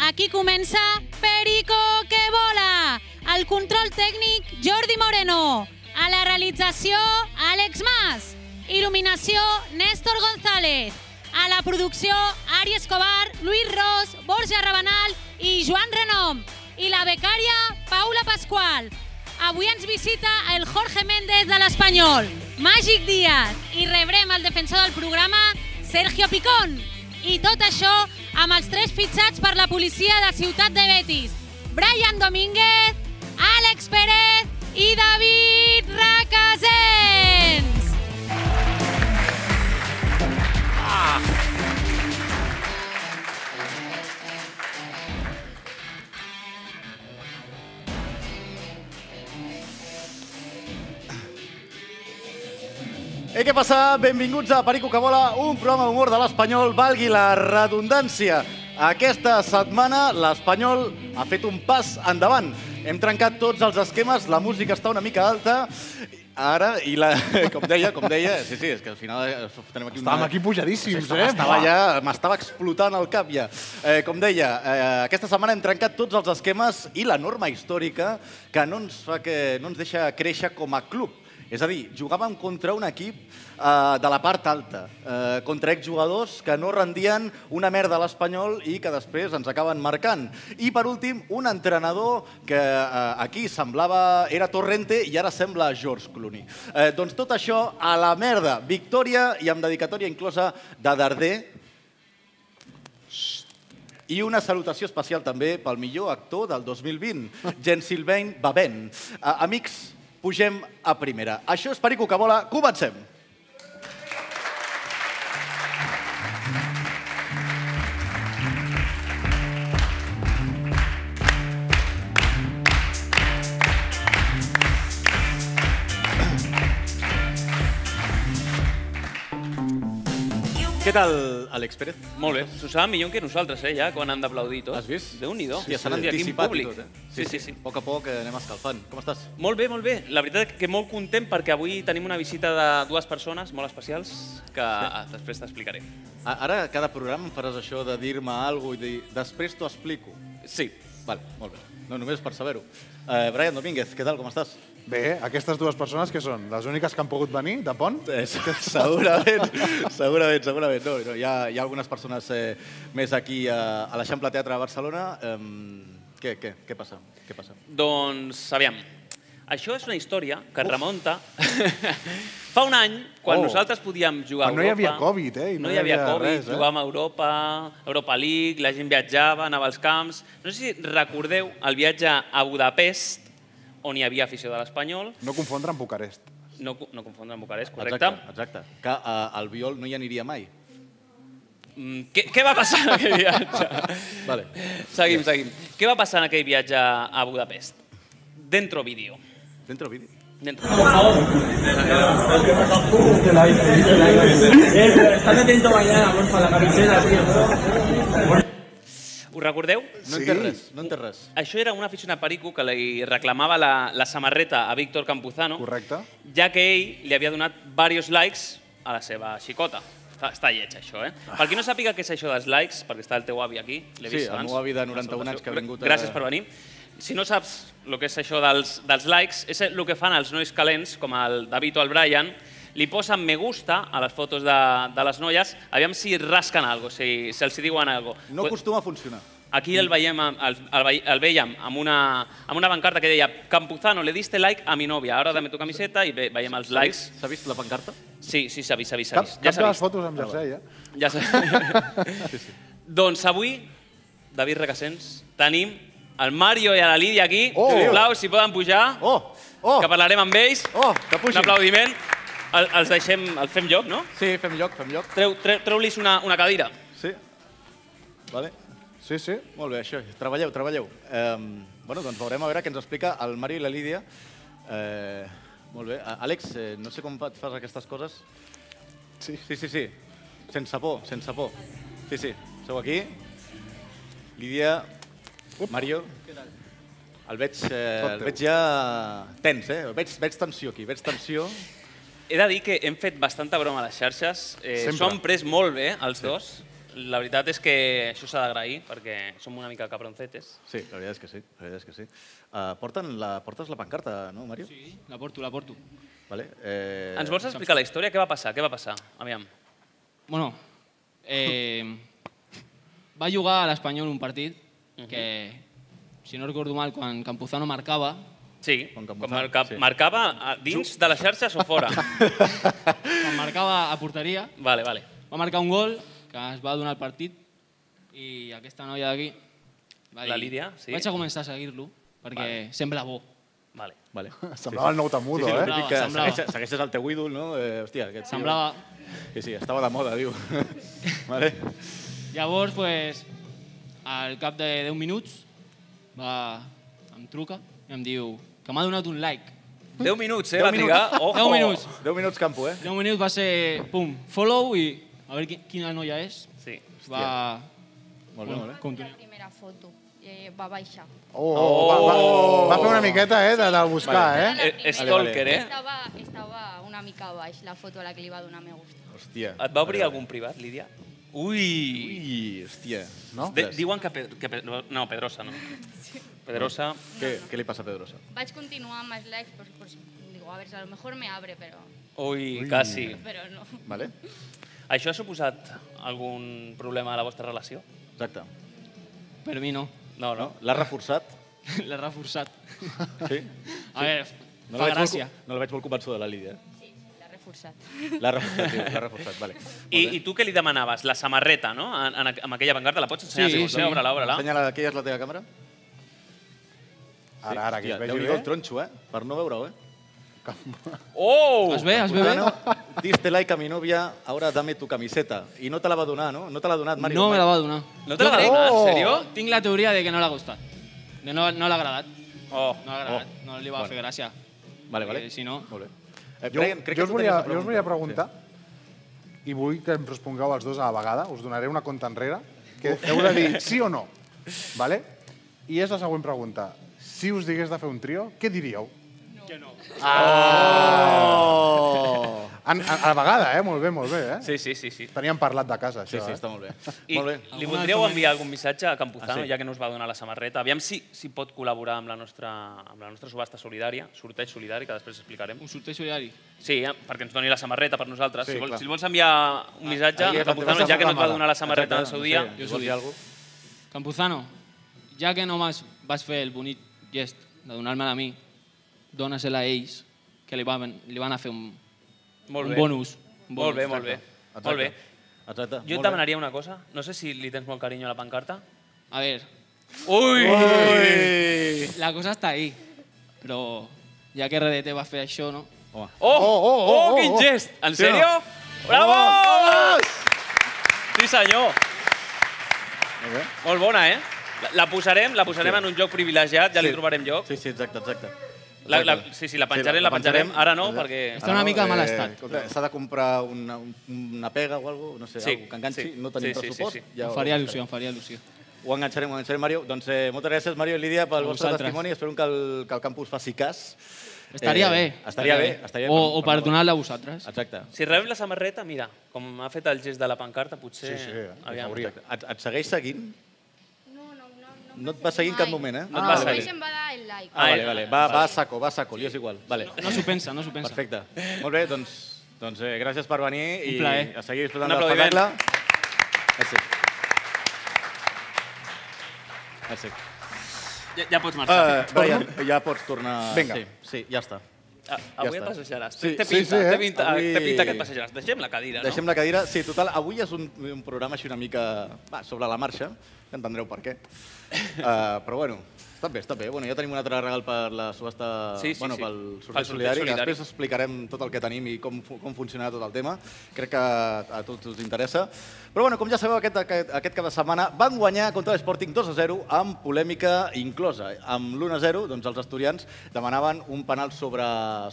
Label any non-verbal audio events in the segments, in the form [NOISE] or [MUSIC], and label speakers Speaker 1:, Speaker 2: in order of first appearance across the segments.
Speaker 1: Aquí comença Perico que vola. Al control tècnic, Jordi Moreno. A la realització, Àlex Mas. Il·luminació, Néstor González. A la producció, Ari Escobar, Luis Ros, Borja Rabanal i Joan Renom. I la becària, Paula Pasqual. Avui ens visita el Jorge Méndez de l'Espanyol, Màgic Díaz, i rebrem el defensor del programa, Sergio Picón. I tot això amb els tres fitxats per la policia de Ciutat de Betis, Brian Domínguez, Àlex Pérez i David Requesens.
Speaker 2: Ei, Eh, què passa? Benvinguts a Perico que vola, un programa d'humor de l'Espanyol, valgui la redundància. Aquesta setmana l'Espanyol ha fet un pas endavant. Hem trencat tots els esquemes, la música està una mica alta, ara, i la, [LAUGHS] com deia, com deia, sí, sí, és que al final eh, tenim aquí
Speaker 3: Estàvem aquí pujadíssims,
Speaker 2: Sí, estava,
Speaker 3: eh?
Speaker 2: Estava ja, m'estava explotant el cap ja. Eh, com deia, eh, aquesta setmana hem trencat tots els esquemes i la norma històrica que no ens, fa que, no ens deixa créixer com a club. És a dir, jugàvem contra un equip eh, de la part alta, eh, contra exjugadors que no rendien una merda a l'Espanyol i que després ens acaben marcant. I per últim, un entrenador que eh, aquí semblava... era Torrente i ara sembla George Clooney. Eh, doncs tot això a la merda. Victòria i amb dedicatòria inclosa de Darder, i una salutació especial també pel millor actor del 2020, Jean-Sylvain Baben. A- Amics, pugem a primera. Això és Perico que vola, comencem! Què tal, Àlex Pérez?
Speaker 4: Molt bé, s'ho saben millor que nosaltres, eh, ja, quan han d'aplaudir i tot.
Speaker 2: Has vist?
Speaker 4: Déu-n'hi-do.
Speaker 2: Sí, s'han
Speaker 4: Hòstia, quin
Speaker 2: anticipat i
Speaker 4: públic.
Speaker 2: tot, eh?
Speaker 4: Sí, sí, sí.
Speaker 2: A poc a poc eh, anem escalfant. Com estàs?
Speaker 4: Molt bé, molt bé. La veritat és que molt content perquè avui tenim una visita de dues persones molt especials que ah, després t'explicaré.
Speaker 2: A- Ara, cada programa em faràs això de dir-me alguna cosa i dir després t'ho explico.
Speaker 4: Sí.
Speaker 2: Vale, molt bé. No, només per saber-ho. Eh, Brian Domínguez, què tal, com estàs?
Speaker 3: Bé, aquestes dues persones que són? Les úniques que han pogut venir de Pont?
Speaker 2: Eh, [LAUGHS] segurament, segurament, segurament. No, no, hi, ha, hi ha algunes persones eh, més aquí a, a l'Eixample Teatre de Barcelona. Eh, què, què, què passa? Què passa?
Speaker 4: Doncs, aviam, això és una història que Uf. remunta [LAUGHS] fa un any, quan
Speaker 3: Oh.
Speaker 4: nosaltres podíem jugar a
Speaker 3: Quan
Speaker 4: Europa.
Speaker 3: no hi havia Covid, eh, i
Speaker 4: No, hi havia, Covid,
Speaker 3: res, eh?
Speaker 4: jugàvem a Europa, Europa League, la gent viatjava, anava als camps... No sé si recordeu el viatge a Budapest, on hi havia afició de l'Espanyol,
Speaker 3: No confondre amb Bucarest.
Speaker 4: no, co- no confondre amb Bucarest, correcte?
Speaker 2: Exacte, exacte. Que eh, al Biol no hi aniria [LAUGHS] mai.
Speaker 4: Mm, què, què va passar en aquell
Speaker 3: [LAUGHS]
Speaker 4: viatge?
Speaker 2: Vale.
Speaker 4: seguim, seguim. Què va passar en aquell viatge a Budapest? Dentro vídeo.
Speaker 2: Dentro vídeo.
Speaker 4: Dentro.
Speaker 5: Estás atento mañana, porfa, la camiseta, tío.
Speaker 4: Ho recordeu?
Speaker 2: No
Speaker 3: Sí.
Speaker 2: entenc res, no entenc res.
Speaker 4: Això era una afició a Perico que li reclamava la, la samarreta a Víctor Campuzano,
Speaker 3: Correcte?
Speaker 4: ja que ell li havia donat diversos likes a la seva xicota. Està, està lleig, això, eh? Per qui no sàpiga què és això dels likes, perquè està el teu avi aquí,
Speaker 2: Ah.
Speaker 4: l'he
Speaker 2: Sí,
Speaker 4: vist
Speaker 2: el
Speaker 4: abans.
Speaker 2: meu avi de
Speaker 4: Una
Speaker 2: 91 anys
Speaker 4: salutació.
Speaker 2: que ha vingut a-
Speaker 4: Gràcies per venir. Si no saps el que és això dels, dels likes, és el que fan els nois calents, com el David o el Brian, li posen me gusta a les fotos de, de les noies, aviam si rasquen algo, si, si els hi diuen algo.
Speaker 2: No
Speaker 4: Pues-
Speaker 2: acostuma a funcionar.
Speaker 4: Aquí el veiem, amb- el, el, vei- el veiem amb una, amb una bancarta que deia Campuzano, le diste like a mi novia, ara dame tu camiseta i ve, veiem els
Speaker 2: S'ha
Speaker 4: likes.
Speaker 2: vist- S'ha vist la pancarta?
Speaker 4: Sí, sí, s'ha vist, s'ha vist, s'ha
Speaker 3: Cap,
Speaker 4: vist.
Speaker 3: cap de
Speaker 4: s'ha
Speaker 3: les
Speaker 4: vist.
Speaker 3: fotos amb jersei, eh?
Speaker 4: Ja s'ha
Speaker 3: [LAUGHS]
Speaker 4: Doncs avui, David Requesens, tenim el Mario i la Lídia aquí.
Speaker 2: Oh!
Speaker 4: Sisplau, si poden pujar,
Speaker 2: Oh, oh,
Speaker 4: que parlarem amb ells.
Speaker 2: oh, que
Speaker 4: Un
Speaker 2: pugin.
Speaker 4: aplaudiment. El, els deixem, el fem lloc, no?
Speaker 2: Sí, fem lloc, fem lloc.
Speaker 4: Treu, treu, treu-lis una, una cadira.
Speaker 2: Sí. Vale.
Speaker 3: Sí, sí.
Speaker 2: Molt bé, això. Treballeu, treballeu. Eh, bueno, doncs veurem a veure què ens explica el Mario i la Lídia. Eh, molt bé. A- Àlex, eh, no sé com fa- fas aquestes coses.
Speaker 3: Sí.
Speaker 2: Sí, sí, sí. Sense por, sense por. Sí, sí. Sou aquí. Lídia, Mario. El veig, eh, el
Speaker 3: teu.
Speaker 2: veig ja tens, eh? Veig, veig tensió aquí, veig tensió.
Speaker 4: He de dir que hem fet bastanta broma a les xarxes. Eh,
Speaker 3: Sempre.
Speaker 4: S'ho han pres molt bé, els dos. la veritat és que això s'ha d'agrair, perquè som una mica cabroncetes.
Speaker 2: Sí, la veritat és que sí. La veritat és que sí. Uh, porten la, portes la pancarta, no, Mario? Sí.
Speaker 6: La porto, la porto.
Speaker 2: Vale. Eh,
Speaker 4: Ens vols explicar la història? Què va passar? Què va passar? Aviam.
Speaker 6: Bueno, eh, va jugar a l'Espanyol un partit que, si no recordo mal, quan Campuzano marcava,
Speaker 4: Sí,
Speaker 2: Com Campuzano,
Speaker 4: com marca,
Speaker 2: sí.
Speaker 4: marcava a dins de les xarxes o
Speaker 2: [LAUGHS]
Speaker 4: fora.
Speaker 6: quan marcava a porteria,
Speaker 4: Vale, vale.
Speaker 6: va marcar un gol que es va donar el partit i aquesta noia d'aquí... va dir-
Speaker 4: La Lídia, sí.
Speaker 6: Vaig a començar a seguir-lo perquè sembla bo.
Speaker 4: Vale.
Speaker 2: Vale.
Speaker 3: Semblava el nou Tamudo,
Speaker 2: Sí, sí,
Speaker 3: eh?
Speaker 2: el típic que
Speaker 6: Semblava,
Speaker 2: segueixes, segueixes el teu ídol, no? Eh, hòstia, aquest tio.
Speaker 6: Semblava...
Speaker 2: Sí, sí, estava de moda,
Speaker 4: [LAUGHS]
Speaker 2: diu. vale.
Speaker 6: Llavors, pues, al cap de 10 minuts, va, em truca i em diu que m'ha donat un like.
Speaker 4: 10 minuts, eh?
Speaker 2: Deu
Speaker 4: va
Speaker 2: minuts.
Speaker 4: trigar. Ojo.
Speaker 6: 10 minuts.
Speaker 2: 10 minuts campo, eh?
Speaker 6: 10 minuts va ser, pum, follow i a veure qui- quina noia és.
Speaker 4: Sí.
Speaker 6: Va...
Speaker 2: Molt bé, molt bé.
Speaker 6: Continuem.
Speaker 7: La primera foto eh, va baixar.
Speaker 3: Oh, oh, va, va, va fer una miqueta, eh, de, de buscar, eh?
Speaker 4: Eh, eh, stalker, eh?
Speaker 7: Estava, estava una mica baix la foto a la que li va donar me gusta.
Speaker 2: Hòstia.
Speaker 4: Et va obrir algun privat, Lídia? Ui!
Speaker 2: Ui, hòstia.
Speaker 3: No?
Speaker 4: De, diuen que, Pe- que... Pe- No, Pedrosa, no. Pedrosa...
Speaker 2: Què, què li passa a Pedrosa?
Speaker 7: Vaig continuar amb els likes, pues, pues, digo, a ver, a lo mejor me abre, pero,
Speaker 4: Ui, quasi.
Speaker 7: pero no.
Speaker 2: Vale?
Speaker 4: Això ha suposat algun problema a la vostra relació?
Speaker 2: Exacte.
Speaker 6: Per mi no. [LAUGHS]
Speaker 4: No,
Speaker 2: No?
Speaker 4: no.
Speaker 2: L'ha reforçat?
Speaker 6: L'he reforçat.
Speaker 2: Sí?
Speaker 6: A veure,
Speaker 2: No la,
Speaker 6: fa
Speaker 2: veig molt,
Speaker 6: gràcia.
Speaker 2: cu- no la veig molt convençuda, la Lídia. eh?
Speaker 7: Sí, sí, l'ha reforçat.
Speaker 2: L'ha reforçat, diu, l'ha reforçat, vale.
Speaker 4: I, I tu què li demanaves? La samarreta, no? En, en, aqu- amb aquella pancarta, la pots ensenyar?
Speaker 6: Sí,
Speaker 4: si vols,
Speaker 6: sí.
Speaker 4: eh? Obre-la, obre-la.
Speaker 2: Senyala, aquella és la teva càmera?
Speaker 3: Ara, ara, que es
Speaker 2: Hòstia,
Speaker 3: vegi
Speaker 2: Déu-n'hi-do el
Speaker 3: bé.
Speaker 2: tronxo, eh? Per no veure-ho, eh?
Speaker 4: Oh!
Speaker 6: Es ve, es eh? ve bé?
Speaker 2: Cano, diste like a mi novia, ahora dame tu camiseta. I no te la va donar, no? No te l'ha donat, Mario.
Speaker 6: No me la va donar. Ah,
Speaker 4: No te la va donar, en sèrio?
Speaker 6: Tinc la teoria de que no l'ha gustat. De no, no l'ha agradat.
Speaker 4: Oh.
Speaker 6: No l'ha agradat. No li va fer gràcia.
Speaker 2: Vale, vale.
Speaker 6: Eh, si no-
Speaker 2: Molt bé. Eh,
Speaker 3: Jo,
Speaker 2: Brian, crec
Speaker 3: jo, us
Speaker 2: que tu
Speaker 3: volia,
Speaker 2: tenies la
Speaker 3: jo us
Speaker 2: pregunta.
Speaker 3: volia preguntar, i vull que em respongueu els dos a la vegada, us donaré una conta enrere, que heu de dir sí o no, vale? I és la següent pregunta. Si us digués de fer un trio, què diríeu?
Speaker 2: Oh!
Speaker 3: En, a, a la vegada, eh? Molt bé, molt bé, eh?
Speaker 4: Sí, sí, sí, sí.
Speaker 3: Teníem parlat de casa,
Speaker 2: Sí,
Speaker 3: això,
Speaker 2: sí,
Speaker 3: eh?
Speaker 2: està molt bé.
Speaker 4: I
Speaker 2: molt bé.
Speaker 4: li voldríeu enviar algun missatge a Campuzano,
Speaker 2: Ah, sí?
Speaker 4: ja que no us va donar la samarreta. Aviam si, si pot col·laborar amb la, nostra, amb la nostra subhasta solidària, sorteig solidari, que després explicarem.
Speaker 6: Un sorteig solidari.
Speaker 4: Sí, eh, perquè ens doni la samarreta per nosaltres.
Speaker 3: Sí,
Speaker 4: si, vols,
Speaker 3: clar.
Speaker 4: si vols enviar un missatge
Speaker 2: ahí
Speaker 4: a
Speaker 2: la
Speaker 4: Campuzano,
Speaker 3: teves
Speaker 4: ja que no et va
Speaker 3: reclamada.
Speaker 4: donar la samarreta en el
Speaker 2: Exacte,
Speaker 4: seu
Speaker 2: no
Speaker 4: dia...
Speaker 2: sé.
Speaker 6: Jo us ho
Speaker 2: Vols dir
Speaker 6: dic.
Speaker 2: alguna cosa?
Speaker 6: Campuzano, ja que no vas, vas fer el bonic gest de donar-me'l a mi, dona-se-la a ells, que li van, li van a fer un,
Speaker 4: Molt
Speaker 6: un
Speaker 4: bé.
Speaker 6: bonus. Un bonus.
Speaker 4: Molt bé, molt bé.
Speaker 2: Exacte.
Speaker 4: Molt bé.
Speaker 2: Exacte.
Speaker 4: Jo
Speaker 2: molt
Speaker 4: et
Speaker 2: bé.
Speaker 4: demanaria una cosa. No sé si li tens molt carinyo a la pancarta.
Speaker 6: A veure,
Speaker 4: Ui!
Speaker 2: Ui!
Speaker 6: la cosa està ahí, però ja que RDT va fer això, no?
Speaker 2: Home.
Speaker 4: Oh, oh,
Speaker 3: oh,
Speaker 4: oh,
Speaker 3: oh,
Speaker 4: quin
Speaker 3: oh.
Speaker 4: gest! En
Speaker 2: Sí o no?
Speaker 4: sèrio? Bravo!
Speaker 2: Oh!
Speaker 4: Sí, senyor.
Speaker 3: Molt bé.
Speaker 4: Molt bona, eh? La- La posarem, la posarem en un lloc privilegiat, ja li
Speaker 2: Sí.
Speaker 4: trobarem lloc.
Speaker 2: Sí, sí, exacte, exacte.
Speaker 4: La- la-
Speaker 2: Exacte.
Speaker 4: sí, sí, la penjarem, la penjarem. Ara no, perquè-
Speaker 6: Està una mica de mal estat,
Speaker 2: Eh, escolta, S'ha de comprar una, un- una pega o alguna no sé,
Speaker 4: Sí,
Speaker 2: algo que enganxi,
Speaker 4: sí.
Speaker 2: no tenim
Speaker 4: Sí, sí, sí,
Speaker 2: pressupost.
Speaker 4: sí.
Speaker 6: Ja
Speaker 2: ho-
Speaker 6: em faria il·lusió, em faria il·lusió.
Speaker 8: Eh,
Speaker 2: Ho enganxarem, ho enganxarem, Mario. Doncs eh, moltes gràcies, Mario i Lídia, pel
Speaker 6: A
Speaker 2: vostre
Speaker 6: vosaltres.
Speaker 2: testimoni. Espero que el, que el campus faci cas.
Speaker 6: Estaria bé.
Speaker 2: Estaria bé. Estaria bé
Speaker 6: o, o per donar-la a vosaltres.
Speaker 2: Exacte.
Speaker 4: Si rebem la samarreta, mira, com ha fet el gest de la pancarta, potser...
Speaker 3: Sí, sí, eh,
Speaker 4: aviam.
Speaker 3: hauria.
Speaker 2: Exacte. Et, et segueix seguint?
Speaker 7: No, no, no. No,
Speaker 2: No et va seguir en cap moment, eh?
Speaker 4: No et
Speaker 7: Ah,
Speaker 4: va
Speaker 7: vale.
Speaker 4: seguir.
Speaker 7: em va dar el like.
Speaker 2: Ah,
Speaker 4: Ah,
Speaker 2: vale,
Speaker 4: eh,
Speaker 2: vale. Va, va a saco, va a saco, li és igual. Vale.
Speaker 6: No s'ho pensa, no s'ho pensa.
Speaker 2: Perfecte. Molt bé, doncs, doncs eh, gràcies per venir i
Speaker 6: Un plaer.
Speaker 2: a seguir disfrutant
Speaker 4: Un
Speaker 2: de
Speaker 4: aplaudiment.
Speaker 2: l'espectacle. Merci. Merci.
Speaker 4: Ja, ja pots marxar.
Speaker 2: Uh, Brian, ja pots tornar...
Speaker 3: Vinga.
Speaker 2: Sí, sí, ja està.
Speaker 4: Ah, avui
Speaker 2: ja
Speaker 4: et
Speaker 2: està.
Speaker 4: passejaràs.
Speaker 2: Sí,
Speaker 4: Té
Speaker 2: sí,
Speaker 4: pinta,
Speaker 3: sí, eh?
Speaker 4: té pinta,
Speaker 2: Avui-
Speaker 4: té pinta que et passejaràs. Deixem la cadira, no?
Speaker 2: Deixem la cadira. Sí, total, avui és un, un programa així una mica va, sobre la marxa, que entendreu per [LAUGHS] què. Uh, però bueno, està bé, està bé. Bueno, ja tenim un altre regal per la subhasta...
Speaker 4: Sí, sí,
Speaker 2: bueno,
Speaker 4: sí.
Speaker 2: pel
Speaker 4: Pel
Speaker 2: sorteig
Speaker 4: sorteig
Speaker 2: solidari, que
Speaker 4: solidari.
Speaker 2: després explicarem tot el que tenim i com, fu- com funcionarà tot el tema. Crec que a tots us interessa. Però bueno, com ja sabeu, aquest, aquest, aquest cap de setmana van guanyar contra l'Sporting 2 a 0 amb polèmica inclosa. Amb l'1 a 0, doncs els asturians demanaven un penal sobre,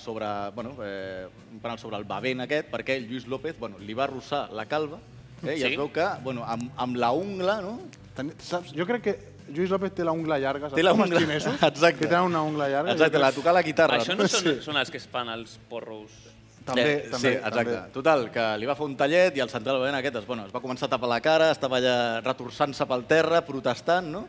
Speaker 2: sobre, bueno, eh, un penal sobre el bavent aquest, perquè Lluís López bueno, li va arrossar la calva eh, i
Speaker 4: Sí.
Speaker 2: es veu que bueno, amb, amb la ungla, no?
Speaker 3: Ten, saps, jo crec que Lluís López té la ungla llarga. Saps?
Speaker 2: Té la
Speaker 3: com
Speaker 2: ungla-
Speaker 3: Els xinesos,
Speaker 2: Exacte.
Speaker 3: Que tenen una ungla llarga.
Speaker 2: Exacte, la tocar la guitarra.
Speaker 4: Això no són, són els que es fan els porros.
Speaker 3: També,
Speaker 2: Eh,
Speaker 3: també,
Speaker 2: sí, exacte.
Speaker 3: també.
Speaker 2: Total, que li va fer un tallet i el central valent aquest es, bueno, es va començar a tapar la cara, estava allà retorçant-se pel terra, protestant, no?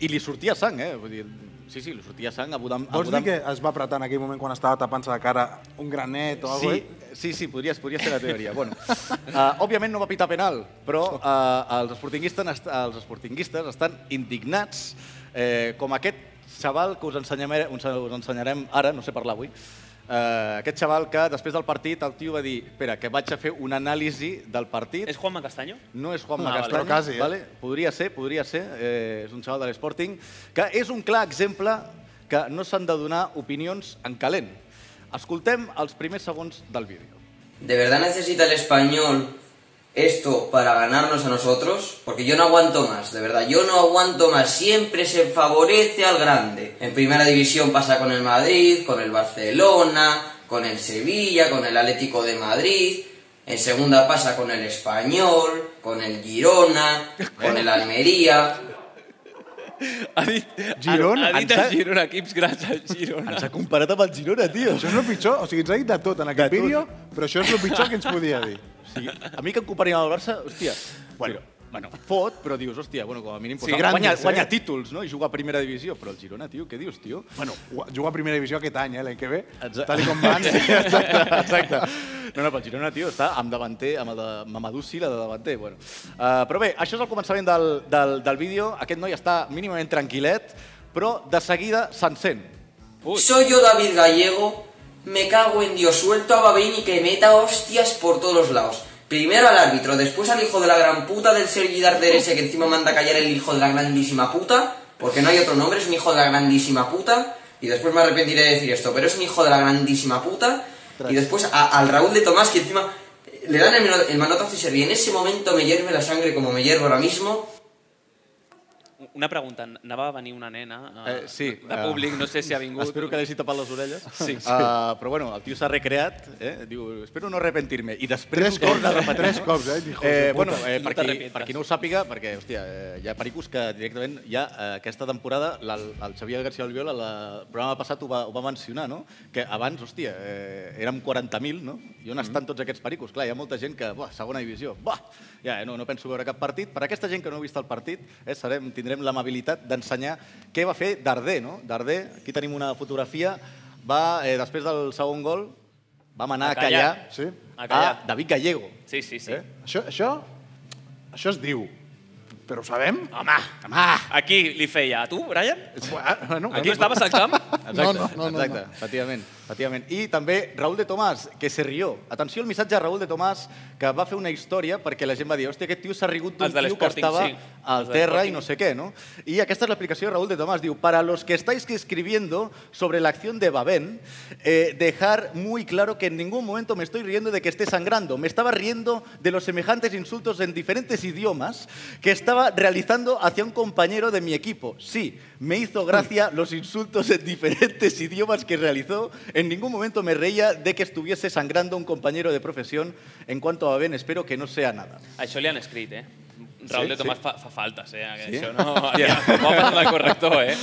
Speaker 2: I li sortia sang, eh? Vull dir, sí, sí, li sortia sang a Budam.
Speaker 9: Vols dir que es va apretar en aquell moment quan estava tapant-se la cara un granet o
Speaker 2: Sí,
Speaker 9: alguna cosa?
Speaker 2: sí, sí, podria, podria ser la teoria. bueno, [LAUGHS] uh, òbviament no va pitar penal, però uh, els, esportinguistes, n'est- els esportinguistes estan indignats, eh, com aquest xaval que us ensenyarem, us us ensenyarem ara, no sé parlar avui, Uh, aquest xaval que després del partit el tio va dir espera, que vaig a fer una anàlisi del partit
Speaker 4: ¿Es Juanma Castaño?
Speaker 2: no és Juan
Speaker 4: Ah, vale.
Speaker 2: Castaño,
Speaker 3: Però quasi, eh?
Speaker 2: vale? podria ser, podria ser, eh, és un xaval de l'Sporting, que és un clar exemple que no s'han de donar opinions en calent. Escoltem els primers segons del vídeo.
Speaker 10: ¿De verdad necesita el español esto para ganarnos a nosotros? Porque yo no aguanto más, de verdad, yo no aguanto más. Siempre se favorece al grande. En primera división pasa con el Madrid, con el Barcelona, con el Sevilla, con el Atlético de Madrid. En segunda pasa con el Español, con el Girona, con el Almería.
Speaker 4: Ha dit,
Speaker 3: Girona?
Speaker 4: Ha, ha dit
Speaker 2: Ens
Speaker 4: el
Speaker 2: ha-
Speaker 4: Girona, equips grans al Girona.
Speaker 2: Ens ha comparat amb el Girona, tio.
Speaker 3: Això és el pitjor, o sigui, ens ha dit de tot en aquest
Speaker 2: De tot.
Speaker 3: vídeo, però això és el pitjor que ens podia dir.
Speaker 2: O sigui, a mi que em comparin amb el Barça, hòstia, bueno, bueno, fot, però dius, hòstia, bueno, com a mínim
Speaker 3: Sí,
Speaker 2: sí, guanya,
Speaker 3: grandes,
Speaker 2: guanya,
Speaker 3: eh?
Speaker 2: guanya títols, no? I jugar a primera divisió, però el Girona, tio, què dius, tio?
Speaker 3: Bueno, juga a primera divisió aquest any, eh, l'any que ve,
Speaker 2: Exacte.
Speaker 3: tal i com van.
Speaker 2: exacte, exacte. No, no, però el Girona, tio, està amb davanter, amb el de Mamadou Sila de davanter. Bueno. Uh, però bé, això és el començament del, del, del vídeo. Aquest noi està mínimament tranquil·let, però de seguida s'encén.
Speaker 10: Soy yo David Gallego, me cago en Dios, suelto a Babín y que meta hostias por todos lados. Primero al árbitro, después al hijo de la gran puta del Sergi Darder ese que encima manda a callar el hijo de la grandísima puta, porque no hay otro nombre, es un hijo de la grandísima puta, y después me arrepentiré de decir esto, pero es un hijo de la grandísima puta, y después a- al Raúl de Tomás que encima eh, le dan el, mano- el manotazo y se ríe. En ese momento me hierve la sangre como me hiervo ahora mismo.
Speaker 4: Una pregunta, anava a venir una nena eh,
Speaker 2: Eh, sí,
Speaker 4: de
Speaker 2: eh,
Speaker 4: públic, no sé si ha vingut.
Speaker 2: Espero que l'hagi tapat les orelles.
Speaker 4: Sí.
Speaker 2: Uh, però bueno, el tio s'ha recreat, eh? diu, espero no arrepentir-me. I després
Speaker 3: Tres
Speaker 2: ho
Speaker 3: cops,
Speaker 2: torna a repetir.
Speaker 3: tres cops, eh, hijos de
Speaker 2: Eh,
Speaker 3: puta.
Speaker 2: bueno, eh,
Speaker 4: No
Speaker 2: per, qui,
Speaker 4: t'arrepentis.
Speaker 2: per qui no ho sàpiga, perquè, hòstia, eh, hi ha pericos que directament ja eh, aquesta temporada la, el Xavier García Albiol al programa passat ho va, ho va mencionar, no? Que abans, hòstia, eh, érem 40.000, no? I
Speaker 4: Mm-hmm.
Speaker 2: on estan tots aquests pericos? Clar, hi ha molta gent que, buah, segona divisió, buah, ja eh, no, no penso veure cap partit. Per aquesta gent que no ha vist el partit, eh, serem, tindrem l'amabilitat d'ensenyar què va fer Darder, no? Darder, aquí tenim una fotografia, va, eh, després del segon gol, vam anar a
Speaker 4: A
Speaker 2: callar,
Speaker 4: callar.
Speaker 3: Sí.
Speaker 4: A callar.
Speaker 2: a David Gallego.
Speaker 4: Sí, sí, sí.
Speaker 2: Eh?
Speaker 3: Això, això, això es diu, però ho sabem?
Speaker 4: Home, home, aquí li feia. A tu, Brian?
Speaker 3: Bueno,
Speaker 4: Aquí estaves al camp?
Speaker 2: Exacte, no, no, no, exacte, efectivament, efectivament. I també Raúl de Tomàs, que se rió. Atenció al missatge de Raúl de Tomàs, que va fer una història perquè la gent va dir hòstia, aquest tio s'ha rigut d'un
Speaker 4: Els de
Speaker 2: tio que
Speaker 4: l'Sporting,
Speaker 2: estava
Speaker 4: sí.
Speaker 2: al
Speaker 4: Els de
Speaker 2: terra i
Speaker 4: l'Sporting.
Speaker 2: no sé qué, ¿no? Y esta es la explicación de Raúl de Tomás. Digo, para los que estáis escribiendo sobre la acción de Babén, eh, dejar muy claro que en ningún momento me estoy riendo de que esté sangrando. Me estaba riendo de los semejantes insultos en diferentes idiomas que estaba realizando hacia un compañero de mi equipo. Sí, me hizo gracia los insultos en diferentes idiomas que realizó. En ningún momento me reía de que estuviese sangrando un compañero de profesión. En cuanto a Babén, espero que no sea nada.
Speaker 4: Això li han escrit, eh? Raúl
Speaker 2: Sí,
Speaker 4: de Tomàs
Speaker 2: sí.
Speaker 4: fa, fa faltes, eh?
Speaker 2: Sí?
Speaker 4: Això no... Hòstia, m'ho ha passat el corrector, eh?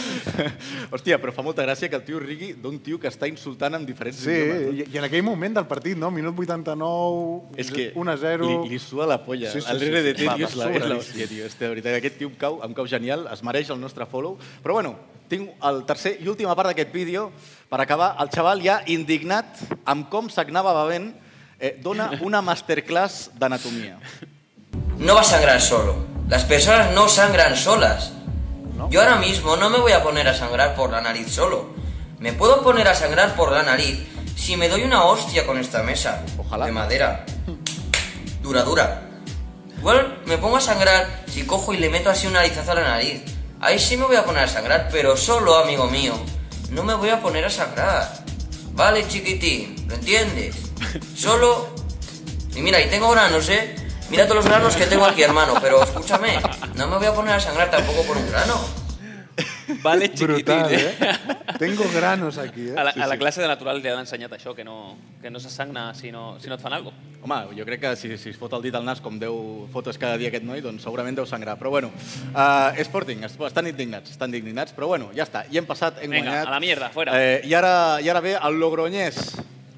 Speaker 2: Hòstia, però fa molta gràcia que el tio rigui d'un tio que està insultant amb diferents
Speaker 3: Sí,
Speaker 2: idiomes. eh?
Speaker 3: i, i en aquell moment del partit, no? Minut 89,
Speaker 2: És que
Speaker 3: 1 a 0...
Speaker 2: Li, li sua la polla.
Speaker 3: Sí,
Speaker 2: Sí,
Speaker 3: sí,
Speaker 2: sí, el
Speaker 3: sí,
Speaker 2: RDT,
Speaker 3: sí. Va,
Speaker 2: tio,
Speaker 3: va,
Speaker 2: és la, és la
Speaker 3: sobradíssim.
Speaker 2: hòstia, tio. És, de veritat, aquest tio em cau, em cau genial, es mereix el nostre follow. Però bueno, tinc el tercer i última part d'aquest vídeo. Per acabar, el xaval ja indignat amb com s'agnava bevent, eh, dona una masterclass d'anatomia.
Speaker 10: no va a sangrar solo. Las personas no sangran solas. Yo ahora mismo no me voy a poner a sangrar por la nariz solo. Me puedo poner a sangrar por la nariz si me doy una hostia con esta mesa
Speaker 2: Ojalá.
Speaker 10: de madera. Dura, dura. Igual me pongo a sangrar si cojo y le meto así un narizazo a la nariz. Ahí sí me voy a poner a sangrar, pero solo, amigo mío. No me voy a poner a sangrar. Vale, chiquitín, ¿lo entiendes? Solo y mira, y tengo granos, ¿eh? Mira todos los granos que tengo aquí, hermano, pero escúchame, no me voy a poner a sangrar tampoco por un grano.
Speaker 4: Vale, chiquitín,
Speaker 3: Brutal,
Speaker 4: eh?
Speaker 3: eh? Tengo granos aquí, eh?
Speaker 4: A la, a la classe de natural li han ensenyat això, que no, que no se sagna si no, si no et fan alguna cosa.
Speaker 2: Home, jo crec que si, si es fot el dit al nas com 10 fotos cada dia aquest noi, doncs segurament deu sangrar. Però bueno, uh, Sporting, es- estan indignats, estan indignats, però bueno, ja està. I hem passat, hem
Speaker 4: Vinga,
Speaker 2: guanyat.
Speaker 4: a la mierda, fuera.
Speaker 2: Eh, i, ara, I ara ve el Logroñés.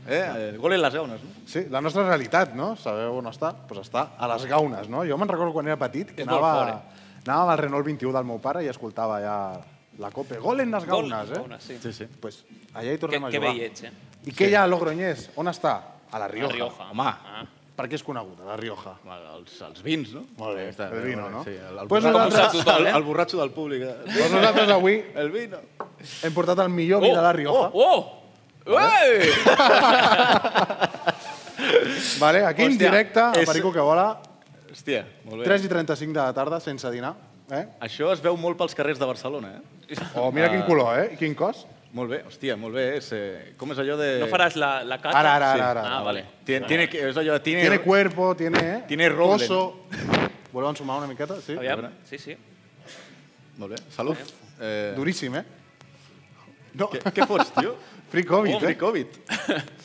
Speaker 2: Eh? El gol en les gaunes, no?
Speaker 3: Sí, la nostra realitat, no? Sabeu on està? Doncs pues està a les gaunes, no? Jo me'n recordo quan era petit que
Speaker 4: És molt
Speaker 3: anava, anava amb el Renault 21 del meu pare i escoltava ja la copa. Gol en les gaunes, eh?
Speaker 4: Gaunes, sí.
Speaker 2: Sí, sí.
Speaker 3: Pues allà hi
Speaker 4: Que,
Speaker 3: tornem a
Speaker 4: que
Speaker 3: jugar.
Speaker 4: veiets, eh?
Speaker 3: I què hi ha a Logroñés? On està? A la Rioja.
Speaker 4: La Rioja.
Speaker 2: Home,
Speaker 4: Ah.
Speaker 3: Per què és coneguda, la Rioja?
Speaker 2: els, els vins, no?
Speaker 3: Molt bé,
Speaker 2: Està, eh,
Speaker 3: el vino, no?
Speaker 2: Sí, el, el,
Speaker 3: Pues
Speaker 2: borratxo-
Speaker 3: nosaltres-
Speaker 2: el-
Speaker 4: total, eh?
Speaker 2: el borratxo del públic. eh?
Speaker 3: Doncs nosaltres avui
Speaker 2: El vino.
Speaker 3: hem portat el millor vi de la Rioja.
Speaker 4: Oh! oh. Ué!
Speaker 3: Vale, aquí en
Speaker 2: Hòstia,
Speaker 3: directe, a
Speaker 2: és-
Speaker 3: Perico que vola,
Speaker 2: Hòstia, molt bé.
Speaker 3: 3 i 35 de la tarda, sense dinar. Eh?
Speaker 2: Això es veu molt pels carrers de Barcelona, eh?
Speaker 3: Oh, mira quin color, eh? I quin cos.
Speaker 2: Molt bé, hòstia, molt bé. És, eh, com és allò de...
Speaker 4: No faràs la, la cata?
Speaker 3: Ara, ara,
Speaker 2: Sí.
Speaker 3: ara. ara.
Speaker 4: Ah, vale.
Speaker 2: Tiene, tiene, que- és allò de... Tiene,
Speaker 3: Tiene cuerpo, tiene... Eh?
Speaker 2: Tiene Roblen.
Speaker 3: Coso. Voleu ensumar una miqueta? Sí.
Speaker 4: Aviam. Sí, sí.
Speaker 2: Molt bé, salut. Eh,
Speaker 3: Duríssim, eh? No,
Speaker 2: què, què fots, tio?
Speaker 3: free [LAUGHS] Covid,
Speaker 2: Oh,
Speaker 3: eh?
Speaker 2: free Covid.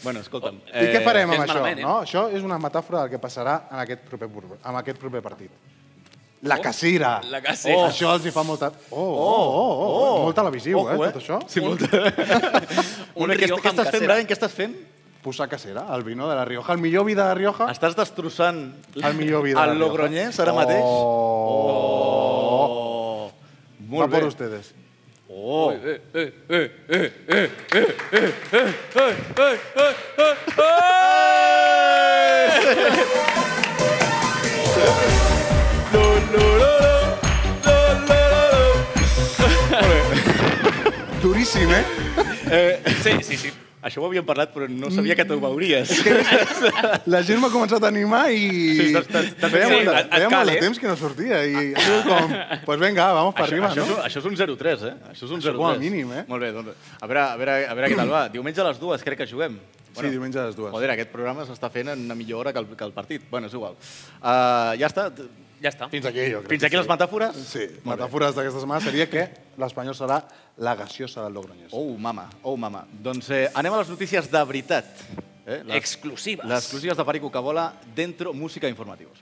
Speaker 2: bueno, escolta'm.
Speaker 3: I què farem
Speaker 4: gens
Speaker 3: amb això?
Speaker 4: malament, eh?
Speaker 3: no? Això és una metàfora del que passarà en aquest proper, pur- amb aquest proper partit. La cacera.
Speaker 4: La cacera.
Speaker 3: Oh, això els hi fa molta... Oh, oh, oh, oh, oh. molt televisiu,
Speaker 2: Ojo,
Speaker 3: eh, tot això.
Speaker 2: Sí, molt. [LAUGHS]
Speaker 4: Un
Speaker 2: Molt bé, què,
Speaker 4: Rioja
Speaker 2: què estàs
Speaker 4: amb
Speaker 2: fent,
Speaker 4: cacera.
Speaker 2: Brian? Què estàs fent?
Speaker 3: Posar cacera, el vino de la Rioja, el millor vi de la Rioja,
Speaker 2: Estàs destrossant
Speaker 3: el millor vi de la Rioja.
Speaker 2: el Logroñés ara mateix? Oh.
Speaker 3: Va
Speaker 2: Molt
Speaker 3: por
Speaker 2: bé.
Speaker 3: ustedes.
Speaker 2: Oh.
Speaker 3: [LAUGHS] Duríssim, eh?
Speaker 4: Sí, sí, sí.
Speaker 2: Això ho havíem parlat, però no sabia que t'ho veuries.
Speaker 3: La gent m'ha començat a animar i...
Speaker 2: Sí, t'has- t'has- t'has-
Speaker 3: feia
Speaker 4: sí,
Speaker 3: molt, de,
Speaker 4: et- et
Speaker 3: feia
Speaker 4: cal,
Speaker 3: molt de
Speaker 4: eh?
Speaker 3: temps que no sortia i ha sigut com... Pues venga, vamos para arriba,
Speaker 2: això,
Speaker 3: no?
Speaker 2: és, això és un 0-3, eh? Això és un 0-3.
Speaker 3: com a mínim, eh?
Speaker 2: Molt bé, doncs, a veure, a veure, a veure què tal va. Diumenge a les dues crec que juguem.
Speaker 3: Sí, diumenge a les dues.
Speaker 2: Joder, aquest programa s'està fent en una millor hora que el, que el partit. Bueno, és igual. Uh, ja està.
Speaker 4: Ja està.
Speaker 3: Fins aquí, jo crec.
Speaker 2: Fins
Speaker 3: que
Speaker 2: aquí les metàfores?
Speaker 3: Sí, metàfores d'aquesta setmana seria que l'Espanyol serà la gaseosa del Logroñés.
Speaker 2: Oh, mama, oh, mama. Doncs eh, anem a les notícies de veritat. Eh? Les,
Speaker 4: Exclusives.
Speaker 2: Les exclusives de Perico Cabola dentro música informativos.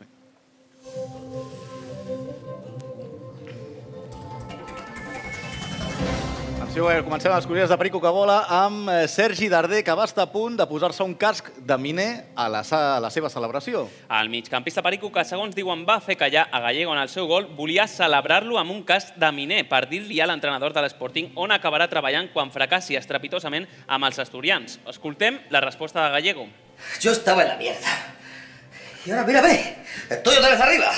Speaker 2: Vinga. Atenció, eh, comencem les exclusives de Perico Cabola amb eh, Sergi Darder, que va estar a punt de posar-se un casc de miner a la, sa- a la seva celebració.
Speaker 4: El migcampista Perico, que segons diuen va fer callar a Gallego en el seu gol, volia celebrar-lo amb un cas de miner per dir-li a l'entrenador de l'Sporting on acabarà treballant quan fracassi estrepitosament amb els asturians. Escoltem la resposta de Gallego.
Speaker 11: Yo estaba en la mierda. Y ahora mírame, estoy otra vez arriba.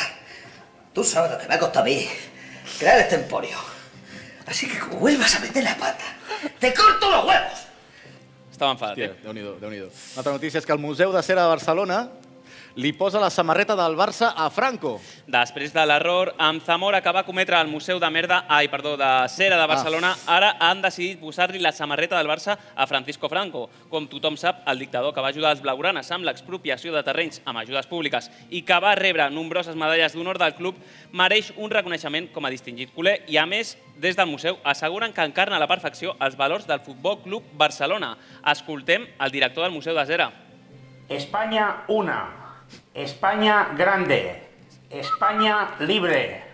Speaker 11: Tú sabes lo que me ha costado a mí crear este emporio. Así que como vuelvas a meter la pata, te corto los huevos.
Speaker 4: Estava enfadat.
Speaker 2: Hòstia,
Speaker 4: eh?
Speaker 2: déu nhi déu nhi Una altra notícia és que el Museu de Cera de Barcelona li posa la samarreta del Barça a Franco.
Speaker 4: Després de l'error amb Zamora que va cometre al Museu de Merda, ai, perdó, de Cera de Barcelona, ara han decidit posar-li la samarreta del Barça a Francisco Franco. Com tothom sap, el dictador que va ajudar els blaugranes amb l'expropiació de terrenys amb ajudes públiques i que va rebre nombroses medalles d'honor del club, mereix un reconeixement com a distingit culer i, a més, des del museu asseguren que encarna a la perfecció els valors del Futbol Club Barcelona. Escoltem el director del Museu de Cera.
Speaker 5: España una, España grande, España libre.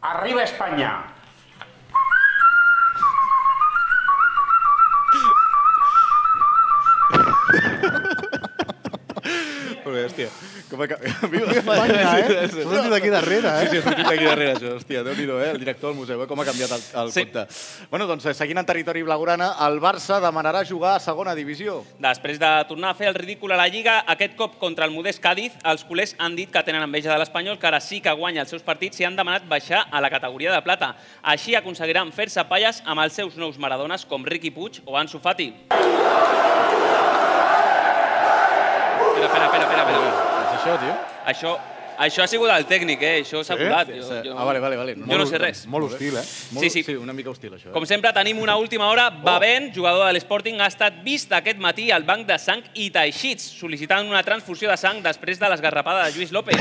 Speaker 5: Arriba España.
Speaker 2: Molt bé, hòstia. Com [LAUGHS] que... Viu
Speaker 3: Espanya, eh? S'ha sentit aquí darrere, eh?
Speaker 2: Sí, sí, s'ha sentit aquí darrere, això. Hòstia, déu nhi eh? El director del museu, eh? Com ha canviat el, el
Speaker 4: Sí.
Speaker 2: compte. Bueno, doncs, eh, seguint en territori blaugrana, el Barça demanarà jugar a segona divisió.
Speaker 4: Després de tornar a fer el ridícul a la Lliga, aquest cop contra el modest Càdiz, els culers han dit que tenen enveja de l'Espanyol, que ara sí que guanya els seus partits i han demanat baixar a la categoria de plata. Així aconseguiran fer-se palles amb els seus nous maradones com Ricky Puig o Ansu Fati. Espera, espera, espera, espera. espera.
Speaker 2: És això, tio?
Speaker 4: Això, això ha sigut el tècnic, eh? Això s'ha
Speaker 3: Sí?
Speaker 4: colat.
Speaker 2: Sí,
Speaker 4: Jo,
Speaker 2: sí.
Speaker 4: jo...
Speaker 2: Ah, vale, vale, vale.
Speaker 4: Jo no sé res.
Speaker 3: Molt hostil, eh?
Speaker 2: Molt,
Speaker 4: sí.
Speaker 2: sí, una mica hostil, això. Eh?
Speaker 4: Com sempre, tenim una última hora. Bavent,
Speaker 8: Oh.
Speaker 4: jugador de l'Sporting, ha estat vist aquest matí al banc de sang i teixits, sol·licitant una transfusió de sang després de l'esgarrapada de Lluís
Speaker 8: [LAUGHS]
Speaker 4: López.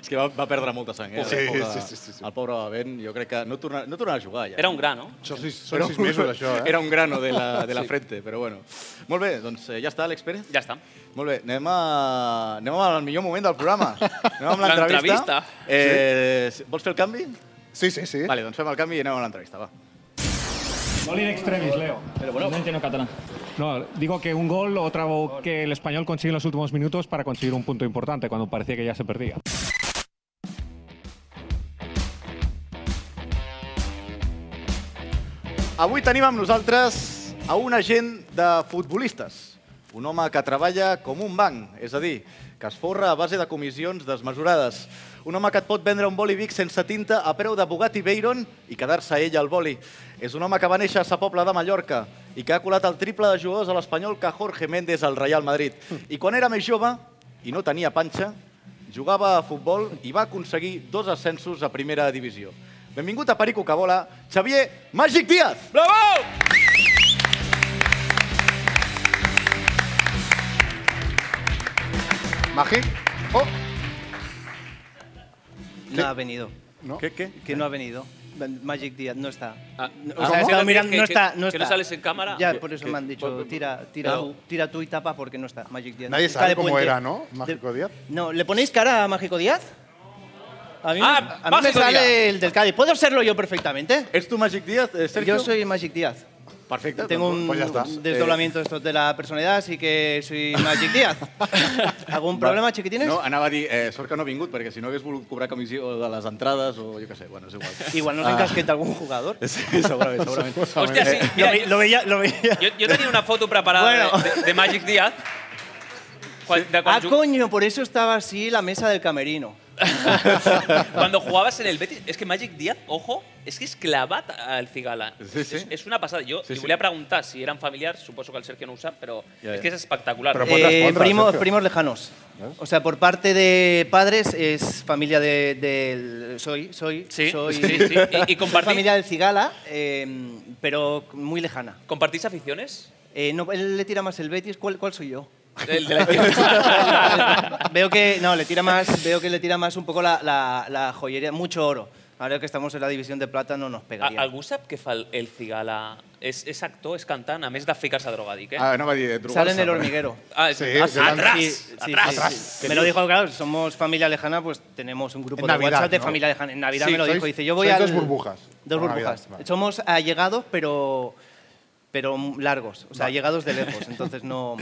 Speaker 2: És que va, va perdre molta sang, eh?
Speaker 3: Sí,
Speaker 2: el pobre,
Speaker 3: sí, sí, sí, sí.
Speaker 2: El pobre Bavent, jo crec que no tornarà, no tornarà a jugar, ja.
Speaker 4: Era un gra, no?
Speaker 3: Això sí, són sis mesos,
Speaker 2: [LAUGHS]
Speaker 3: això, eh?
Speaker 2: Era un grano de la, de la frente, però bueno. Molt bé, doncs eh, ja està, Àlex Pérez.
Speaker 4: Ja està.
Speaker 2: Molt bé, anem, a... anem al millor moment del programa. Anem amb l'entrevista.
Speaker 4: L'entrevista.
Speaker 2: Eh, Vols fer el canvi?
Speaker 3: Sí, sí, sí.
Speaker 2: Vale, doncs fem el canvi i anem a l'entrevista, va.
Speaker 5: Gol in extremis, Leo. Pero bueno. No entiendo catalán.
Speaker 12: No, digo que un gol, otra bo- que el español consigue en los últimos minutos para conseguir un punto importante cuando parecía que ya se perdía.
Speaker 2: Avui tenim amb nosaltres a un agent de futbolistes, un home que treballa com un banc, és a dir, que es forra a base de comissions desmesurades. Un home que et pot vendre un boli Vic sense tinta a preu de Bugatti Veyron i quedar-se ell al boli. És un home que va néixer a Sa Pobla de Mallorca i que ha colat el triple de jugadors a l'Espanyol que Jorge Méndez al Real Madrid. I quan era més jove i no tenia panxa, jugava a futbol i va aconseguir dos ascensos a primera divisió. Benvingut a Perico Cabola, Xavier Màgic Díaz!
Speaker 4: Bravo!
Speaker 3: Màgic? Oh!
Speaker 8: No ha venido.
Speaker 3: ¿No?
Speaker 2: ¿Qué, qué?
Speaker 8: Que no ha venido. Magic Díaz no está. No,
Speaker 4: o sea,
Speaker 8: estaba
Speaker 4: diciendo que-
Speaker 8: mirando,
Speaker 4: que-
Speaker 8: no está,
Speaker 4: que-
Speaker 8: no
Speaker 4: que
Speaker 8: está.
Speaker 4: no sales en cámara.
Speaker 8: Ya,
Speaker 4: Que-
Speaker 8: por eso
Speaker 4: que-
Speaker 8: me han dicho,
Speaker 4: pues-
Speaker 8: tira, tira,
Speaker 4: Claro.
Speaker 8: tú, tira tú y tapa porque no está Magic Díaz.
Speaker 3: Nadie
Speaker 8: Está
Speaker 3: sabe
Speaker 8: de
Speaker 3: cómo
Speaker 8: puente.
Speaker 3: era, ¿no?
Speaker 8: De-
Speaker 3: Mágico Díaz.
Speaker 8: No, ¿le ponéis cara a Mágico Díaz? A mí,
Speaker 3: Ah,
Speaker 8: a mí me
Speaker 3: Mágico
Speaker 8: sale
Speaker 3: Díaz.
Speaker 8: el del Cádiz. ¿Puedo serlo yo perfectamente?
Speaker 2: ¿Es tu Magic Díaz, eh,
Speaker 8: Yo soy Magic Díaz.
Speaker 2: Perfecto.
Speaker 8: Tengo un
Speaker 2: Pues ya está.
Speaker 8: desdoblamiento de estos de la personalidad, así que soy Magic [LAUGHS] Díaz. ¿Algún problema, chiquitines?
Speaker 2: No, anava a dir, eh, sort que no ha vingut, perquè si no hagués volgut cobrar comissió de les entrades o jo què sé, bueno, és igual. Ah.
Speaker 8: Igual nos encasqueta algun jugador.
Speaker 2: [LAUGHS] Sí, segurament, segurament.
Speaker 4: Hòstia, sí, mira,
Speaker 8: lo, veía, lo veía.
Speaker 4: Yo, yo tenía una foto preparada de- de, de Magic
Speaker 8: [LAUGHS]
Speaker 4: Díaz. Cuan- de
Speaker 8: Ah,
Speaker 4: cuan-
Speaker 8: coño, por eso estaba así la mesa del camerino.
Speaker 4: [LAUGHS] Cuando jugabas en el Betis, es que Magic Díaz, ojo, es que es clavat al Cigala.
Speaker 2: Sí, sí.
Speaker 4: Es, es una pasada. Yo
Speaker 2: Sí,
Speaker 4: le
Speaker 2: sí.
Speaker 4: voy a preguntar si eran familiares, supongo que al Sergio no usa, pero
Speaker 2: Ya,
Speaker 4: es
Speaker 2: ya.
Speaker 4: que es espectacular.
Speaker 8: Eh, primos, primos lejanos. O sea, por parte de padres es familia de, del- soy, soy,
Speaker 4: Sí,
Speaker 8: soy,
Speaker 4: sí, sí. Y- y
Speaker 8: soy
Speaker 4: compartís-
Speaker 8: familia del Cigala, eh, pero muy lejana.
Speaker 4: ¿Compartís
Speaker 8: [LAUGHS]
Speaker 4: aficiones?
Speaker 8: Eh, no, él le tira más el Betis. ¿Cuál, cuál soy yo?
Speaker 4: El de [LAUGHS] la-
Speaker 8: veo que no le tira más, veo que le tira más un poco la, la- la joyería, mucho oro.
Speaker 4: Ah,
Speaker 8: Ahora que estamos en la división de plata no nos pegaría.
Speaker 4: A- algú sap què fa el- el Cigala? És, és actor, és cantant, a més de ficar-se drogàdic, eh?
Speaker 3: Ah, no va dir de drogar-se,
Speaker 8: Sale en el hormiguero.
Speaker 4: Ah, és, sí, atrás,
Speaker 8: Sí, sí, sí,
Speaker 4: atrás.
Speaker 8: sí. Me lo dijo, claro, somos familia lejana, pues tenemos un grupo
Speaker 3: En
Speaker 8: de
Speaker 3: Navidad,
Speaker 8: WhatsApp de
Speaker 3: ¿no?
Speaker 8: familia lejana. En Navidad
Speaker 3: Sí,
Speaker 8: me lo
Speaker 3: sois-
Speaker 8: dijo, dice, yo voy
Speaker 3: sois
Speaker 8: a.
Speaker 3: dos burbujas.
Speaker 8: Dos
Speaker 3: Por Navidad,
Speaker 8: burbujas.
Speaker 3: vale.
Speaker 8: Somos allegados, pero pero largos, o sea, allegados de lejos, entonces no...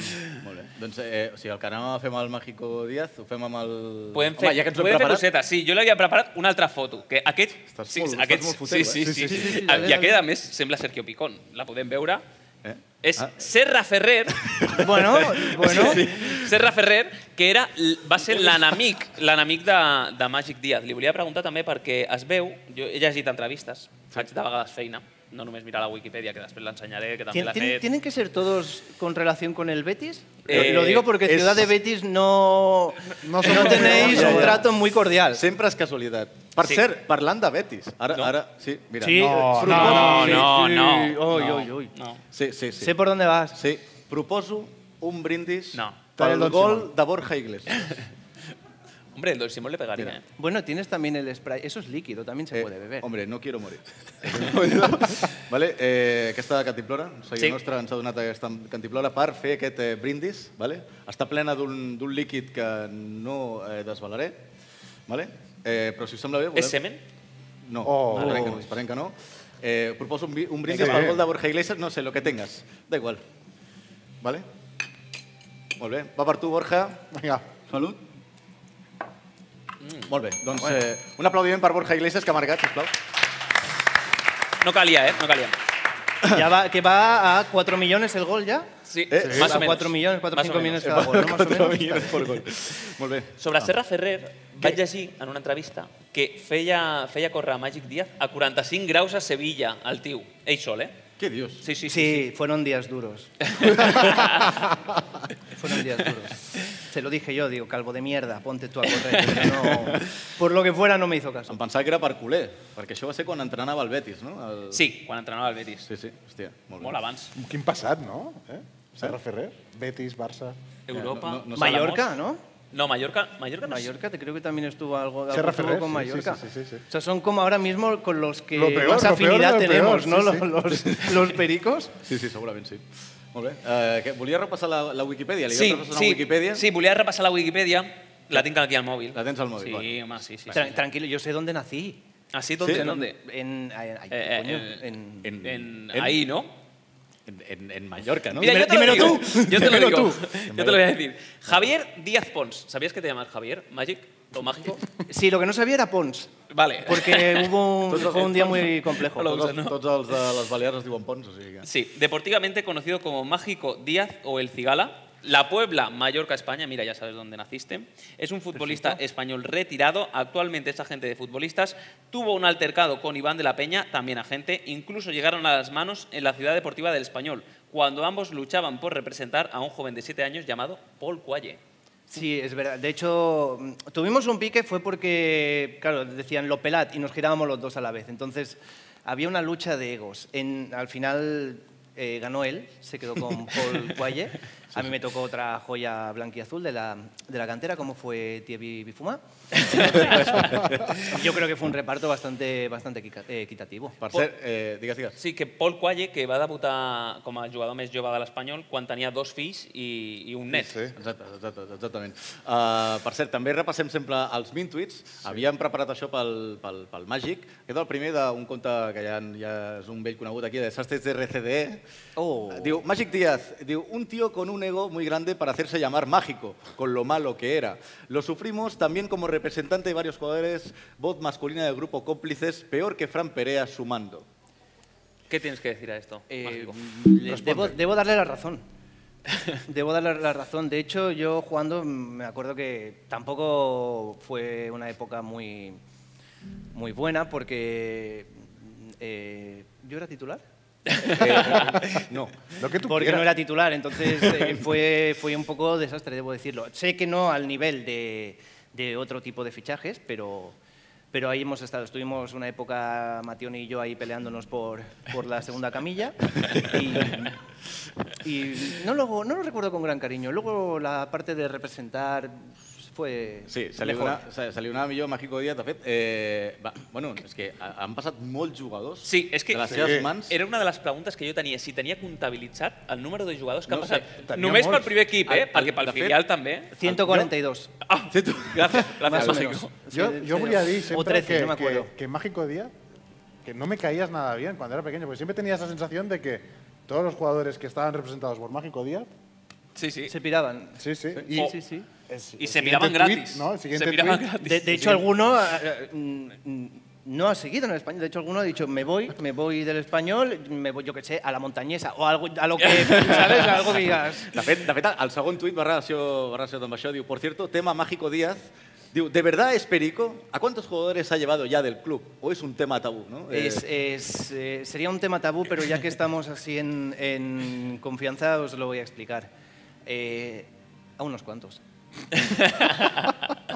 Speaker 2: Molt bé. Doncs, eh, o sigui, el que anàvem a fer amb el Mágico Díaz, ho fem amb el...
Speaker 4: Podem fer,
Speaker 2: Home, ja que ens ho hem
Speaker 4: podem fer
Speaker 2: preparat.
Speaker 4: cosetes. Sí, jo l'havia preparat una altra foto. Que aquest,
Speaker 2: Estàs
Speaker 4: sí,
Speaker 2: molt-
Speaker 4: aquest,
Speaker 2: estàs molt foteu,
Speaker 4: sí,
Speaker 2: eh?
Speaker 4: sí,
Speaker 2: Sí,
Speaker 4: sí,
Speaker 2: sí, sí, sí,
Speaker 4: Ah,
Speaker 2: sí,
Speaker 4: I
Speaker 2: sí.
Speaker 4: aquest, a més, sembla Sergio Picón. La podem veure.
Speaker 2: Eh?
Speaker 4: És
Speaker 2: [LAUGHS]
Speaker 4: Serra Ferrer.
Speaker 8: Bueno, bueno.
Speaker 4: Serra Ferrer, que era, l- va ser l'enemic l'enemic de, de Magic Díaz. Li volia preguntar també perquè es veu, jo he llegit entrevistes, faig de vegades feina, no només mirar la Wikipedia, que després l'ensenyaré, que també
Speaker 8: ¿Tien-
Speaker 4: l'ha
Speaker 8: tienen-
Speaker 4: fet.
Speaker 8: ¿Tienen que ser todos con relación con el Betis?
Speaker 4: Eh,
Speaker 8: lo digo porque
Speaker 4: es-
Speaker 8: Ciudad de Betis no, no, tenéis un trato muy cordial.
Speaker 2: Sempre és casualitat. Per
Speaker 8: Sí.
Speaker 2: cert, parlant de Betis, ara... No. ara sí, mira.
Speaker 8: Sí, No,
Speaker 2: Proposo-
Speaker 8: no, no,
Speaker 2: sí,
Speaker 8: no,
Speaker 2: sí.
Speaker 8: no. Oi, oi, oi. No.
Speaker 2: Sí, sí, sí.
Speaker 8: Sé por dónde vas.
Speaker 2: Sí. Proposo un brindis no.
Speaker 8: Dale
Speaker 2: pel
Speaker 8: el Don
Speaker 2: gol
Speaker 8: Simón.
Speaker 2: de Borja Iglesias.
Speaker 4: Hombre, el Don Simón le pegaría. eh.
Speaker 8: Bueno, tienes también el spray. Eso es líquido, también
Speaker 3: Eh,
Speaker 8: se puede beber.
Speaker 2: Eh, Hombre, no quiero morir. [LAUGHS] vale, eh, aquesta cantimplora, o sigui,
Speaker 8: Sí.
Speaker 2: sí. nostra ens ha donat aquesta cantimplora per fer aquest eh, brindis. Vale? Està plena d'un d'un líquid que no eh, desvelaré. Vale? Eh, però si us sembla bé... Volem...
Speaker 4: És semen?
Speaker 2: No,
Speaker 3: Oh. eh.
Speaker 2: esperem que no. Esperem que no. Eh, proposo un, bi- un brindis
Speaker 3: Vinga,
Speaker 2: pel
Speaker 3: va.
Speaker 2: gol de Borja Iglesias, no sé, lo que tengas. Da igual. Vale? Molt bé. Va per tu, Borja.
Speaker 3: Vinga.
Speaker 2: Salut. Mm. Molt bé. Doncs eh, un aplaudiment per Borja Iglesias, que ha marcat, sisplau.
Speaker 4: No calia, ¿eh? No calia.
Speaker 8: Ya va, Ah, que va a 4 millones el gol ya.
Speaker 4: Sí, Eh, sí. más
Speaker 8: a
Speaker 4: o menos.
Speaker 8: 4 millones, 4
Speaker 4: Más o
Speaker 8: 5
Speaker 4: menos.
Speaker 8: millones
Speaker 4: [LAUGHS]
Speaker 8: cada gol, ¿no? Más o menos.
Speaker 2: por gol. Molt bé.
Speaker 4: Sobre
Speaker 2: Ah.
Speaker 4: Serra Ferrer, vaig llegir en una entrevista que feia, feia córrer a Magic Díaz a 45 graus a Sevilla, al tio. Ell sol, eh?
Speaker 2: Què dius?
Speaker 4: Sí, sí, sí.
Speaker 8: Sí, fueron
Speaker 4: [LAUGHS]
Speaker 8: días duros. fueron días duros. Se lo dije yo, digo, calvo de mierda, ponte tú a correr. pero no- por lo que fuera no me hizo caso.
Speaker 2: Em pensava que era per culer, perquè això va ser quan entrenava el Betis, no? El...
Speaker 4: Sí, quan entrenava el Betis.
Speaker 2: Sí, sí, hòstia, molt bé.
Speaker 4: Molt abans.
Speaker 3: Quin passat, no? Eh? Serra Ferrer, Betis, Barça...
Speaker 4: Europa,
Speaker 3: Eh, no- no-
Speaker 8: Mallorca, ¿no?
Speaker 4: No, Mallorca, Mallorca no
Speaker 8: Mallorca, te creo que también estuvo algo,
Speaker 3: Serra
Speaker 8: algo
Speaker 3: Ferrer,
Speaker 8: con
Speaker 3: sí,
Speaker 8: Mallorca.
Speaker 3: sí, sí, sí, sí.
Speaker 8: O sea, son como ahora mismo con los que
Speaker 3: Lo peor,
Speaker 8: más
Speaker 3: lo peor
Speaker 8: afinidad
Speaker 3: de lo
Speaker 8: tenemos,
Speaker 3: peor,
Speaker 8: ¿no?
Speaker 3: sí, sí.
Speaker 8: Los, [LAUGHS] los- los
Speaker 3: [LAUGHS]
Speaker 8: pericos.
Speaker 2: Sí, sí, segurament sí. Molt bé. Eh, què, volia repassar la, la Wikipedia? Li
Speaker 4: Sí,
Speaker 2: vas repassar
Speaker 4: sí,
Speaker 2: la Wikipedia?
Speaker 4: sí, volia repassar la Wikipedia. La tinc aquí al mòbil.
Speaker 2: La tens al mòbil,
Speaker 4: Sí,
Speaker 2: bueno.
Speaker 4: home, sí, sí.
Speaker 8: Tran-
Speaker 4: sí.
Speaker 8: tranquilo, yo sé dónde nací.
Speaker 4: Ah, sí? ¿Dónde?
Speaker 8: Sí.
Speaker 4: ¿Dónde?
Speaker 8: En, ay, ay,
Speaker 4: Eh, eh,
Speaker 8: coño,
Speaker 4: eh,
Speaker 8: en-
Speaker 4: en- ahí, ¿no?
Speaker 2: En, en- en Mallorca, ¿no?
Speaker 4: Mira, yo te lo
Speaker 2: Dímelo
Speaker 4: digo.
Speaker 2: tú.
Speaker 4: Yo te lo
Speaker 2: Dímelo
Speaker 4: digo.
Speaker 2: tú.
Speaker 4: Yo te lo voy a decir. Javier Díaz Pons. ¿Sabías que te llamas Javier? ¿Magic? ¿O mágico?
Speaker 8: Sí, lo que no sabía era Pons.
Speaker 4: Vale.
Speaker 8: Porque [LAUGHS] hubo un,
Speaker 2: Tots els-
Speaker 8: fue un día muy complejo.
Speaker 4: No lo
Speaker 2: Tots,
Speaker 4: usen,
Speaker 2: els-
Speaker 4: ¿no?
Speaker 2: tots els de les Balears es diuen Pons, o sigui que...
Speaker 4: [LAUGHS] Sí, deportivamente conocido como Mágico Díaz o El Cigala. La Puebla, Mallorca, España, mira, ya sabes dónde naciste. Es un futbolista español retirado, actualmente es agente de futbolistas. Tuvo un altercado con Iván de la Peña, también agente. Incluso llegaron a las manos en la ciudad deportiva del Español, cuando ambos luchaban por representar a un joven de 7 años llamado Paul Cualle.
Speaker 8: Sí, es verdad. De hecho, mm, tuvimos un pique fue porque, claro, decían lo pelat y nos girábamos los dos a la vez. Entonces, había una lucha de egos. En- al final eh, ganó él, se quedó con Paul Guaye. A mí me tocó otra joya blanquiazul de la, de la cantera, como fue Thierry Bifuma. Entonces, Yo creo que fue un reparto bastante, bastante equica- eh, equitativo.
Speaker 2: eh, digues, digues.
Speaker 4: Sí, que Paul Cualle, que va debutar com a jugador més jove de l'Espanyol quan tenia dos fills i, i un net.
Speaker 2: Sí, sí. Exacte, exacte, exactament. Uh, per cert, també repassem sempre els Mintuits. Sí. Havíem preparat això pel, pel, pel Màgic. Aquest és el primer d'un conte que ja, ja és un vell conegut aquí, de Sastres de RCD.
Speaker 8: Oh.
Speaker 2: Diu, Magic Díaz, diu, un tío con un ego muy grande para hacerse llamar mágico, con lo malo que era. Lo sufrimos también como representante de varios jugadores, voz masculina del grupo Cómplices, peor que Fran Perea sumando.
Speaker 4: Què tens que decir a esto?
Speaker 3: Eh,
Speaker 4: Mágico?
Speaker 8: Eh, Le- Debo, debo darle la razón. [LAUGHS] Debo darle la razón. De hecho, yo jugando mm, me acuerdo que tampoco fue una época muy, muy buena porque mm, eh, yo era titular. Eh,
Speaker 2: no,
Speaker 3: lo que tú
Speaker 8: porque
Speaker 3: quieras.
Speaker 8: no era titular,
Speaker 3: [LAUGHS]
Speaker 8: entonces eh, fue, fue un poco desastre, debo decirlo. Sé que no al nivel de, de otro tipo de fichajes, pero, pero ahí hemos estado. Estuvimos una época, Matión y yo, ahí peleándonos por, por la segunda camilla. Y, y no, lo, no lo recuerdo con gran cariño. Luego la parte de representar fue
Speaker 2: Sí, se li,
Speaker 8: mejor.
Speaker 2: dona, se, se li donava millor a Mágico Díaz. De fet, eh, va, bueno, és que ha- han passat molts jugadors
Speaker 4: Sí, és que
Speaker 2: de les seves mans.
Speaker 4: era una de les preguntes que jo tenia, si tenia comptabilitzat el número de jugadors que
Speaker 2: No
Speaker 4: han
Speaker 2: sé,
Speaker 4: passat.
Speaker 2: tenia
Speaker 4: Només
Speaker 2: molts.
Speaker 4: pel primer equip, eh?
Speaker 2: El- el-
Speaker 4: perquè pel
Speaker 2: de fet,
Speaker 4: filial també.
Speaker 8: 142.
Speaker 4: Ah, gràcies, gràcies, Mágico.
Speaker 3: Yo, yo voy a decir siempre
Speaker 8: O 13,
Speaker 3: que,
Speaker 8: no me acuerdo.
Speaker 3: que- que Mágico Díaz, que no me caías nada bien cuando era pequeño, porque siempre tenía esa sensación de que todos los jugadores que estaban representados por Mágico Díaz
Speaker 4: Sí, sí.
Speaker 8: Se piraban.
Speaker 3: Sí, sí.
Speaker 8: Sí, sí, sí.
Speaker 3: es-
Speaker 4: Y
Speaker 3: el
Speaker 4: se
Speaker 3: siguiente
Speaker 4: miraban
Speaker 3: tuit,
Speaker 4: gratis.
Speaker 3: ¿no? El
Speaker 4: Se
Speaker 3: siguiente
Speaker 4: miraban
Speaker 3: tuit-
Speaker 4: gratis.
Speaker 8: De, de hecho, alguno eh, eh, mm, mm, no ha seguido en el español. De hecho, alguno ha dicho, me voy, me voy del español, me voy, yo qué sé, a la montañesa o algo, a
Speaker 4: [LAUGHS]
Speaker 8: lo que, ¿sabes? Algo que digas.
Speaker 2: De fet, de fet, el segon tuit va relació- va relacionat amb això. Diu, por cierto, tema Mágico Díaz. Diu, ¿de verdad es perico? ¿A cuántos jugadores ha llevado ya del club? ¿O es un tema tabú? ¿no? Eh,
Speaker 8: Es- es, eh, sería un tema tabú, pero ya que estamos así en, en confianza, os lo voy a explicar. Eh, a unos cuantos.
Speaker 2: Eh,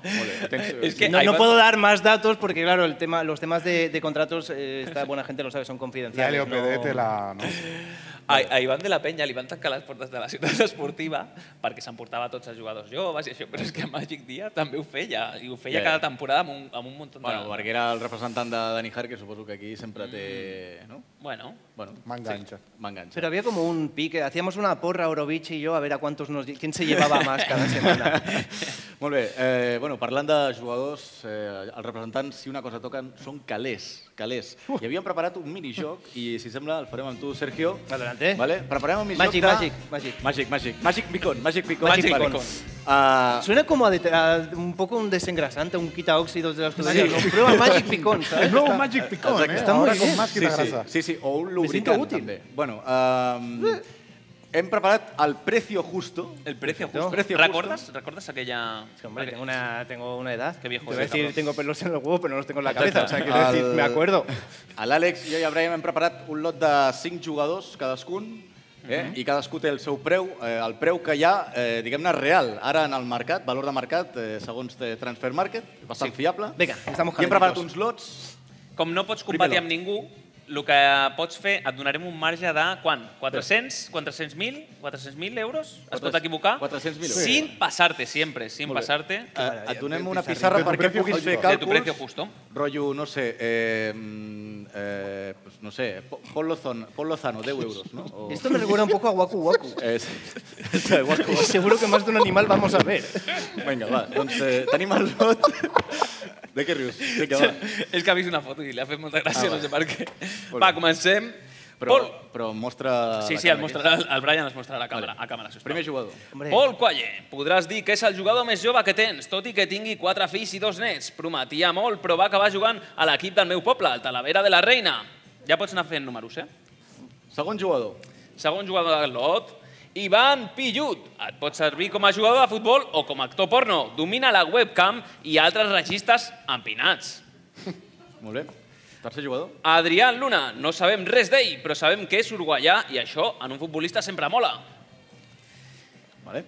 Speaker 4: [LAUGHS] Es que
Speaker 8: no,
Speaker 4: ahí
Speaker 8: no
Speaker 4: va-
Speaker 8: puedo dar más datos porque, claro, el tema, los temas de, de contratos, eh,
Speaker 4: [LAUGHS]
Speaker 8: esta buena gente lo sabe, son
Speaker 3: La
Speaker 8: confidenciales.
Speaker 3: LOPD
Speaker 8: no-
Speaker 3: te la... ¿no?
Speaker 4: A, a Ivan de la Penya li van tancar les portes de la ciutat [LAUGHS] esportiva perquè s'emportava tots els jugadors joves i això, però és que Magic Dia també ho feia, i ho feia
Speaker 2: Ja, ja.
Speaker 4: cada temporada amb un, amb un munt de...
Speaker 2: Bueno, perquè era el representant de Dani Hart, que suposo que aquí sempre té... No?
Speaker 4: Bueno.
Speaker 2: bueno
Speaker 3: M'enganxa.
Speaker 2: Sí, M'enganxa.
Speaker 8: Pero había como un pique, hacíamos una porra Orovich y yo a ver a cuántos nos quién se [LAUGHS] llevaba más cada semana.
Speaker 2: [LAUGHS] Molt bé, eh, bueno, parlant de jugadors, eh, els representants, si una cosa toquen, són calés, calés. I havíem preparat un minijoc i, si sembla, el farem amb tu, Sergio.
Speaker 8: Adelante.
Speaker 2: Vale? Preparem un minijoc
Speaker 8: Magic,
Speaker 2: de...
Speaker 8: magic, magic.
Speaker 2: Màgic, màgic, màgic picón, màgic picón.
Speaker 8: Magic
Speaker 2: Vale.
Speaker 8: picón.
Speaker 2: Ah,
Speaker 8: Suena como a de- a un poco un desengrasante, un quita óxidos de las cosas. No, prueba Magic [LAUGHS] Picón, ¿sabes?
Speaker 3: El nuevo
Speaker 8: Está-
Speaker 3: Magic Picón,
Speaker 8: Exacto.
Speaker 3: ¿eh?
Speaker 8: Está
Speaker 3: Ahora
Speaker 8: muy
Speaker 3: con
Speaker 8: bien.
Speaker 3: más
Speaker 2: sí, sí,
Speaker 3: quitagrasa.
Speaker 2: sí, sí, o un
Speaker 8: Me siento
Speaker 2: lubricant,
Speaker 8: útil.
Speaker 2: també. Bueno, um, hem preparat el precio justo.
Speaker 4: El precio
Speaker 2: Perfecto.
Speaker 4: justo.
Speaker 2: Precio justo.
Speaker 4: ¿Recuerdas, ¿Recuerdas aquella...?
Speaker 8: Hombre, tengo una, tengo una edad.
Speaker 4: Qué viejo
Speaker 8: Te voy a
Speaker 4: eres,
Speaker 8: decir,
Speaker 4: cabrón.
Speaker 8: tengo pelos en el huevo, pero no los tengo en la cabeza. O sea, quiero decir, me acuerdo.
Speaker 2: A l'Àlex, jo i el Brian hem preparat un lot de 5 jugadors, cadascun, eh?
Speaker 8: Mhm.
Speaker 2: i cadascú té el seu preu, eh, el preu que hi ha, eh, diguem-ne, real, ara en el mercat, valor de mercat, eh, segons eh, Transfer Market, bastant sí. fiable.
Speaker 8: Vinga, estamos
Speaker 2: I hem
Speaker 8: calentitos.
Speaker 2: preparat uns lots... eh,
Speaker 4: Com no pots
Speaker 2: Primer
Speaker 4: competir
Speaker 2: lot.
Speaker 4: amb ningú, el que pots fer, et donarem un marge de... Quan? 400? 400.000? 400.000 euros? Es pot equivocar?
Speaker 2: 400.000 euros.
Speaker 4: Sin passar-te, siempre, sin passar-te.
Speaker 2: Eh, et donem una pissarra
Speaker 3: De tu
Speaker 2: perquè
Speaker 3: precio
Speaker 2: puguis
Speaker 3: justo.
Speaker 2: fer
Speaker 4: De tu precio
Speaker 2: càlculs.
Speaker 4: justo.
Speaker 2: Rollo, no sé, eh, mm, eh, pues no sé, Po- Paul Lozano, Paul Lozano 10 euros, ¿no? O-
Speaker 8: Esto me recuerda un poco a Waku Waku.
Speaker 2: [LAUGHS] Eh, sí. Exacte, guapo, guapo.
Speaker 8: Seguro que más de un animal vamos a ver.
Speaker 2: Vinga, va, doncs eh, tenim el lot. De què rius? Vinga, va.
Speaker 4: [LAUGHS] És que ha vist una foto i li ha fet molta gràcia,
Speaker 2: Ah, va.
Speaker 4: no sé per què.
Speaker 2: Molt
Speaker 4: Va,
Speaker 2: bé.
Speaker 4: comencem.
Speaker 2: Però, però mostra...
Speaker 4: Sí,
Speaker 2: la
Speaker 4: sí, el,
Speaker 2: càmera
Speaker 4: mostra,
Speaker 2: aquesta.
Speaker 4: el, el Brian es mostra a la càmera, a càmera sisplau.
Speaker 2: Primer jugador.
Speaker 4: Paul Qualle, podràs dir que és el jugador més jove que tens, tot i que tingui quatre fills i dos nets. Prometia molt, però va acabar jugant a l'equip del meu poble, el Talavera de la Reina. Ja pots anar fent números, eh?
Speaker 2: Segon jugador.
Speaker 4: Segon jugador del lot, Ivan Pillut. Et pot servir com a jugador de futbol o com a actor porno. Domina la webcam i altres registres empinats.
Speaker 2: Molt bé. Tercer jugador.
Speaker 4: Adrián Luna, no sabem res d'ell, però sabem que és uruguaià i això en un futbolista sempre mola.
Speaker 2: Vale.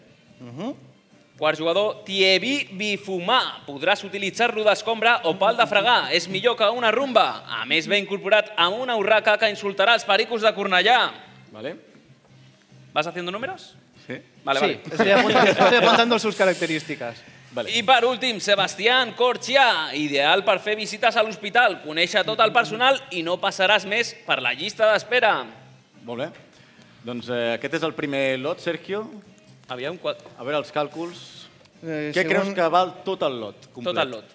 Speaker 4: Quart jugador, Thievi Bifumà. Podràs utilitzar-lo d'escombra o pal de fregar. És millor que una rumba. A més, ve incorporat a una urraca que insultarà els pericos de Cornellà.
Speaker 2: Vale.
Speaker 4: ¿Vas haciendo números?
Speaker 2: Sí.
Speaker 4: Vale,
Speaker 8: sí,
Speaker 4: vale.
Speaker 8: Estoy, apuntando, estoy apuntando sus características.
Speaker 4: I per últim, Sebastián Corchià, ideal per fer visites a l'hospital, conèixer tot el personal i no passaràs més per la llista d'espera.
Speaker 2: Molt bé. Doncs eh, aquest és el primer lot, Sergio.
Speaker 4: Aviam, a
Speaker 2: veure els càlculs.
Speaker 8: Eh,
Speaker 2: Què
Speaker 8: segon-
Speaker 2: creus que val tot el lot? Complet?
Speaker 8: el lot.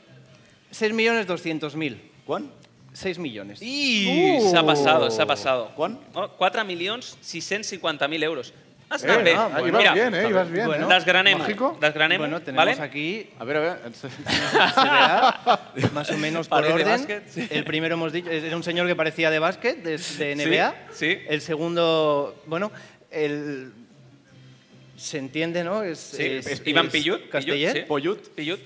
Speaker 8: 6 millones 200 mil.
Speaker 2: ¿Cuán?
Speaker 8: 6 millones.
Speaker 4: I s'ha passado, s'ha passado. Quan? Oh, 4 milions 650.000 euros. Està
Speaker 8: Eh,
Speaker 4: bé.
Speaker 8: ah, ibas bien, eh,
Speaker 4: està
Speaker 8: ibas
Speaker 4: bé.
Speaker 8: bien,
Speaker 4: Bueno,
Speaker 8: ¿no?
Speaker 4: Desgranem,
Speaker 8: Mágico.
Speaker 4: desgranem,
Speaker 8: Bueno, tenemos
Speaker 4: ¿vale?
Speaker 8: aquí...
Speaker 2: A ver, a ver. Se
Speaker 8: verá, más o
Speaker 4: [LAUGHS]
Speaker 8: menos por
Speaker 4: Parece
Speaker 8: orden.
Speaker 4: básquet, sí.
Speaker 8: El primero hemos dicho, era un señor que parecía de básquet, de, de
Speaker 4: Sí,
Speaker 8: NBA.
Speaker 4: sí.
Speaker 8: El segundo, bueno, el... Se entiende, ¿no? Es,
Speaker 4: Sí, es Iván Pillut, Pillut,
Speaker 8: Casteller.
Speaker 4: sí. Pollut. Pillut.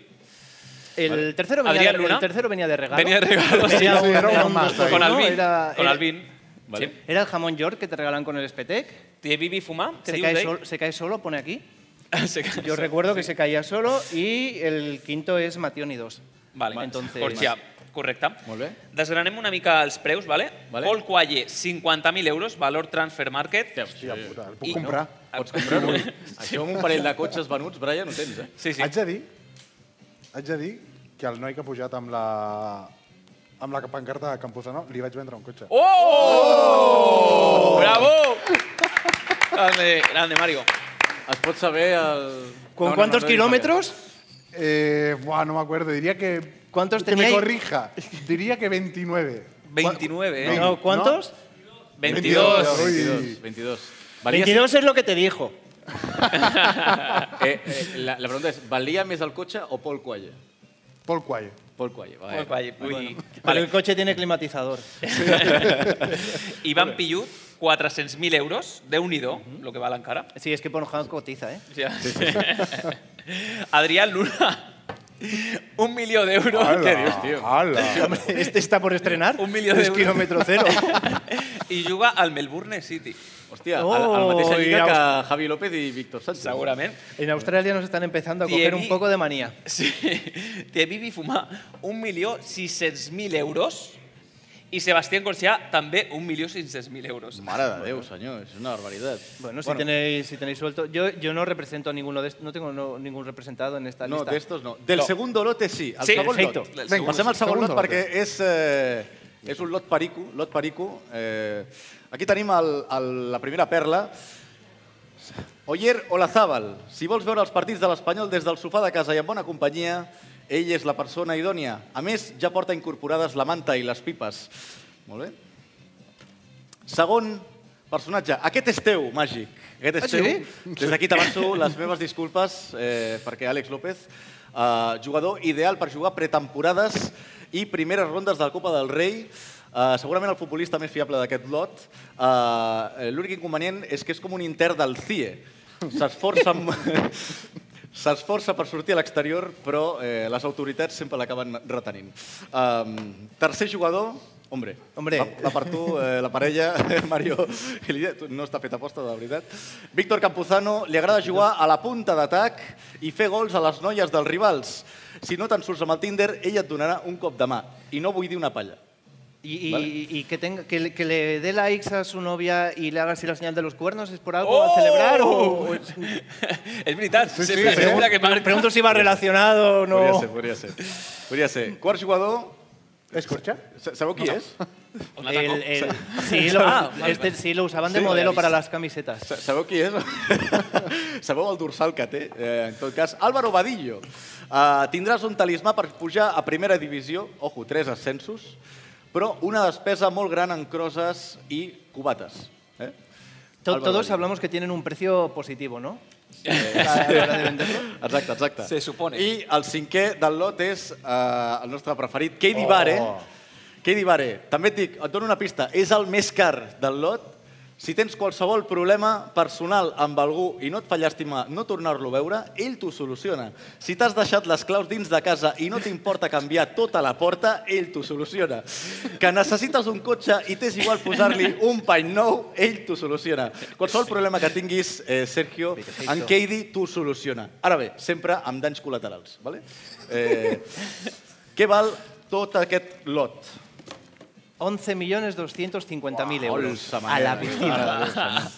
Speaker 4: Vale.
Speaker 8: El tercero, venía
Speaker 4: Adrián
Speaker 8: de,
Speaker 4: Luna.
Speaker 8: el tercero venía de regalo.
Speaker 4: Venía de regalo, sí.
Speaker 8: Venía
Speaker 4: Sí,
Speaker 8: un-
Speaker 4: era
Speaker 8: era
Speaker 4: uno
Speaker 8: un
Speaker 4: más
Speaker 8: dos por
Speaker 4: ahí. Con
Speaker 8: uno,
Speaker 4: Alvin,
Speaker 8: era-
Speaker 4: con
Speaker 8: era-
Speaker 4: Alvin. Vale.
Speaker 8: Sí. Era el jamón york que te regalan con el espetec.
Speaker 4: ¿Te viví fumar? ¿Qué
Speaker 8: Se
Speaker 4: dius
Speaker 8: cae,
Speaker 4: d'ell?
Speaker 8: sol- se cae solo, pone aquí.
Speaker 4: [LAUGHS] Se cae
Speaker 8: Yo
Speaker 4: solo,
Speaker 8: recuerdo que
Speaker 4: sí.
Speaker 8: se caía solo y el quinto es Mationi 2.
Speaker 4: Vale,
Speaker 8: Entonces,
Speaker 4: Corxià, correcte.
Speaker 2: Molt bé.
Speaker 4: Desgranem una mica els preus, vale? vale. Paul Qualle, 50.000 euros, valor transfer market.
Speaker 3: Hòstia puta, el puc
Speaker 4: I-
Speaker 3: comprar?
Speaker 4: No.
Speaker 2: Pots comprar-lo. Això amb un parell de cotxes venuts, Brian, ho tens, eh?
Speaker 4: Sí,
Speaker 3: Haig de dir, haig de dir que el noi que ha pujat amb la amb la pancarta de Campuzano, li vaig vendre un cotxe.
Speaker 4: ¡Oh! ¡Bravo! [LAUGHS] grande, grande, Mario.
Speaker 2: Es pot saber el...
Speaker 8: ¿Con cuántos kilómetros?
Speaker 3: Eh, buah, no me acuerdo. Diría que...
Speaker 8: ¿Cuántos
Speaker 3: que me
Speaker 8: teníais?
Speaker 3: corrija. Diría que 29.
Speaker 4: 29, ¿eh?
Speaker 3: No,
Speaker 4: No,
Speaker 8: ¿Cuántos?
Speaker 4: 22.
Speaker 2: 22. 22. Valia
Speaker 8: 22 es lo que te dijo.
Speaker 2: Eh, eh, la, la pregunta és, valia més el cotxe o Paul Qualle?
Speaker 3: Paul
Speaker 4: [LAUGHS]
Speaker 3: Qualle.
Speaker 2: Paul Qualle, va.
Speaker 4: Paul Qualle, ui.
Speaker 8: Pero el coche tiene climatizador.
Speaker 4: Ivan Pillut, 400.000 euros, de unido, lo que vale encara.
Speaker 8: Sí, es que Pornhub cotiza, ¿eh?
Speaker 4: Sí. [LAUGHS] Adrián Luna, [LAUGHS] un milió d'euros.
Speaker 8: Ala,
Speaker 4: Què dius, [LAUGHS] tio?
Speaker 8: [LAUGHS] Hombre, Este está por estrenar.
Speaker 4: Un milió
Speaker 8: Es
Speaker 4: d'euros.
Speaker 8: kilómetro
Speaker 2: [LAUGHS]
Speaker 8: cero.
Speaker 4: I juga al Melbourne City.
Speaker 2: Hòstia,
Speaker 8: al- al mateix Oh, lliga i que aus-
Speaker 2: Javi López i Víctor Sánchez.
Speaker 4: Segurament.
Speaker 8: En Australia nos están empezando a
Speaker 4: Tiene-
Speaker 8: coger un poco de manía.
Speaker 4: Sí. Té Bibi Fumar, 1.600.000 euros. I Sebastián Corsià, també 1.600.000 euros.
Speaker 2: Mare de Déu, senyor, és una barbaritat.
Speaker 8: Bueno, si, Tenéis, si tenéis suelto. Yo, yo no represento a ninguno de estos. No tengo no- ningún representado en esta
Speaker 2: No,
Speaker 8: lista.
Speaker 2: de estos no. Del segundo lote sí. Al
Speaker 8: Sí,
Speaker 2: segon
Speaker 8: perfecto.
Speaker 2: lot.
Speaker 8: Del
Speaker 2: Vinga,
Speaker 8: segundo-
Speaker 2: passem al segon lot
Speaker 8: segundo
Speaker 2: perquè és, eh, és un lot perico. Lot perico. Eh, aquí tenim el, el, la primera perla. Oyer Olazábal, si vols veure els partits de l'Espanyol des del sofà de casa i amb bona companyia, ell és la persona idònia. A més, ja porta incorporades la manta i les pipes. Molt bé. Segon personatge. Aquest és teu, màgic. Aquest és
Speaker 8: Ah,
Speaker 2: teu.
Speaker 8: sí?
Speaker 2: Des d'aquí t'avanço les meves disculpes eh, perquè Àlex López, eh, jugador ideal per jugar pretemporades i primeres rondes de la Copa del Rei, eh, segurament el futbolista més fiable d'aquest lot. Eh, L'únic inconvenient és que és com un intern del CIE.
Speaker 8: [LAUGHS]
Speaker 2: S'esforça mo- S'esforça per sortir a l'exterior, però eh, les autoritats sempre l'acaben retenint. Um, tercer jugador, hombre,
Speaker 8: Hombre.
Speaker 2: La, la per tu, eh, la parella, [LAUGHS] Mario, i l'Illa, tu no està feta aposta, de veritat. Víctor Campuzano li agrada jugar a la punta d'atac i fer gols a les noies dels rivals. Si no te'n surts amb el Tinder, ella et donarà un cop de mà. I no vull dir una palla.
Speaker 8: Y, y-
Speaker 2: Vale.
Speaker 8: y que, tenga, que, le- que le dé likes a su novia y le haga así la señal de los cuernos, ¿es por algo
Speaker 4: ¡Oh!
Speaker 8: a
Speaker 2: [LAUGHS]
Speaker 8: celebrar? O, o-
Speaker 4: És veritat, sí, sempre
Speaker 8: sí.
Speaker 4: sembla que...
Speaker 8: pregunto si va relacionado o
Speaker 2: Podria
Speaker 8: no.
Speaker 2: ser, podria ser. Podria ser. Quart jugador...
Speaker 3: És Corxa?
Speaker 2: Sabeu qui és?
Speaker 8: El- el- sí, lo,
Speaker 2: Pues [LAUGHS] Ah, vale,
Speaker 8: este
Speaker 2: vale.
Speaker 8: sí lo usaban de
Speaker 2: Sí, lo
Speaker 8: modelo
Speaker 2: había
Speaker 8: para
Speaker 2: visto.
Speaker 8: las camisetas.
Speaker 2: Sa- Sabeu qui és? [LAUGHS] Sabeu el dorsal que té? Eh, en tot cas, Álvaro Vadillo. Eh, tindràs un talismà per pujar a primera divisió, ojo, tres ascensos, però una despesa molt gran en crosses i cubates. [LAUGHS] Eh?
Speaker 8: To-
Speaker 2: Álvaro
Speaker 8: todos
Speaker 2: Valero.
Speaker 8: hablamos que tienen un precio positivo, ¿no?
Speaker 2: Ah, Exacte, exacte. Se supone. I el cinquè del lot és eh, el nostre preferit, Katy oh. Bare. Katy Bare. També et dic, et dono una pista, és el més car del lot. Si tens qualsevol problema personal amb algú i no et fa llàstima no tornar-lo a veure, ell t'ho soluciona. Si t'has deixat les claus dins de casa i no t'importa canviar tota la porta, ell t'ho soluciona. Que necessites un cotxe i t'és igual posar-li un pany nou, ell t'ho soluciona. Qualsevol problema que tinguis, eh, Sergio, en Keidi t'ho soluciona. Ara bé, sempre amb danys col·laterals. Vale? Eh, què val tot aquest lot?
Speaker 8: 11.250.000
Speaker 2: Uau,
Speaker 8: euros.
Speaker 2: olsa
Speaker 8: A la
Speaker 2: manera.
Speaker 8: piscina.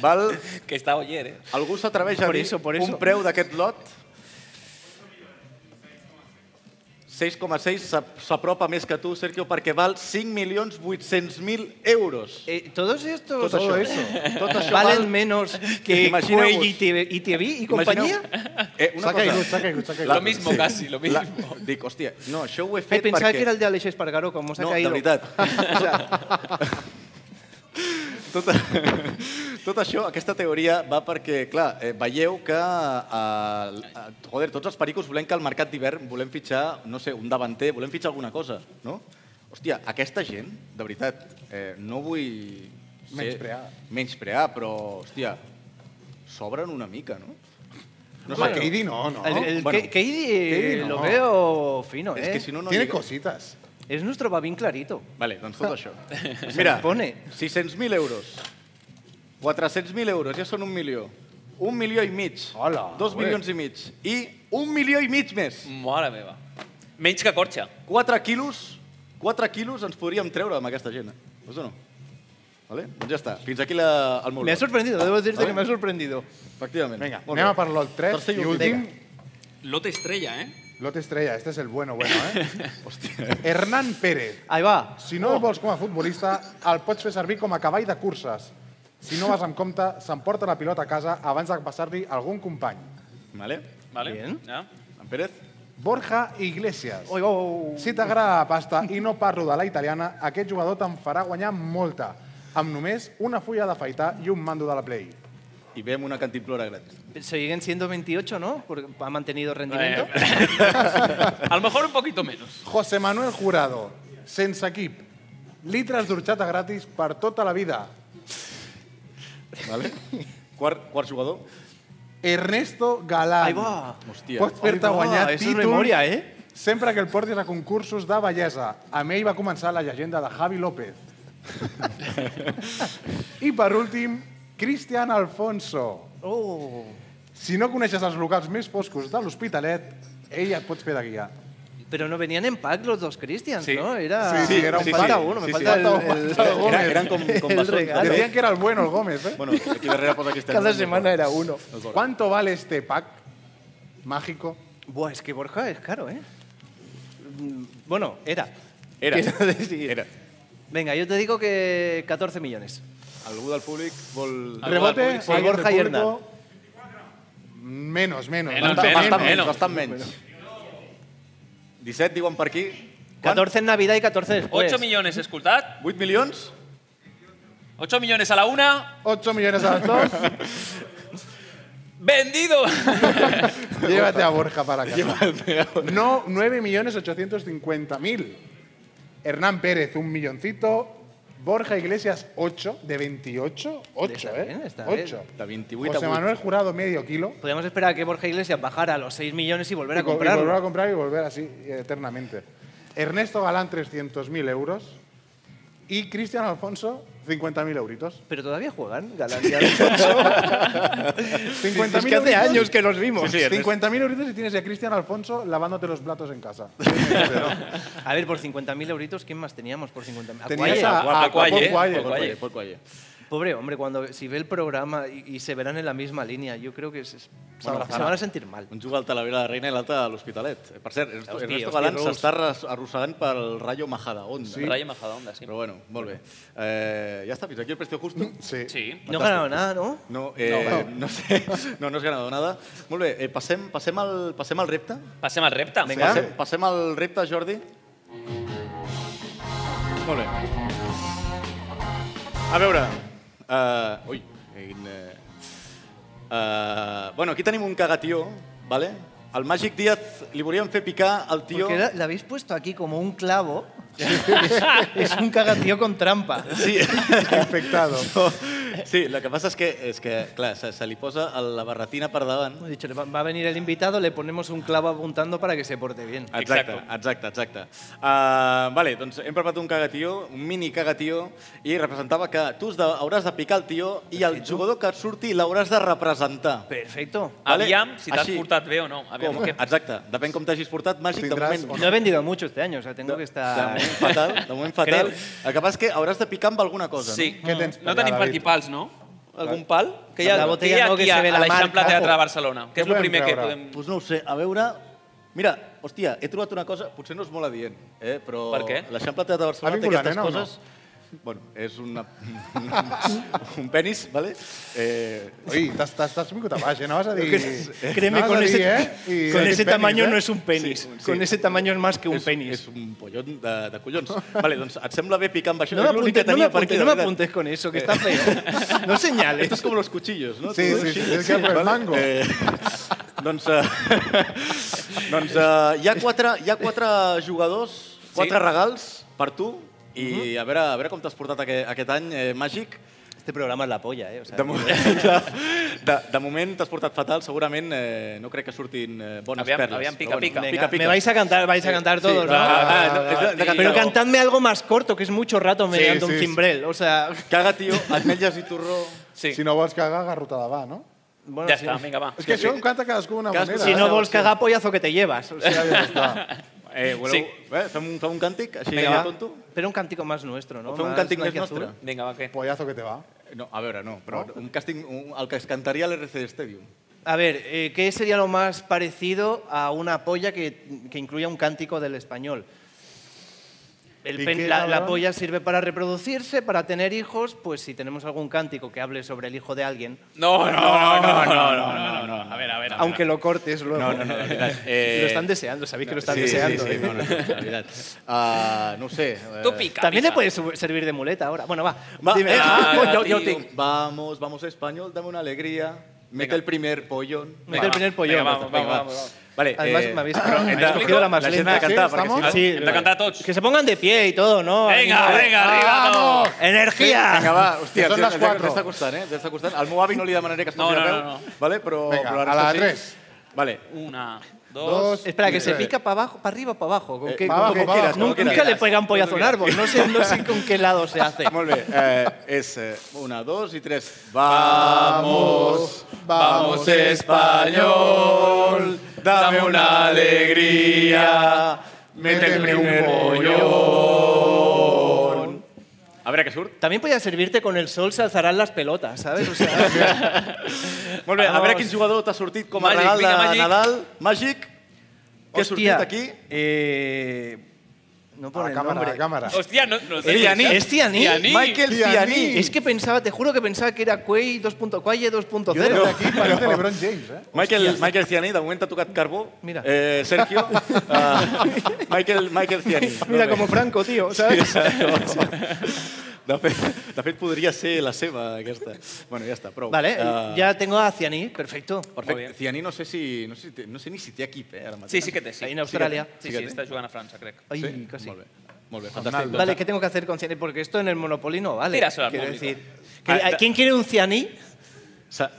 Speaker 2: Val,
Speaker 13: Que está ayer, ¿eh?
Speaker 2: algú s'atreveix a
Speaker 8: Por
Speaker 2: dir
Speaker 8: eso, por
Speaker 2: un
Speaker 8: eso.
Speaker 2: preu d'aquest lot? 6,6 s'ap- s'apropa més que tu, Sergio, perquè val 5.800.000 euros.
Speaker 8: [LAUGHS] Eh, todos estos,
Speaker 2: Tot
Speaker 8: todo
Speaker 2: això. [LAUGHS]
Speaker 8: eso,
Speaker 2: Tot això
Speaker 8: valen
Speaker 2: val-
Speaker 8: menos que
Speaker 2: Imagineu-vos.
Speaker 8: Cuello y TV y TV y compañía.
Speaker 2: Eh, una cosa.
Speaker 8: S'ha caigut, s'ha caigut, s'ha caigut. Lo mismo, casi, lo mismo.
Speaker 2: La, dic, hòstia, no, això ho he
Speaker 8: Ay,
Speaker 2: fet
Speaker 8: pensaba
Speaker 2: perquè...
Speaker 8: que era el de Alex Espargaró, como se ha
Speaker 2: no,
Speaker 8: caído.
Speaker 2: de veritat. tot, tot això, aquesta teoria va perquè, clar, eh, veieu que eh, eh, joder, tots els pericos volem que al mercat d'hivern volem fitxar, no sé, un davanter, volem fitxar alguna cosa, no? Hòstia, aquesta gent, de veritat, eh, no vull... ser-
Speaker 3: Menysprear.
Speaker 2: Menysprear, però, hòstia, s'obren una mica, no?
Speaker 3: Home, Keidi no, no. El- el Ke- Keidi,
Speaker 8: Eh,
Speaker 3: Keidi no.
Speaker 8: Lo veo fino,
Speaker 2: Es
Speaker 8: ¿eh?
Speaker 2: que si no, no Tiene llega.
Speaker 8: cositas. Es nuestro babín clarito.
Speaker 2: Vale, doncs tot això.
Speaker 8: Se
Speaker 2: Mira,
Speaker 8: me pone.
Speaker 2: 600.000 euros, 400.000 euros, ja són un milió. Un milió i mig. Hola. Dos
Speaker 4: bé.
Speaker 2: milions i mig. I un milió i mig més.
Speaker 4: Mare meva. Menys que Corxa.
Speaker 2: 4 quilos, 4 quilos ens podríem treure amb aquesta gent. Veus o no? Vale? Doncs ja està. Fins aquí la, el meu
Speaker 8: Me ha
Speaker 2: lot.
Speaker 8: sorprendido, debo decirte
Speaker 2: Vale?
Speaker 8: que me ha sorprendido.
Speaker 2: Efectivament.
Speaker 8: Venga,
Speaker 2: Molt bé.
Speaker 3: anem a per lot 3
Speaker 2: Tercer
Speaker 3: i últim.
Speaker 13: Lote estrella, ¿eh?
Speaker 3: Lot estrella, este es el bueno, bueno, eh?
Speaker 2: [LAUGHS]
Speaker 3: Hernán Pérez.
Speaker 8: Ahí va.
Speaker 3: Si no el vols com a futbolista, el pots fer servir com a cavall de curses. Si no vas amb compte, s'emporta la pilota a casa abans de passar-li a algun company.
Speaker 2: Vale.
Speaker 4: Vale.
Speaker 8: Bien.
Speaker 4: Ja.
Speaker 2: En Pérez.
Speaker 3: Borja Iglesias.
Speaker 8: oh,
Speaker 3: Si t'agrada la pasta i no parlo de la italiana, aquest jugador te'n farà guanyar molta, amb només una fulla d'afaitar i un mando de la Play.
Speaker 2: I ve amb una cantimplora gratis.
Speaker 8: Siguen siendo 28, ¿no? Porque ha mantenido rendimiento.
Speaker 4: Eh, [LAUGHS] A lo mejor un poquito menos.
Speaker 3: José Manuel Jurado, sense equip, litres d'orxata gratis per tota la vida.
Speaker 2: Vale? quart, quart jugador.
Speaker 3: Ernesto Galán.
Speaker 2: Ahí va. Hòstia.
Speaker 3: Pots fer-te
Speaker 2: Ahí va, eso
Speaker 3: guanyar
Speaker 2: es
Speaker 3: títols
Speaker 2: memoria, eh?
Speaker 3: sempre que el portis a concursos de bellesa. Amb ell va començar la llegenda de
Speaker 2: [LAUGHS]
Speaker 3: Javi López. I per últim, Cristian Alfonso.
Speaker 8: Oh.
Speaker 3: Si no coneixes els locals més foscos de l'Hospitalet, ell et pots fer de guia.
Speaker 8: Pero no venían en pack los dos Cristians, ¿no? Era,
Speaker 3: Sí, sí, era un
Speaker 8: me
Speaker 3: pack.
Speaker 8: falta uno,
Speaker 3: Sí,
Speaker 8: me
Speaker 3: sí.
Speaker 8: falta el,
Speaker 3: Falta un-
Speaker 8: el-
Speaker 3: falta el
Speaker 8: el-
Speaker 3: Gómez. Eran con-
Speaker 8: el
Speaker 3: con bastones.
Speaker 8: regalo.
Speaker 3: Decían que era el bueno, el Gómez, ¿eh?
Speaker 2: Bueno, este aquí darrere posa Cristian.
Speaker 8: Cada semana era uno.
Speaker 3: ¿Cuánto vale este pack mágico?
Speaker 8: Buah, es que Borja es caro, ¿eh? Mm, Bueno, era.
Speaker 2: Era.
Speaker 8: Quiero decir.
Speaker 2: Era.
Speaker 8: Venga, yo te digo que 14 millones.
Speaker 2: Algú del públic vol...
Speaker 3: Rebote,
Speaker 8: Por
Speaker 3: alguien
Speaker 8: Borja
Speaker 3: del
Speaker 8: y
Speaker 3: público.
Speaker 8: Hernán.
Speaker 3: Menos, menos.
Speaker 2: Menos,
Speaker 3: Bastant-
Speaker 2: menos,
Speaker 3: bastant
Speaker 2: menos.
Speaker 3: bastant
Speaker 2: menys. 17, diuen per aquí.
Speaker 8: 14 en Navidad y 14
Speaker 2: Pues.
Speaker 8: después.
Speaker 4: 8 milions, he escoltat.
Speaker 2: 8 milions?
Speaker 4: 8 milions a la una.
Speaker 3: 8 millones a las
Speaker 8: [LAUGHS]
Speaker 3: dos.
Speaker 4: ¡Vendido!
Speaker 3: Llévate a Borja para casa. No, 9.850.000. Hernán Pérez, un milloncito. Borja Iglesias, 8 de 28. 8,
Speaker 8: Está
Speaker 3: ¿eh?
Speaker 8: bien, está bien.
Speaker 3: 8.
Speaker 2: De 28
Speaker 3: José Manuel Jurado, medio kilo.
Speaker 8: Podríamos esperar a que Borja Iglesias bajara a los 6 millones y volver
Speaker 3: Y
Speaker 8: a
Speaker 3: co- y
Speaker 8: comprarlo.
Speaker 3: volver a comprar y volver así eh, eternamente. Ernesto Galán, 300.000 euros. Y Cristian Alfonso, 50.000 euritos.
Speaker 8: Pero todavía juegan Galán y
Speaker 3: [LAUGHS]
Speaker 8: Alfonso.
Speaker 3: 50.000
Speaker 8: Es que hace
Speaker 3: euritos.
Speaker 8: años que los vimos. Sí, sí, Ernesto.
Speaker 3: 50.000 euritos y tienes a Cristian Alfonso lavándote los platos en casa. [LAUGHS]
Speaker 8: a ver, por 50.000 euritos, ¿quién más teníamos por 50.000?
Speaker 3: Tenías
Speaker 8: Acualle.
Speaker 3: a- a Acualle,
Speaker 8: ¿eh?
Speaker 3: Acualle.
Speaker 2: Acualle, Acualle.
Speaker 8: Pobre hombre, cuando si ve el programa y, y se verán en la misma línea, yo creo que se, se abrazarán. se van a sentir mal.
Speaker 2: Un juga al Talavera de la Reina i l'altre a l'Hospitalet. Eh, Per cert, Ernesto,
Speaker 8: Hosti,
Speaker 2: Ernesto
Speaker 8: hosti,
Speaker 2: Galán
Speaker 8: Rus.
Speaker 2: s'està arras- arrossegant pel Rayo Majadahonda.
Speaker 8: Sí. Rayo Majadahonda,
Speaker 2: sí. Però bueno, molt bé. Eh, ja està, fins aquí el Precio Justo?
Speaker 3: Sí. [LAUGHS]
Speaker 4: sí.
Speaker 8: No ha ganado nada, ¿no?
Speaker 2: No, eh, no. sé, [LAUGHS] no, no has ganado nada. Molt bé, eh, passem, passem, al, passem al repte.
Speaker 4: Passem al repte.
Speaker 2: Passem, passem al repte, Jordi. Molt bé. A veure... Uh, ui, quin... eh, eh, bueno, aquí tenim un cagatió, ¿vale? Al Màgic Díaz li volíem fer picar al tio...
Speaker 8: Porque la, la habéis puesto aquí como un clavo. [LAUGHS] es, es un cagatío con trampa.
Speaker 2: Sí. [LAUGHS]
Speaker 8: Infectado.
Speaker 2: No. Sí, el que passa és que, és que clar, se, se li posa a la barretina per davant.
Speaker 8: He dicho, le va, va a venir el invitado, le ponemos un clavo apuntando para que se porte bien.
Speaker 2: Exacte, exacte, exacte. Uh, vale, doncs hem preparat un cagatió, un mini cagatió, i representava que tu has de, hauràs de picar el tió i el jugador que et surti l'hauràs de representar.
Speaker 8: Perfecto.
Speaker 2: Vale.
Speaker 4: Aviam si t'has
Speaker 2: Així.
Speaker 4: portat bé o no. Aviam
Speaker 2: Com?
Speaker 4: què...
Speaker 2: Exacte, depèn com t'hagis portat, màgic, de moment...
Speaker 8: No he vendido mucho este año, o sea, tengo que
Speaker 2: De
Speaker 8: estar... [LAUGHS]
Speaker 2: moment fatal, de moment fatal. El que passa és que hauràs de picar amb alguna cosa.
Speaker 4: Sí.
Speaker 2: No?
Speaker 4: Què tens No per allà, tenim per David? aquí pals, no? Algun pal? Que hi ha,
Speaker 2: La
Speaker 4: que hi
Speaker 2: botella
Speaker 4: ha
Speaker 2: no, que
Speaker 4: aquí
Speaker 2: se
Speaker 4: a,
Speaker 2: ve
Speaker 4: a
Speaker 2: la
Speaker 4: l'Eixample
Speaker 2: marca.
Speaker 4: Teatre de Barcelona? Què és el
Speaker 2: podem
Speaker 4: primer que
Speaker 2: treure?
Speaker 4: podem...
Speaker 2: Doncs no ho sé, a veure... Mira, hòstia, he trobat una cosa, potser no és molt adient, eh, però...
Speaker 4: Per què?
Speaker 2: L'Eixample Teatre de
Speaker 4: Ha
Speaker 2: Barcelona té
Speaker 4: vingut la
Speaker 2: aquestes
Speaker 4: nena o no?
Speaker 2: coses... Bueno, és una, [LAUGHS] un penis, ¿vale? Eh...
Speaker 3: Ui, t'has- t'has t'has vingut a baix, eh? No vas a dir...
Speaker 2: Cre-
Speaker 8: Créeme,
Speaker 3: anaves
Speaker 8: con
Speaker 3: a dir,
Speaker 8: ese-
Speaker 3: eh? I-
Speaker 8: [LAUGHS] con
Speaker 3: Sí,
Speaker 8: ese
Speaker 3: penis,
Speaker 8: tamaño
Speaker 3: eh?
Speaker 8: no es un penis. Con ese tamaño es más que un
Speaker 2: és,
Speaker 8: penis.
Speaker 2: És un pollón de, de collons. [LAUGHS] Vale, doncs et sembla bé picar amb això?
Speaker 8: No
Speaker 2: És
Speaker 8: me
Speaker 2: l'únic que
Speaker 8: apuntes, no me
Speaker 2: tenia per aquí,
Speaker 8: apuntes,
Speaker 2: de
Speaker 8: no me
Speaker 2: veritat.
Speaker 8: apuntes con eso, que está feo. [LAUGHS] No señales.
Speaker 2: eh? Esto es como los cuchillos, ¿no?
Speaker 3: Sí,
Speaker 2: Todo
Speaker 3: sí,
Speaker 2: així.
Speaker 3: sí, tienes que ir por el
Speaker 2: Vale,
Speaker 3: mango.
Speaker 2: Eh, doncs eh, doncs eh, [LAUGHS] hi, ha quatre, hi ha quatre jugadors, quatre
Speaker 8: Sí. Mhm.
Speaker 2: regals per tu, i a, veure, a veure com t'has portat aquest, aquest any eh, màgic.
Speaker 8: Este programa es la polla, eh? O sea,
Speaker 2: De, mo [LAUGHS] de, de, de moment t'has portat fatal, segurament eh, no crec que surtin eh, bones
Speaker 4: Aviam-
Speaker 2: perles.
Speaker 4: aviam, pica,
Speaker 2: però
Speaker 4: pica.
Speaker 8: Venga, Me vais a cantar, vais a
Speaker 2: Sí,
Speaker 8: cantar
Speaker 2: sí,
Speaker 8: todos, ¿no?
Speaker 2: claro, claro, es de- de
Speaker 8: Pero
Speaker 2: cantar.
Speaker 8: cantadme algo más corto, que es mucho rato me
Speaker 2: Sí,
Speaker 8: dando un
Speaker 2: sí,
Speaker 8: cimbrel. O sea,
Speaker 2: Caga, tio, ametlles i torró...
Speaker 4: Sí.
Speaker 3: Si no vols cagar, garrota de va, no?
Speaker 8: bueno,
Speaker 4: Ja
Speaker 8: si-
Speaker 4: està, vinga, va.
Speaker 3: És que això ho canta cadascú d'una
Speaker 2: Cadascú-
Speaker 3: manera.
Speaker 8: Si no
Speaker 3: eh?
Speaker 8: vols cagar, pollazo que te llevas. O sea, ya está.
Speaker 2: Eh, voleu,
Speaker 8: Sí.
Speaker 2: eh, fem, un, fem un càntic, així
Speaker 8: Venga,
Speaker 2: ja
Speaker 8: va.
Speaker 2: tonto?
Speaker 8: Pero un cántico más nuestro, ¿no?
Speaker 2: O fue un
Speaker 8: Más
Speaker 2: cántico
Speaker 8: Nike
Speaker 2: nuestro.
Speaker 8: Azul.
Speaker 4: Vinga, va, què?
Speaker 3: Pollazo que te va.
Speaker 2: No, a veure, no, però un càsting, un, el que es cantaria a l'RC Stadium.
Speaker 8: A ver, eh, ¿qué sería lo más parecido a una polla que, que incluya un cántico del español? El
Speaker 3: ¿Y
Speaker 8: pen-
Speaker 3: qué
Speaker 8: la, la
Speaker 3: hablan?
Speaker 8: polla sirve para reproducirse, para tener hijos, pues si tenemos algún cántico que hable sobre el hijo de alguien,
Speaker 4: No, no, no, no, no, no, no, no, A ver, a ver. a ver.
Speaker 8: aunque lo cortes luego.
Speaker 2: No, no, no, de veritat. Eh,
Speaker 8: Lo están deseando, sabéis que lo están
Speaker 2: sí,
Speaker 8: deseando.
Speaker 2: Sí, sí,
Speaker 8: ¿eh?
Speaker 2: no, no, no, la veritat. Uh, no ho sé. eh,
Speaker 4: Tú pica.
Speaker 8: También le
Speaker 4: pica.
Speaker 8: puedes su- servir de muleta ahora. Bueno, va.
Speaker 2: Va,
Speaker 8: dime.
Speaker 2: eh,
Speaker 4: Ah,
Speaker 2: jo- jo,
Speaker 4: tío.
Speaker 2: jo ho tinc. Vamos, vamos español, dame una alegría. Mete el primer pollón.
Speaker 8: Mete el primer pollón.
Speaker 4: Venga, vamos,
Speaker 8: Venga,
Speaker 4: vamos, vamos. vamos.
Speaker 2: Vale,
Speaker 8: Además, me habéis, me habéis
Speaker 2: entra-
Speaker 8: cogido la más
Speaker 2: la gent
Speaker 8: lenta.
Speaker 2: ha de cantar, perquè si no-
Speaker 8: Sí, eh,
Speaker 4: Hem de cantar tots.
Speaker 8: Que se pongan de pie y todo, ¿no?
Speaker 4: Venga,
Speaker 8: Ahí, Ah,
Speaker 4: venga, arriba. no.
Speaker 8: ¡Energía!
Speaker 2: Vinga, va, hòstia,
Speaker 3: Són
Speaker 2: tio,
Speaker 3: les
Speaker 2: ja-
Speaker 3: quatre.
Speaker 2: ja Està costant, eh? Ja Està costant. Al meu avi no li demanaré que es posi
Speaker 4: No,
Speaker 2: a
Speaker 4: no,
Speaker 2: peu,
Speaker 4: no,
Speaker 2: vale? però,
Speaker 3: Vinga,
Speaker 2: però
Speaker 3: a
Speaker 2: ara
Speaker 3: la
Speaker 2: sí.
Speaker 3: tres.
Speaker 2: Vale,
Speaker 4: Una,
Speaker 3: Dos, Eh,
Speaker 4: dos...
Speaker 8: Espera, que se
Speaker 3: tres.
Speaker 8: pica para abajo, para arriba o para abajo. ¿Con
Speaker 2: Eh,
Speaker 8: qué-
Speaker 3: pa' abajo,
Speaker 8: con qué-
Speaker 3: pa' abajo,
Speaker 8: nun-
Speaker 2: como
Speaker 8: nunca
Speaker 2: quieras.
Speaker 8: le pega un pollazo a un
Speaker 2: Como
Speaker 8: árbol. No sé, no sé con qué lado se hace.
Speaker 2: Molt bé, eh, és eh, una, dos i tres. Vamos, vamos español, dame una alegría, méteme un pollón. A veure què surt.
Speaker 8: También podía servirte con el sol, se alzarán las pelotas, ¿sabes?
Speaker 2: [LAUGHS]
Speaker 8: O sea,
Speaker 2: Molt bé, a
Speaker 8: Vamos.
Speaker 2: veure quin jugador t'ha sortit com a
Speaker 4: Màgic,
Speaker 2: regal de
Speaker 4: vinga, màgic.
Speaker 2: Nadal. Màgic, què ha
Speaker 8: hostia,
Speaker 2: sortit aquí?
Speaker 8: eh, no
Speaker 3: A
Speaker 8: por
Speaker 3: la
Speaker 8: el
Speaker 3: cámara, a
Speaker 8: nombre.
Speaker 3: la cámara.
Speaker 4: Hostia, no... no
Speaker 2: Tianí.
Speaker 8: ¿Es Tianí?
Speaker 4: Tianí.
Speaker 2: Michael
Speaker 3: Tianí.
Speaker 2: Tianí.
Speaker 8: Es que pensaba, te juro que pensaba que era Quay 2.0. Quaye 2.0.
Speaker 3: Yo desde aquí
Speaker 8: [LAUGHS]
Speaker 3: parece LeBron James, eh?
Speaker 2: Michael, Michael Ciani, de moment t'ha tocat carbó.
Speaker 8: Mira.
Speaker 2: Eh,
Speaker 8: [LAUGHS]
Speaker 2: Sergio, eh, Michael, Michael Ciani.
Speaker 8: Mira,
Speaker 2: Molt bé.
Speaker 8: como Franco, tío, ¿sabes?
Speaker 2: [LAUGHS] De fet, de fet, podria ser la seva, aquesta. Bueno, ja està, prou.
Speaker 8: Vale,
Speaker 2: Eh,
Speaker 8: ya tengo a Cianí, perfecto.
Speaker 4: Molt
Speaker 2: Perfecte.
Speaker 4: bé.
Speaker 2: Cianí no sé, si, no, sé si té, no sé ni si té equip, eh, ara mateix.
Speaker 4: Sí, sí que té, sí.
Speaker 8: Ahí en Australia.
Speaker 4: Sí, sí, està jugant a França, crec.
Speaker 8: Ay,
Speaker 2: Sí?
Speaker 8: casi.
Speaker 2: Molt bé. Molt bé, fantàstic.
Speaker 8: Vale, ¿qué tengo que hacer con Cianí? Porque esto en el Monopoly no vale.
Speaker 4: Tíraselo al
Speaker 8: Quiero
Speaker 4: público.
Speaker 8: decir, que-
Speaker 2: Ah, da-
Speaker 8: ¿Quién quiere un Cianí?
Speaker 2: S'ha-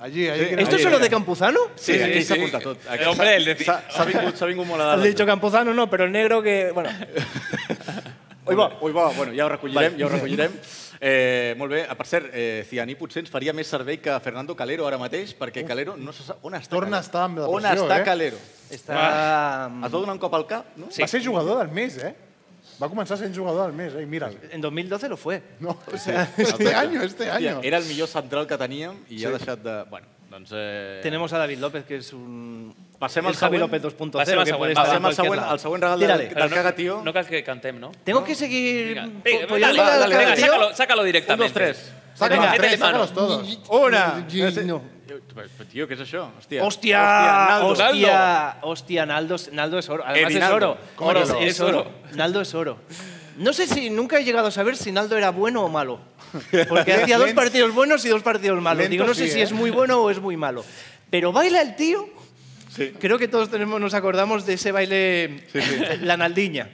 Speaker 3: Allí, allí. que no-
Speaker 8: ¿Esto
Speaker 2: Oye,
Speaker 8: es solo
Speaker 2: mira.
Speaker 8: de Campuzano?
Speaker 2: Sí, sí, Eh, aquí s'ha apuntat tot.
Speaker 4: El hombre, el de-
Speaker 2: S'ha s'ha vingut, s'ha vingut molt a
Speaker 8: Has
Speaker 2: dalt.
Speaker 8: dicho Campuzano, no, pero el negro que. Bueno,
Speaker 2: Ah. Ui, va, ui, va, bueno, ja ho recollirem, ja ho recollirem. Eh, molt bé, Ah, per cert, eh, Cianí potser ens faria més servei que Fernando Calero ara mateix, perquè Calero no se sap on està.
Speaker 3: Torna
Speaker 2: Calero.
Speaker 3: a estar amb la
Speaker 2: On
Speaker 3: pressió,
Speaker 2: està
Speaker 3: eh? Mm.
Speaker 2: Calero?
Speaker 8: está. mm,
Speaker 2: Es va donar un cop al cap, no?
Speaker 3: Va ser jugador del mes, eh? Va començar sent jugador del mes, eh? I mira'l.
Speaker 8: En 2012 lo fue.
Speaker 3: No, o sea, [LAUGHS] este año, este
Speaker 2: Hòstia,
Speaker 3: año.
Speaker 2: Era el millor central que teníem i
Speaker 3: Sí.
Speaker 2: ha deixat de... Bueno, doncs... Eh...
Speaker 8: Tenemos a David López, que es un.
Speaker 2: Pasemos
Speaker 8: el
Speaker 2: al
Speaker 8: Javi
Speaker 2: següent.
Speaker 8: López 2.0.
Speaker 4: Pasemos
Speaker 8: que
Speaker 4: al
Speaker 8: puede
Speaker 4: següent.
Speaker 8: estar en
Speaker 2: Passem al
Speaker 8: cualquier
Speaker 2: següent,
Speaker 8: lado.
Speaker 2: al següent regal del,
Speaker 8: Tírale.
Speaker 2: del caga, tio.
Speaker 4: No cal que cantem, no?
Speaker 8: Tengo que seguir.
Speaker 4: Vinga,
Speaker 8: po-
Speaker 4: venga,
Speaker 8: apoyando
Speaker 4: dale,
Speaker 8: al
Speaker 4: dale,
Speaker 8: cara,
Speaker 4: venga,
Speaker 8: tío.
Speaker 4: sácalo, sácalo
Speaker 2: Un, dos,
Speaker 4: directamente.
Speaker 2: tres.
Speaker 3: Sácalos,
Speaker 4: Venga,
Speaker 3: tres,
Speaker 4: métele mano.
Speaker 3: sácalos todos.
Speaker 2: Una.
Speaker 8: Y- y- no.
Speaker 2: Però, Tio, què és això? Hòstia.
Speaker 8: Hostia,
Speaker 2: Naldo.
Speaker 8: hostia, hostia, Naldo, Naldo es oro. Además
Speaker 2: Eddie
Speaker 8: es oro.
Speaker 2: Naldo.
Speaker 8: Oro,
Speaker 2: Cógelo.
Speaker 8: es oro. Naldo es oro. No sé si nunca he llegado a saber si Naldo era bueno o malo.
Speaker 14: [LAUGHS]
Speaker 8: Porque hacía dos
Speaker 14: Lento.
Speaker 8: partidos buenos y dos partidos malos.
Speaker 14: Lento
Speaker 8: Digo, no sé
Speaker 14: sí,
Speaker 8: si
Speaker 14: ¿eh?
Speaker 8: es muy bueno o es muy malo. Pero baila el tío. Creo que todos tenemos, nos acordamos de ese baile, [LAUGHS] la Naldiña.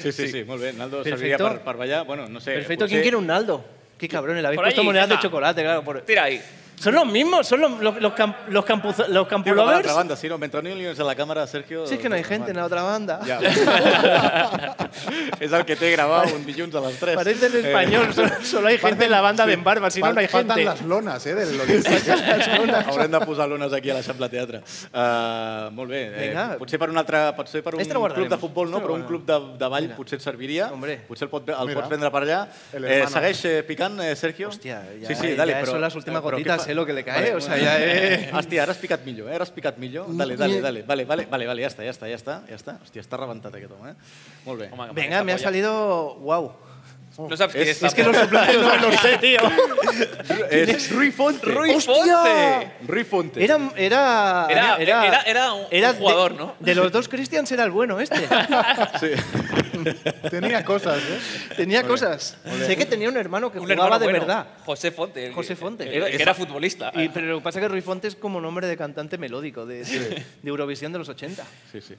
Speaker 2: Sí, sí, sí, molt bé. Naldo
Speaker 8: Perfecto.
Speaker 2: serviria per, per ballar. Bueno, no sé,
Speaker 8: Perfecto, ¿quién quiere un Naldo? Qué cabrón, le habéis
Speaker 2: pues Por
Speaker 8: puesto
Speaker 2: ahí,
Speaker 8: monedas de
Speaker 2: anda.
Speaker 8: chocolate, claro. por-
Speaker 4: Tira ahí.
Speaker 8: Son los mismos, son los, los, los, camp- los, campuzo- los
Speaker 2: Tio, la
Speaker 8: campulovers.
Speaker 2: l'altra banda, sí, no? Mentre no hi a la càmera, Sergio... doncs,
Speaker 8: Si es que no hay gente en la otra banda. [LAUGHS]
Speaker 2: Ja. [LAUGHS] és el que té gravat un dilluns a les Eh, 3.
Speaker 8: Parece el español, solo- solo hay gente en la banda de en barba, si no, no hay
Speaker 3: Faltan
Speaker 8: gente.
Speaker 3: las lonas, eh, del
Speaker 2: [LAUGHS] Haurem de posar lones aquí a l'Eixample Teatre. Uh, molt bé. Eh,
Speaker 3: Vinga.
Speaker 2: potser per un altre, potser per un
Speaker 3: Este lo
Speaker 2: club
Speaker 3: guardaremos.
Speaker 2: de futbol, no,
Speaker 3: Este lo
Speaker 2: però un club de, de ball potser et serviria. Potser el, pot, el
Speaker 3: Mira.
Speaker 2: pots vendre per allà.
Speaker 3: El
Speaker 2: Eh,
Speaker 3: hermano.
Speaker 2: segueix eh, picant, eh, Sergio? Hòstia,
Speaker 8: ja- eh, ja són les últimes gotitas, eh, lo que le cae, o sea,
Speaker 2: [LAUGHS] ja...
Speaker 8: ya, eh.
Speaker 2: Hòstia, ara has picat millor, eh? Ara has picat millor. Dale, dale, dale. Vale, vale, vale, vale, ja està, ja està, ja està. Ja està. Hòstia, està rebentat aquest home, eh? Molt
Speaker 4: Oh
Speaker 2: bé. Home,
Speaker 8: Venga, me ha salido. ¡Wow!
Speaker 4: No sabes quién
Speaker 2: Es-
Speaker 4: es.
Speaker 2: es que los
Speaker 8: suplentes [LAUGHS] no
Speaker 2: lo sé, tío.
Speaker 8: ¿Quién
Speaker 2: Es Rui Fonte.
Speaker 8: Rui Fonte.
Speaker 2: Rui Fonte.
Speaker 8: Era, era,
Speaker 4: Era- era- era un- un
Speaker 8: de-
Speaker 4: jugador, ¿no?
Speaker 8: De los dos Christians era el bueno este.
Speaker 3: [LAUGHS] Tenía cosas, ¿eh?
Speaker 2: [LAUGHS]
Speaker 8: Tenía
Speaker 4: Ole,
Speaker 8: cosas.
Speaker 4: ole.
Speaker 8: Sé que tenía un hermano que
Speaker 4: Un
Speaker 8: jugaba
Speaker 4: hermano
Speaker 8: de
Speaker 4: bueno, Ah, eh.
Speaker 8: verdad.
Speaker 4: José Fonte. el-
Speaker 8: José Fonte.
Speaker 4: el- el que era futbolista.
Speaker 8: Y- pero lo que pasa es que Rui Fonte es como nombre de cantante melódico de, de- de Eurovisión de los 80.
Speaker 2: Sí, sí.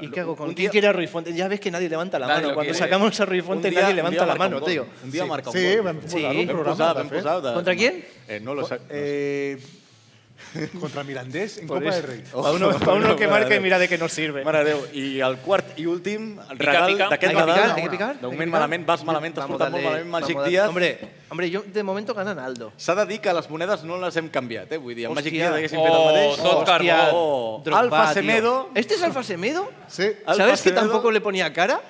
Speaker 8: ¿Y qué hago con
Speaker 2: un
Speaker 8: quién
Speaker 2: día-
Speaker 8: quiere a Rui Fonte? Ya ves que nadie levanta la
Speaker 2: Nadie
Speaker 8: mano.
Speaker 2: lo
Speaker 8: Cuando
Speaker 2: quiere.
Speaker 8: sacamos a Rui
Speaker 2: Un
Speaker 8: Fonte
Speaker 2: día-
Speaker 8: nadie
Speaker 2: un
Speaker 8: levanta
Speaker 2: día
Speaker 8: la
Speaker 2: marca un
Speaker 8: mano,
Speaker 2: gol. [LAUGHS]
Speaker 8: tío.
Speaker 2: Un día marca un
Speaker 3: Sí,
Speaker 2: gol.
Speaker 3: vam posar
Speaker 8: Sí.
Speaker 3: en un
Speaker 8: Vam
Speaker 3: programa.
Speaker 2: posar-
Speaker 3: de
Speaker 2: vam
Speaker 3: fet.
Speaker 2: posar de-
Speaker 8: ¿Contra quién?
Speaker 2: Eh, no lo sé.
Speaker 3: Eh, contra Mirandés en
Speaker 2: pues. Por
Speaker 3: Copa del
Speaker 2: eso. Oh,
Speaker 3: Rey.
Speaker 2: Ojo, ojo, mare Déu.
Speaker 8: de que no sirve.
Speaker 2: Mare Déu. I el quart i últim
Speaker 8: Pica,
Speaker 2: regal
Speaker 8: pica.
Speaker 2: d'aquest
Speaker 8: Hay que
Speaker 2: Nadal.
Speaker 8: picar, hay que picar,
Speaker 2: De
Speaker 8: hay que
Speaker 2: moment
Speaker 8: picar.
Speaker 2: malament, vas malament, t'has
Speaker 8: Vamos,
Speaker 2: portat molt
Speaker 8: dale,
Speaker 2: malament, Magic
Speaker 8: vamos, dale.
Speaker 2: Díaz.
Speaker 8: Hombre, hombre, yo de momento gana Naldo.
Speaker 2: S'ha de dir que les monedes no les hem canviat, eh? Vull dir, el Magic
Speaker 8: Hòstia.
Speaker 2: Díaz haguéssim fet el mateix. Oh,
Speaker 8: Drogba,
Speaker 2: Alfa
Speaker 8: tío.
Speaker 2: Semedo.
Speaker 8: ¿Este es Alfa Semedo?
Speaker 3: Sí.
Speaker 2: Alfa
Speaker 8: ¿Sabes que
Speaker 2: Semedo.
Speaker 8: tampoco le ponía cara?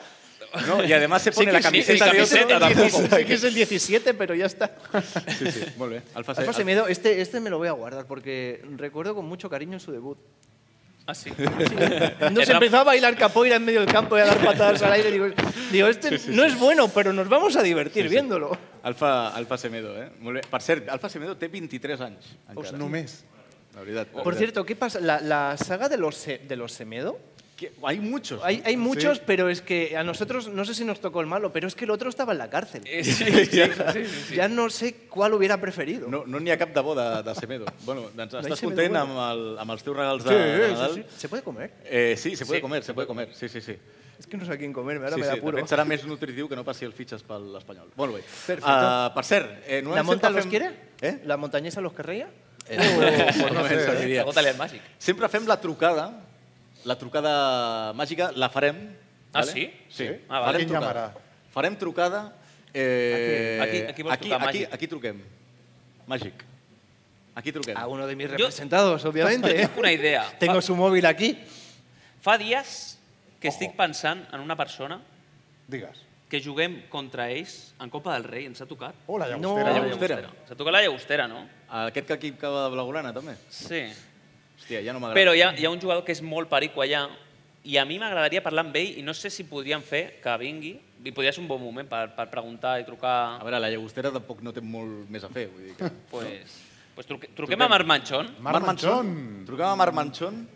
Speaker 2: No, y además se
Speaker 8: Sí
Speaker 2: pone
Speaker 8: que
Speaker 2: la
Speaker 8: sí,
Speaker 2: camiseta
Speaker 8: sí,
Speaker 2: de
Speaker 8: sí,
Speaker 2: otro
Speaker 8: sí,
Speaker 2: tampoco.
Speaker 8: sí, sí que es el 17, pero ya está.
Speaker 2: Sí, sí, [LAUGHS] molt bé. Alfa,
Speaker 8: Alfa Semedo, este, este me lo voy a guardar porque recuerdo con mucho cariño en
Speaker 2: [LAUGHS]
Speaker 8: su debut.
Speaker 4: Ah, [LAUGHS] sí.
Speaker 8: Nos empezó a bailar capoeira en medio del campo y a dar patadas al aire. Digo, digo,
Speaker 2: Sí,
Speaker 8: este
Speaker 2: sí,
Speaker 8: no
Speaker 2: sí.
Speaker 8: es bueno, pero nos vamos a divertir viéndolo.
Speaker 2: Alfa, Alfa Semedo, eh? Molt bé. Per cert, Alfa Semedo té 23 anys.
Speaker 8: Hosti.
Speaker 2: Encara.
Speaker 8: Només.
Speaker 2: La veritat. Eh, la
Speaker 8: Por
Speaker 2: veritat.
Speaker 8: cierto, ¿qué pasa? ¿La, la saga de los, Se- de los Semedo?
Speaker 2: hay muchos.
Speaker 8: Hay, muchos, pero es que a nosotros, no sé si nos tocó el malo, pero es que el otro estaba en la cárcel.
Speaker 2: Eh,
Speaker 8: Ya no sé cuál hubiera preferido.
Speaker 2: No n'hi ha cap de bo de, de
Speaker 8: [LAUGHS]
Speaker 2: Semedo. bueno, doncs
Speaker 8: hay
Speaker 2: estàs
Speaker 8: Semedo
Speaker 2: content amb,
Speaker 8: bueno.
Speaker 2: el, amb els teus regals de, de
Speaker 8: Sí,
Speaker 2: Nadal?
Speaker 8: sí, sí. ¿Se puede comer?
Speaker 2: Eh, sí, se puede
Speaker 8: Sí.
Speaker 2: comer, se puede comer. Sí, sí, sí.
Speaker 8: Es que no sé a quién comerme, ahora
Speaker 2: sí,
Speaker 8: me da
Speaker 2: sí.
Speaker 8: apuro.
Speaker 2: De fet, serà més nutritiu que no passi el fitxes per l'Espanyol. Molt bé.
Speaker 8: Perfecte.
Speaker 2: Ah, per cert... Eh, no
Speaker 8: ¿La
Speaker 2: hem Eh?
Speaker 8: monta
Speaker 2: sempre
Speaker 8: los
Speaker 2: fem-
Speaker 8: quiere? ¿La montañesa los querría?
Speaker 2: Eh,
Speaker 8: Oh,
Speaker 2: no sé,
Speaker 8: eh.
Speaker 2: diria.
Speaker 4: Pregúntale al Màgic.
Speaker 2: Sempre fem la trucada, la trucada màgica, la farem.
Speaker 4: Ah,
Speaker 2: vale?
Speaker 4: sí?
Speaker 2: Sí.
Speaker 4: Sí. Ah, vale.
Speaker 2: Farem
Speaker 4: Quin
Speaker 2: trucada.
Speaker 4: llamarà?
Speaker 2: Farem trucada... Eh,
Speaker 4: Aquí, aquí vols
Speaker 2: aquí,
Speaker 4: trucar,
Speaker 2: aquí,
Speaker 4: Màgic?
Speaker 2: aquí truquem. Màgic. Aquí truquem.
Speaker 8: A uno de mis
Speaker 4: Yo-
Speaker 8: representados, obviamente. ¿eh?
Speaker 2: [LAUGHS]
Speaker 4: Tengo una idea.
Speaker 8: Tengo su móvil aquí.
Speaker 4: Fa dies que estic pensant en una persona
Speaker 3: Digues.
Speaker 4: que juguem contra ells en Copa del Rei. Ens ha tocat.
Speaker 3: Oh, la
Speaker 2: No. llagostera.
Speaker 4: La
Speaker 2: La llagostera.
Speaker 4: llagostera. Ens ha tocat la llagostera, no?
Speaker 2: Aquest que aquí acaba de Blaugrana, també?
Speaker 4: Sí.
Speaker 2: Hòstia, ja no m'agrada.
Speaker 4: Però hi ha, hi ha un jugador que és molt perico allà i a mi m'agradaria parlar amb ell i no sé si podríem fer que vingui i podria ser un bon moment per, per preguntar i trucar...
Speaker 2: A veure, la llagostera tampoc no té molt més a fer, vull dir que...
Speaker 4: Pues, pues truque, truquem a Marc Manchón.
Speaker 2: [LAUGHS] Marc Manchón. Truquem a Marc Manchón.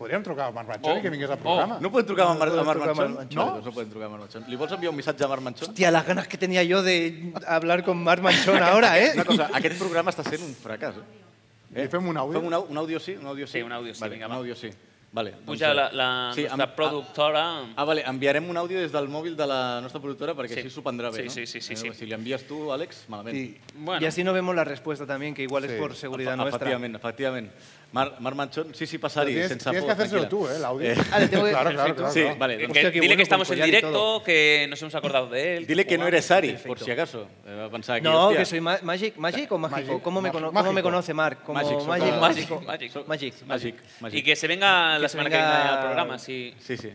Speaker 3: Podríem trucar a Marc Manchón
Speaker 2: Oh.
Speaker 3: i que vingués al programa.
Speaker 2: No podem trucar a Mar a Pues,
Speaker 3: podem
Speaker 2: Marc
Speaker 3: trucar a
Speaker 2: Manchón?
Speaker 3: Marc
Speaker 2: No?
Speaker 3: Manchón.
Speaker 2: Doncs no podem trucar a Marc Manchón. Li vols enviar un missatge a Marc Manchón?
Speaker 8: Tía, las ganas que tenía yo de hablar con Mar Manchón ahora, ¿eh?
Speaker 2: Una cosa, aquest programa està sent un fracàs, eh? eh?
Speaker 3: Fem un àudio?
Speaker 2: Fem un, au- un àudio sí? Un àudio sí? Sí, un àudio sí, vale, vinga, un àudio sí. Vale,
Speaker 4: Puja
Speaker 2: eh,
Speaker 4: la, la, sí,
Speaker 2: em-
Speaker 4: la productora...
Speaker 2: Ah, vale, enviarem un àudio des del mòbil de la nostra productora perquè
Speaker 4: Sí.
Speaker 2: així s'ho prendrà bé,
Speaker 4: Sí,
Speaker 2: no?
Speaker 4: sí, sí, sí,
Speaker 2: Eh,
Speaker 4: sí.
Speaker 2: Si li envies tu, Àlex, malament.
Speaker 8: Y, y así no vemos la respuesta también, que igual es por seguridad
Speaker 2: Efe-
Speaker 8: nuestra.
Speaker 2: Efectivament, efectivament. Mar, Marc Manchón, sí, sí,
Speaker 8: Pero
Speaker 2: passaria,
Speaker 8: tienes-
Speaker 2: sense
Speaker 8: tienes
Speaker 2: por,
Speaker 8: que hacérselo
Speaker 2: tranquil·la.
Speaker 8: tú, eh, el
Speaker 3: [LAUGHS]
Speaker 8: audio.
Speaker 2: Eh,
Speaker 8: Ah, le tengo que- [LAUGHS] Claro, claro,
Speaker 2: perfecto.
Speaker 8: claro,
Speaker 2: Sí,
Speaker 8: claro.
Speaker 2: vale.
Speaker 4: Eh, Que-
Speaker 2: doncs-
Speaker 4: dile que estamos en directo, que nos hemos acordado de él.
Speaker 2: Dile que no
Speaker 4: Jugamos.
Speaker 2: eres Ari, por si acaso. Eh, Va a pensar aquí,
Speaker 8: No,
Speaker 2: hostia.
Speaker 8: que soy ma- Magic, Magic o Mágico. ¿Cómo me,
Speaker 2: Magic,
Speaker 8: cono- cómo me
Speaker 2: mágico.
Speaker 8: conoce Mark? Como
Speaker 2: Magic,
Speaker 8: Magic,
Speaker 2: soy
Speaker 8: Magic,
Speaker 2: como-
Speaker 8: Magic,
Speaker 4: Magic,
Speaker 8: Magic.
Speaker 2: Magic, Magic.
Speaker 4: I que se venga la
Speaker 8: se
Speaker 4: setmana
Speaker 8: venga-
Speaker 4: que viene al programa, sí.
Speaker 2: Sí, sí.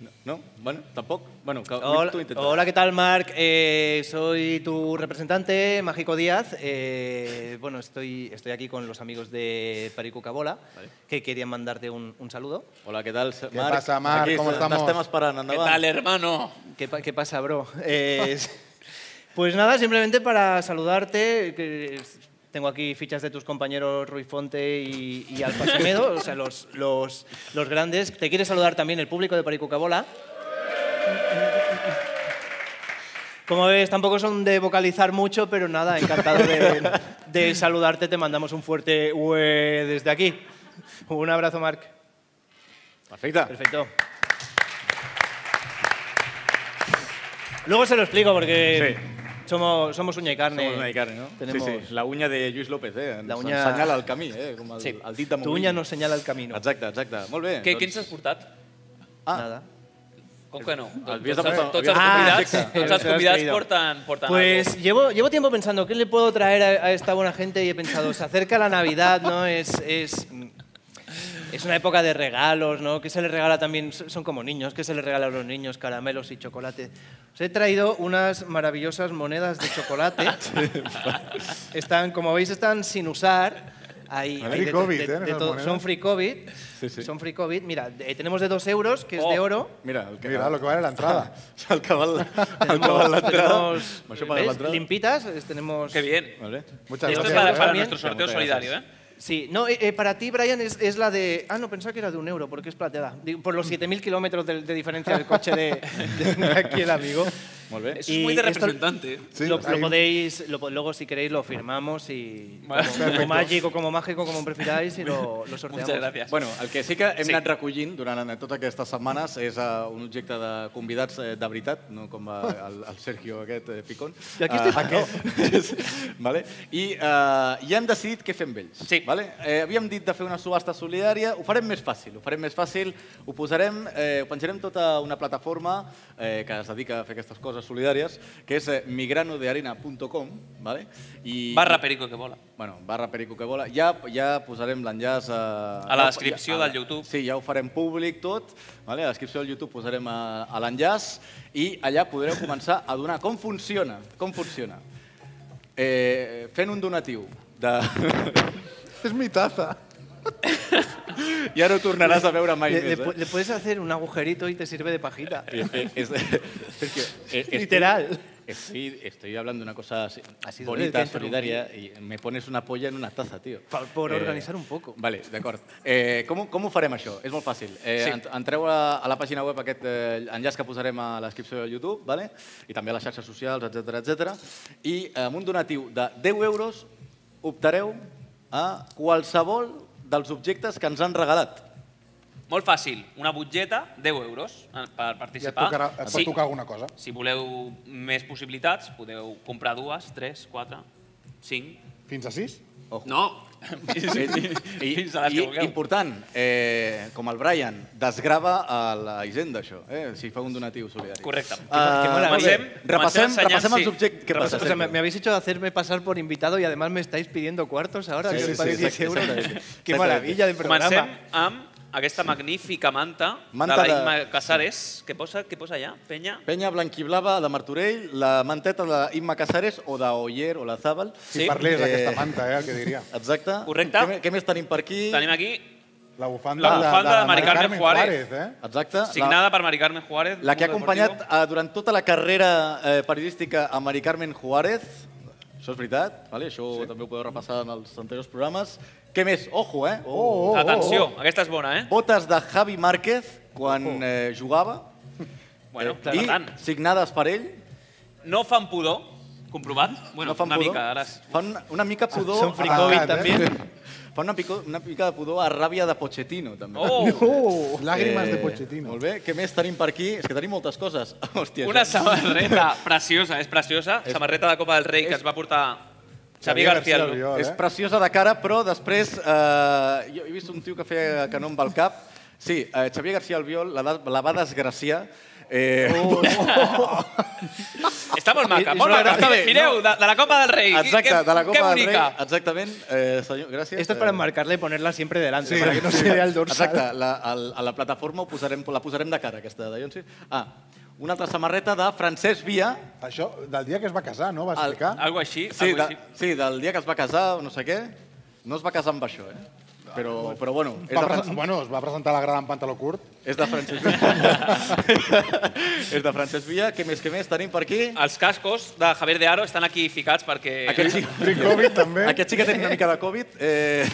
Speaker 2: No, no? bueno, tampoc. Bueno, que
Speaker 8: Hola,
Speaker 2: tu intentaràs.
Speaker 8: hola, ¿qué tal, Mark? Eh, soy tu representante, Mágico Díaz. Eh, bueno, estoy, estoy aquí con los amigos de Perico Cabola, que querían mandarte un, un saludo.
Speaker 2: Hola, ¿qué tal,
Speaker 8: ¿Qué
Speaker 2: Marc? pasa, Marc? Aquí ¿Cómo estamos? t'estem esperant, endavant. ¿Qué tal,
Speaker 4: hermano?
Speaker 8: ¿Qué, pa- qué pasa, [LAUGHS] bro? Eh, pues nada, simplemente para saludarte. que es- tengo aquí fichas de tus compañeros Ruiz Fonte y, y Alfa Semedo, o sea, los, los, los grandes. Te quiere saludar también el público de Perico Cabola. Como ves, tampoco son de vocalizar mucho, pero nada, encantado de, de saludarte. Te mandamos un fuerte hue desde aquí. Un abrazo, Marc.
Speaker 2: Perfecto.
Speaker 8: Perfecto. Luego se lo explico porque somos, somos uña y carne.
Speaker 2: Somos una i carne, no?
Speaker 8: Tenemos
Speaker 2: Sí, sí, la uña de Lluís López, eh? Ens
Speaker 8: La uña-
Speaker 2: senyala el camí, eh? Com el,
Speaker 8: Sí.
Speaker 2: el dit de
Speaker 8: Tu uña nos senyala el camí.
Speaker 2: Exacte, exacte. Molt bé. doncs,
Speaker 4: Què, què ens has portat?
Speaker 2: Ah.
Speaker 8: Nada.
Speaker 4: Com que no?
Speaker 2: havies de
Speaker 4: Tots, els-
Speaker 2: portar-
Speaker 4: tots
Speaker 2: havies de
Speaker 4: els
Speaker 2: portar un
Speaker 4: convidats,
Speaker 2: objecte.
Speaker 4: tots els
Speaker 2: Has
Speaker 4: convidats
Speaker 2: creído.
Speaker 4: porten, porten
Speaker 8: Pues
Speaker 4: algo.
Speaker 8: llevo, llevo tiempo pensando, ¿qué le puedo traer a, a esta buena gente? Y he pensado, se acerca la Navidad, ¿no? Es, es, es una época de regalos, ¿no? ¿Qué se les regala también? S- Son como niños, ¿qué se les regala a los niños? Caramelos y chocolate. Os he traído unas maravillosas monedas de
Speaker 4: [LAUGHS]
Speaker 8: chocolate. están, como veis, están sin usar. Ahí,
Speaker 3: Free
Speaker 8: ahí de to-
Speaker 3: COVID,
Speaker 8: de-
Speaker 3: ¿eh?
Speaker 8: de
Speaker 3: Esas
Speaker 8: to-
Speaker 3: monedas.
Speaker 8: son free COVID. Son free COVID. Mira, eh, tenemos de 2 euros, que es
Speaker 4: Oh.
Speaker 8: de oro.
Speaker 2: Mira, el que
Speaker 3: Mira, lo que vale la entrada.
Speaker 2: [LAUGHS] el que val, el que val
Speaker 8: Tenemos-
Speaker 2: l'entrada.
Speaker 8: tenemos,
Speaker 2: Amb Això paga
Speaker 8: ¿ves?
Speaker 2: l'entrada.
Speaker 8: Limpitas, es- tenemos...
Speaker 4: Qué bien.
Speaker 2: Vale.
Speaker 8: Muchas
Speaker 4: Esto es
Speaker 8: gracias,
Speaker 4: para,
Speaker 8: ¿eh?
Speaker 4: para
Speaker 8: Bien.
Speaker 4: nuestro sorteo
Speaker 2: Muchas gracias.
Speaker 4: solidario, ¿eh?
Speaker 8: Sí, no, eh, eh, para ti, Brian, es, es la de... Ah, no, pensaba que era de un euro, porque es plateada. Digo, Por los 7.000 kilómetros de, de diferencia del coche de, [LAUGHS] de aquí el amigo.
Speaker 2: Molt bé.
Speaker 13: Eso es muy de
Speaker 8: Y esto-
Speaker 13: representante, ¿eh?
Speaker 8: lo,
Speaker 13: Sí,
Speaker 8: lo
Speaker 13: ahí-
Speaker 8: podéis, lo po- luego si queréis lo firmamos y
Speaker 2: Vale.
Speaker 8: como,
Speaker 2: Perfecto.
Speaker 8: como mágico, como mágico, como prefiráis y lo, lo sorteamos.
Speaker 2: Bueno, el que sí que hem
Speaker 8: Sí.
Speaker 2: anat recollint durant eh, totes aquestes setmanes és eh, un objecte de convidats eh, de veritat, no com eh, el, el Sergio aquest eh, picón.
Speaker 8: Ah. I aquí estic jo.
Speaker 2: [LAUGHS] vale? I eh, ja hem decidit què fem amb ells. Sí. Vale? Eh, havíem dit de fer una subhasta solidària, ho farem més fàcil, ho farem més fàcil, ho posarem, eh, ho penjarem tota una plataforma eh, que es dedica a fer aquestes coses solidàries, que és eh, migranodearena.com, vale? I,
Speaker 4: Barra Perico que vola.
Speaker 2: Bueno, barra Perico que vola. Ja, ja posarem l'enllaç a...
Speaker 4: A la descripció del YouTube.
Speaker 2: Sí, ja ho farem públic tot. Vale? A la descripció del YouTube posarem a, a l'enllaç i allà podreu començar a donar com funciona. Com funciona. Eh, fent un donatiu de...
Speaker 3: És mi taza.
Speaker 2: ja no ho tornaràs a veure mai
Speaker 8: Le, le
Speaker 2: més.
Speaker 8: pu- le puedes hacer un agujerito y te sirve de pajita.
Speaker 2: Eh? Eh, [LAUGHS] es- Sergio, eh, estoy-
Speaker 8: Literal.
Speaker 2: Estoy, estoy hablando de una cosa así-
Speaker 8: sido
Speaker 2: bonita,
Speaker 8: el que interrumpí.
Speaker 2: solidaria, y me pones una polla en una taza, tío.
Speaker 8: Pa- por
Speaker 2: Eh,
Speaker 8: organizar un poco.
Speaker 2: Vale, d'acord. Eh, com, ho- com ho farem, això? És molt fàcil. Eh,
Speaker 8: Sí.
Speaker 2: sí. Entreu a, a la pàgina web aquest eh, enllaç que posarem a la descripció de YouTube, vale? i també a les xarxes socials, etc etc. i amb un donatiu de 10 euros optareu a qualsevol dels objectes que ens han regalat.
Speaker 4: Molt fàcil, una butgeta, 10 euros eh, per
Speaker 3: I et,
Speaker 4: participar.
Speaker 3: tocarà,
Speaker 2: Ah,
Speaker 3: et pot tocar alguna cosa.
Speaker 4: Si voleu més possibilitats, podeu comprar dues, tres, quatre, cinc...
Speaker 3: Fins a sis?
Speaker 4: No!
Speaker 2: Eh, I,
Speaker 4: Fins a les
Speaker 2: i
Speaker 4: que vulgueu.
Speaker 2: important, eh, com el Brian, desgrava a la Hisenda, això, eh, si fa un donatiu solidari.
Speaker 4: Correcte. Que-
Speaker 2: Ah,
Speaker 8: que mola,
Speaker 2: molt bé.
Speaker 8: comencem-
Speaker 4: comencem
Speaker 2: repassem,
Speaker 4: ensenyant,
Speaker 2: repassem
Speaker 4: sí.
Speaker 2: els objectes. Què
Speaker 8: Pues,
Speaker 2: passa?
Speaker 8: o sea, me, me habéis hecho hacerme pasar por invitado y además me estáis pidiendo cuartos ahora,
Speaker 2: Sí,
Speaker 8: que os
Speaker 2: sí, sí,
Speaker 8: paguéis 10
Speaker 2: exacte,
Speaker 8: euros.
Speaker 2: exactamente.
Speaker 8: Qué
Speaker 2: Exactamente.
Speaker 8: maravilla de programa.
Speaker 4: Comencem amb aquesta magnífica manta,
Speaker 2: Manta
Speaker 4: de la
Speaker 2: de-
Speaker 4: Imma Casares. Què posa, què posa allà, penya?
Speaker 2: Penya blanquiblava de Martorell, la manteta d'Imma Casares o d'Oyer o la Zàbal.
Speaker 3: Si parlés d'aquesta manta, eh, el que diria.
Speaker 2: Exacte.
Speaker 4: Correcte.
Speaker 2: Què, què més tenim per aquí?
Speaker 4: Tenim aquí
Speaker 3: La bufanda,
Speaker 4: la bufanda de, Mari
Speaker 3: Mari
Speaker 4: Carmen Juárez,
Speaker 3: eh?
Speaker 2: Exacte.
Speaker 4: signada per Mari Carmen Juárez.
Speaker 2: La, la que ha
Speaker 4: Mundo
Speaker 2: acompanyat eh, durant tota la carrera eh, periodística a Mari Carmen Juárez. Això és veritat, vale? això sí. també ho podeu repassar en els anteriors programes. Què més? Ojo, eh?
Speaker 4: Deportivo. Atenció, aquesta és bona, eh?
Speaker 2: Botes de Javi Márquez quan eh, jugava
Speaker 4: Bueno,
Speaker 2: eh,
Speaker 4: per
Speaker 2: i
Speaker 4: tant,
Speaker 2: signades per ell.
Speaker 4: no fan pudor, comprovat. Bueno,
Speaker 2: no fan
Speaker 4: una
Speaker 2: pudor.
Speaker 4: mica, ara... és-
Speaker 2: Fan una mica pudor...
Speaker 4: Són free covid,
Speaker 2: Ah,
Speaker 4: també.
Speaker 2: [LAUGHS] Fan una, pico, una mica de pudor a ràbia de Pochettino, també. Eh,
Speaker 4: Oh!
Speaker 3: No! Llàgrimes de Pochettino.
Speaker 2: Molt bé, què més tenim per aquí? És que tenim moltes coses. [LAUGHS] Hòstia,
Speaker 4: Una
Speaker 2: això- [LAUGHS]
Speaker 4: samarreta preciosa, és preciosa. Samarreta de Copa del Rei que es va portar Xavier García. Albiol,
Speaker 2: És preciosa de cara, però després... Eh, jo he vist un tio que feia que no amb el cap. Sí, eh, Xavier García Albiol la, da- la va desgraciar. Eh, [LAUGHS] oh,
Speaker 4: Està molt maca,
Speaker 2: És
Speaker 4: molt
Speaker 2: una
Speaker 4: maca.
Speaker 2: gran-
Speaker 4: Està bé, Mireu, de, de la Copa del Rei.
Speaker 2: Exacte,
Speaker 4: que,
Speaker 2: de la Copa
Speaker 4: que
Speaker 2: del Rei.
Speaker 4: bonica.
Speaker 2: Exactament. Eh, senyor, gràcies.
Speaker 8: Esto es
Speaker 2: Eh,
Speaker 8: para enmarcarla y ponerla siempre delante, para que no se vea el dorsal.
Speaker 2: Exacte, la, el, a la plataforma ho posarem, la posarem de cara, aquesta de Jonsi. Ah, una altra samarreta de Francesc Via.
Speaker 3: Això, del dia que es va casar, no? Va explicar.
Speaker 4: Algo així,
Speaker 2: Sí,
Speaker 4: algo
Speaker 2: de,
Speaker 4: així.
Speaker 2: sí, del dia que es va casar, o no sé què. No es va casar amb això, eh? Però, però bueno, és
Speaker 3: Va
Speaker 2: de,
Speaker 3: presen-
Speaker 2: Fran
Speaker 3: bueno, es va presentar a la gran en pantaló curt.
Speaker 2: és de Francesc Via. és de Francesc Via. Què més, què més tenim per aquí?
Speaker 4: Els cascos de Javier de Aro estan aquí ficats perquè...
Speaker 2: Aquest sí,
Speaker 3: Covid també.
Speaker 2: Aquest sí que té una mica de Covid. Eh,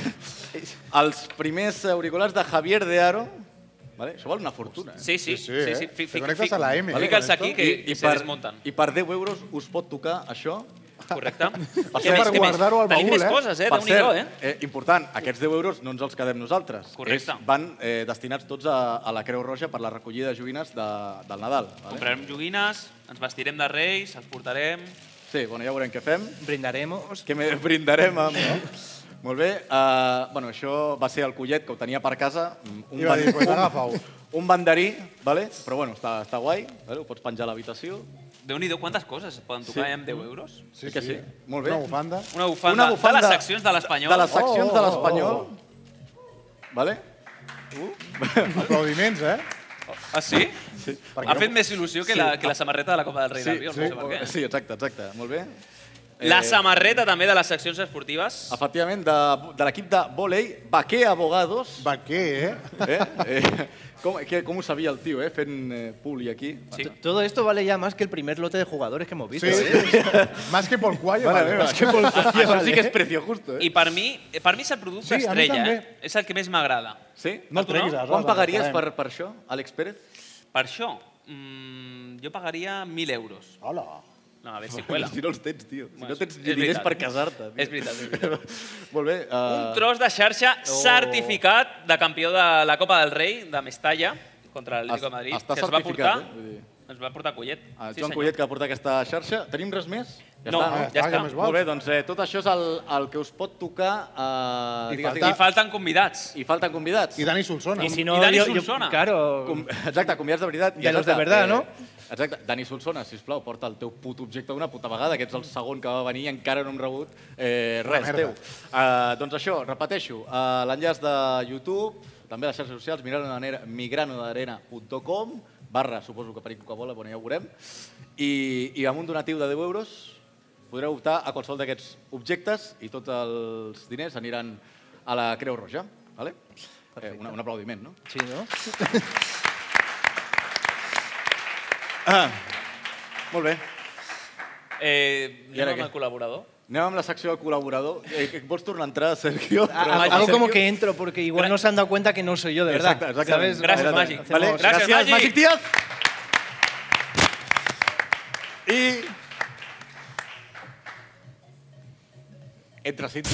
Speaker 2: els primers auriculars de Javier de Aro. Vale? Això val una fortuna. Eh?
Speaker 4: Sí, sí, Sí, sí, sí, eh? sí. Fi- Te fi- connectes fi-
Speaker 3: a la M, eh,
Speaker 4: fica'ls aquí, que- que se desmunten.
Speaker 2: I per 10 euros us pot tocar això [LAUGHS]
Speaker 4: Correcte.
Speaker 2: Això
Speaker 4: més, què més? Tenim més coses, eh?
Speaker 2: Per
Speaker 4: Déu-n'hi-do,
Speaker 2: cert, eh? important, aquests 10 euros no ens els quedem nosaltres.
Speaker 4: Correcte.
Speaker 2: És, van eh, destinats tots a, a la Creu Roja per la recollida de joguines de, del Nadal. Vale?
Speaker 4: Comprarem joguines, ens vestirem de reis, els portarem...
Speaker 2: Sí, bueno, ja veurem què fem.
Speaker 8: Brindaremos.
Speaker 2: Que me brindarem amb... No? Molt bé. Uh, bueno, això va ser el collet que ho tenia per casa. mm,
Speaker 3: I va
Speaker 2: ban-
Speaker 3: dir, "Pues
Speaker 2: un-
Speaker 3: agafa-ho".
Speaker 2: Un banderí, vale? però bueno, està, està guai. Vale? Ho pots penjar a l'habitació.
Speaker 4: Déu-n'hi-do, quantes coses es poden tocar
Speaker 2: Sí.
Speaker 4: eh, amb 10 euros?
Speaker 2: Sí, que sí. Molt bé. Una bufanda.
Speaker 4: Una bufanda.
Speaker 2: Una bufanda
Speaker 4: de les seccions de l'Espanyol.
Speaker 2: de les seccions de l'Espanyol. Oh. Vale? Uh.
Speaker 3: Aplaudiments, eh?
Speaker 4: Ah, sí?
Speaker 2: Sí.
Speaker 4: Ha fet més il·lusió que, la, que la samarreta de la Copa del Rei
Speaker 2: sí,
Speaker 4: d'Avió,
Speaker 2: sí,
Speaker 4: no sé per què.
Speaker 2: Sí, exacte, exacte. Molt bé.
Speaker 4: La
Speaker 2: Eh,
Speaker 4: samarreta també de les seccions esportives.
Speaker 2: Efectivament, de, de l'equip de volei, Baquer Abogados.
Speaker 3: Baquer,
Speaker 2: eh? eh? Com, que, com ho sabia el tio, eh? fent eh, puli aquí.
Speaker 8: T- Todo esto vale ya más que el primer lote de jugadores que hemos visto.
Speaker 2: Sí.
Speaker 8: ¿eh?
Speaker 3: [LAUGHS] Más que por cuello,
Speaker 8: Vale,
Speaker 3: vale.
Speaker 8: más que por
Speaker 4: Ah,
Speaker 8: cuello,
Speaker 3: Vale.
Speaker 8: vale.
Speaker 2: justo,
Speaker 4: I per mi, eh, per mi és el producte
Speaker 3: Sí, a mi
Speaker 4: estrella,
Speaker 3: també.
Speaker 4: eh? És el que més m'agrada.
Speaker 2: Sí?
Speaker 4: No el
Speaker 2: treguis, Arrada, Quan pagaries per- per això, Àlex
Speaker 4: [LAUGHS]
Speaker 2: Pérez?
Speaker 4: Per això? Mm, jo pagaria 1.000 euros.
Speaker 3: Hola.
Speaker 4: No, a veure si cuela.
Speaker 2: Si no els tens, tio. Si
Speaker 4: Bueno,
Speaker 2: no tens
Speaker 4: és
Speaker 2: ni diners
Speaker 4: veritat.
Speaker 2: per casar-te. tio.
Speaker 4: És
Speaker 2: [LAUGHS]
Speaker 4: veritat, és veritat.
Speaker 2: Molt bé. eh,
Speaker 4: Un tros de xarxa
Speaker 2: Oh.
Speaker 4: certificat de campió de la Copa del Rei de Mestalla contra l'Atlético de Madrid.
Speaker 2: Està
Speaker 4: que ens va portar,
Speaker 2: certificat, eh? Vull dir,
Speaker 4: ens va portar Collet.
Speaker 2: a
Speaker 4: Sí,
Speaker 2: Joan
Speaker 4: senyor.
Speaker 2: Ah, Collet ah, que va portar aquesta xarxa. Tenim res més?
Speaker 4: No, ja està. Ja més vols.
Speaker 2: Molt bé, doncs eh, tot això és el, el que us pot tocar. Eh,
Speaker 4: I falta- I falten convidats.
Speaker 2: I falten convidats.
Speaker 3: I Dani Solsona.
Speaker 8: I si no, I Dani jo- jo- Solsona. claro.
Speaker 2: exacte, convidats de veritat. i
Speaker 8: De los
Speaker 2: exacte,
Speaker 8: de verdad,
Speaker 2: eh,
Speaker 8: no?
Speaker 2: Exacte. Dani Solsona, sisplau, porta el teu puto objecte una puta vegada, que ets el segon que va venir i encara no hem rebut eh,
Speaker 3: Una
Speaker 2: res
Speaker 3: merda.
Speaker 2: teu. Eh, doncs això, repeteixo, eh, l'enllaç de YouTube, també a les xarxes socials, migranodarena.com, barra, suposo que per Coca-Cola, bueno, ja ho veurem, i, i amb un donatiu de 10 euros podreu optar a qualsevol d'aquests objectes i tots els diners aniran a la Creu Roja. Vale? Eh, un, un aplaudiment, no?
Speaker 8: Sí,
Speaker 2: [LAUGHS]
Speaker 8: no?
Speaker 2: Ah, molt bé.
Speaker 4: Eh,
Speaker 2: I ara
Speaker 4: anem
Speaker 2: què?
Speaker 4: amb el col·laborador.
Speaker 2: Anem amb la secció de col·laborador. Eh, que vols tornar a entrar, Sergio?
Speaker 8: Ah,
Speaker 2: Però-
Speaker 8: Algo como
Speaker 2: Sergio-
Speaker 8: que entro, porque igual no se han dado cuenta que no soy yo, de verdad.
Speaker 2: Exacte, exacte.
Speaker 8: ¿sabes?
Speaker 2: Gràcies,
Speaker 8: Vale,
Speaker 2: Magic.
Speaker 8: hacemos-
Speaker 2: Vale, gràcies,
Speaker 8: Gracias,
Speaker 2: Magic. Magic Díaz. I... Entra Cinto.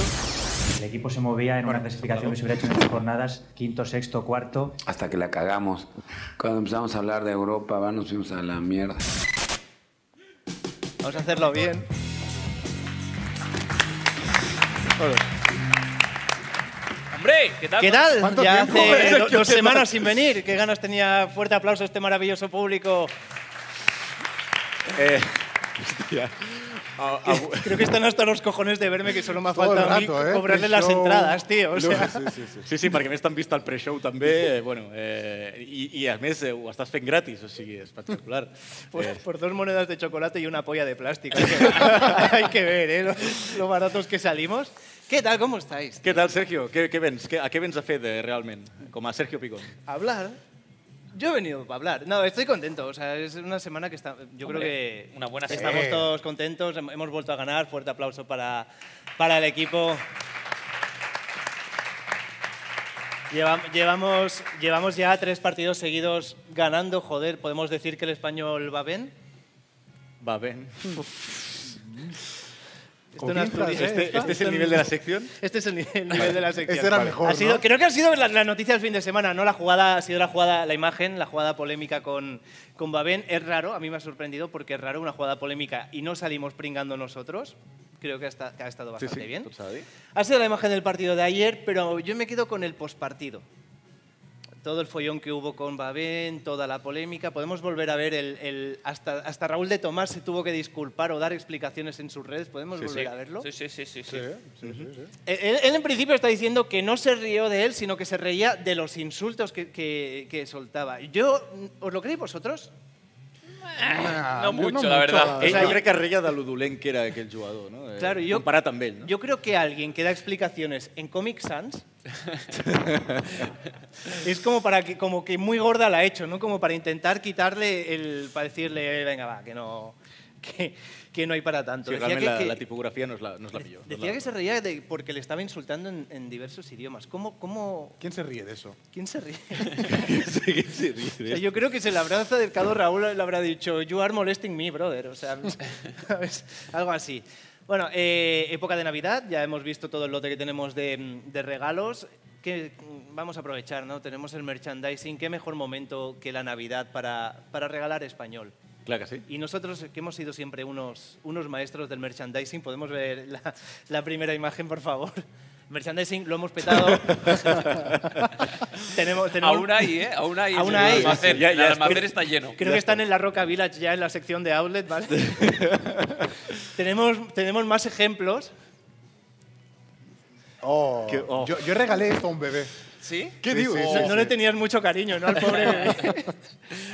Speaker 14: El equipo se movía en una clasificación que se hubiera hecho en dos jornadas, quinto, sexto, cuarto.
Speaker 15: Hasta que la cagamos. Cuando empezamos a hablar de Europa, va, nos fuimos a la mierda.
Speaker 8: Vamos a hacerlo bien.
Speaker 4: Hombre, ¿qué tal?
Speaker 8: ¿Qué tal?
Speaker 4: ¿Cuánto
Speaker 8: Ya
Speaker 4: tiempo?
Speaker 2: [LAUGHS]
Speaker 8: hace
Speaker 4: Eso
Speaker 8: do-
Speaker 4: que
Speaker 8: dos
Speaker 4: te
Speaker 8: semanas
Speaker 4: pasa.
Speaker 8: sin venir. Qué ganas tenía. Fuerte aplauso a este maravilloso público.
Speaker 2: Eh, hòstia. A- avui-
Speaker 8: [LAUGHS] Creo que están hasta los cojones de verme que solo me ha
Speaker 2: Todo el
Speaker 8: faltado a mí
Speaker 2: rato, eh,
Speaker 8: cobrarle
Speaker 2: pre-show.
Speaker 8: las entradas, tío. O sea.
Speaker 2: No, sí, sí, sí. sí, sí, perquè a més t'han vist el pre-show també, eh, bueno, eh, i, i a més eh, ho estàs fent gratis, o sigui,
Speaker 8: [LAUGHS]
Speaker 2: espectacular.
Speaker 8: Por,
Speaker 2: Eh,
Speaker 8: por dos monedas de chocolate y una polla de plástico. [LAUGHS] Hay que- Hay que ver, ¿eh? Lo, lo baratos que salimos. ¿Qué tal? ¿Cómo estáis?
Speaker 2: què tal, Sergio? Què, què vens? Què, a què vens a fer de, realment, com a Sergio Picón?
Speaker 8: ¿Hablar? Yo he venido para hablar. No, estoy contento. O sea, es una semana que está. Yo
Speaker 4: Hombre,
Speaker 8: creo que.
Speaker 4: una buena
Speaker 8: Estamos
Speaker 4: semana.
Speaker 8: todos contentos. hem- Hemos vuelto a ganar. Fuerte aplauso para, para el equipo. Lleva- llevamos, llevamos ya tres partidos seguidos ganando. Joder, podemos decir que el español va bien.
Speaker 2: Va bé.
Speaker 8: Esto en Asturias, ¿eh?
Speaker 2: Este,
Speaker 8: Está-
Speaker 2: este es
Speaker 8: está
Speaker 2: el
Speaker 8: en-
Speaker 2: nivel de la sección.
Speaker 8: Este es el ni- el nivel, de la sección.
Speaker 2: Este era Vale. mejor,
Speaker 8: Ha sido-
Speaker 2: ¿no?
Speaker 8: Creo que ha sido la, la noticia del fin de semana, ¿no? La jugada, ha sido la jugada, la imagen, la jugada polémica con, con Babén. Es raro, a mí me ha sorprendido porque es raro una jugada polémica y no salimos pringando nosotros. Creo que ha, esta- que ha estado bastante bien.
Speaker 2: tot s'ha de dir.
Speaker 8: Ha sido la imagen del partido de ayer, pero yo me quedo con el postpartido. Todo el follón que hubo con Babén, toda la polémica. Podemos volver a ver el. el- hasta, hasta Raúl de Tomás se tuvo que disculpar o dar explicaciones en sus redes. ¿Podemos volver a verlo?
Speaker 4: Sí, sí, sí. sí, sí.
Speaker 8: Él, él- él en principio está diciendo que no se rió de él, sino que se reía de los insultos que, que- que soltaba. Yo, ¿Os lo creéis vosotros?
Speaker 2: Eh,
Speaker 4: no mucho, la verdad.
Speaker 2: Ell,
Speaker 8: O sea,
Speaker 2: jo crec que es reia de lo dolent que era aquell jugador, no? Eh,
Speaker 8: Claro, yo-
Speaker 2: Comparat amb ell, no?
Speaker 8: Yo creo que alguien que da explicaciones en Comic
Speaker 2: [LAUGHS]
Speaker 8: Sans es como, para que, como que muy gorda la ha hecho, ¿no? Como para intentar quitarle el... para decirle, venga, va, que no... que, que no hay para tanto.
Speaker 2: Sí,
Speaker 8: Decía
Speaker 2: realment
Speaker 8: que-
Speaker 2: la,
Speaker 8: que-
Speaker 2: la tipografia no és la, no és la millor. no és
Speaker 8: Decía
Speaker 2: la- [LAUGHS]
Speaker 8: que se reía de- porque le estaba insultando en, en diversos idiomas. ¿Cómo, cómo...
Speaker 3: ¿Quién se ríe de eso?
Speaker 8: ¿Quién se ríe?
Speaker 2: ¿Quién se ríe
Speaker 8: O sea, yo creo que se le habrá acercado Raúl le habrá dicho, you are molesting me, brother. O sea, [LAUGHS] ¿sabes? algo así. Bueno, eh, época de Navidad, ya hemos visto todo el lote que tenemos de, de regalos. Que mm, vamos a aprovechar, ¿no? Tenemos el merchandising. ¿Qué mejor momento que la Navidad para, para regalar español?
Speaker 2: Clar que sí.
Speaker 8: Y nosotros, que hemos sido siempre unos, unos maestros del merchandising, podemos ver la, la primera imagen, por favor. [LAUGHS] Merchandising, lo hemos petado. [LAUGHS] tenemos, tenemos,
Speaker 13: Aún hay, ¿eh? Aún hay.
Speaker 8: Aún
Speaker 13: El
Speaker 8: hay.
Speaker 13: almacén,
Speaker 8: Ya-
Speaker 13: el
Speaker 8: ya
Speaker 13: almacén
Speaker 8: espero-
Speaker 13: está lleno.
Speaker 8: Creo
Speaker 13: Ya
Speaker 8: que están en la Roca Village ya en la sección de outlet, ¿vale? [LAUGHS] tenemos, tenemos más ejemplos.
Speaker 3: Oh,
Speaker 8: Que- oh.
Speaker 3: Yo, yo regalé esto a un bebé.
Speaker 8: ¿Sí?
Speaker 3: ¿Qué digo?
Speaker 8: No, no le tenías mucho cariño, ¿no? Al
Speaker 4: [LAUGHS]
Speaker 8: pobre bebé.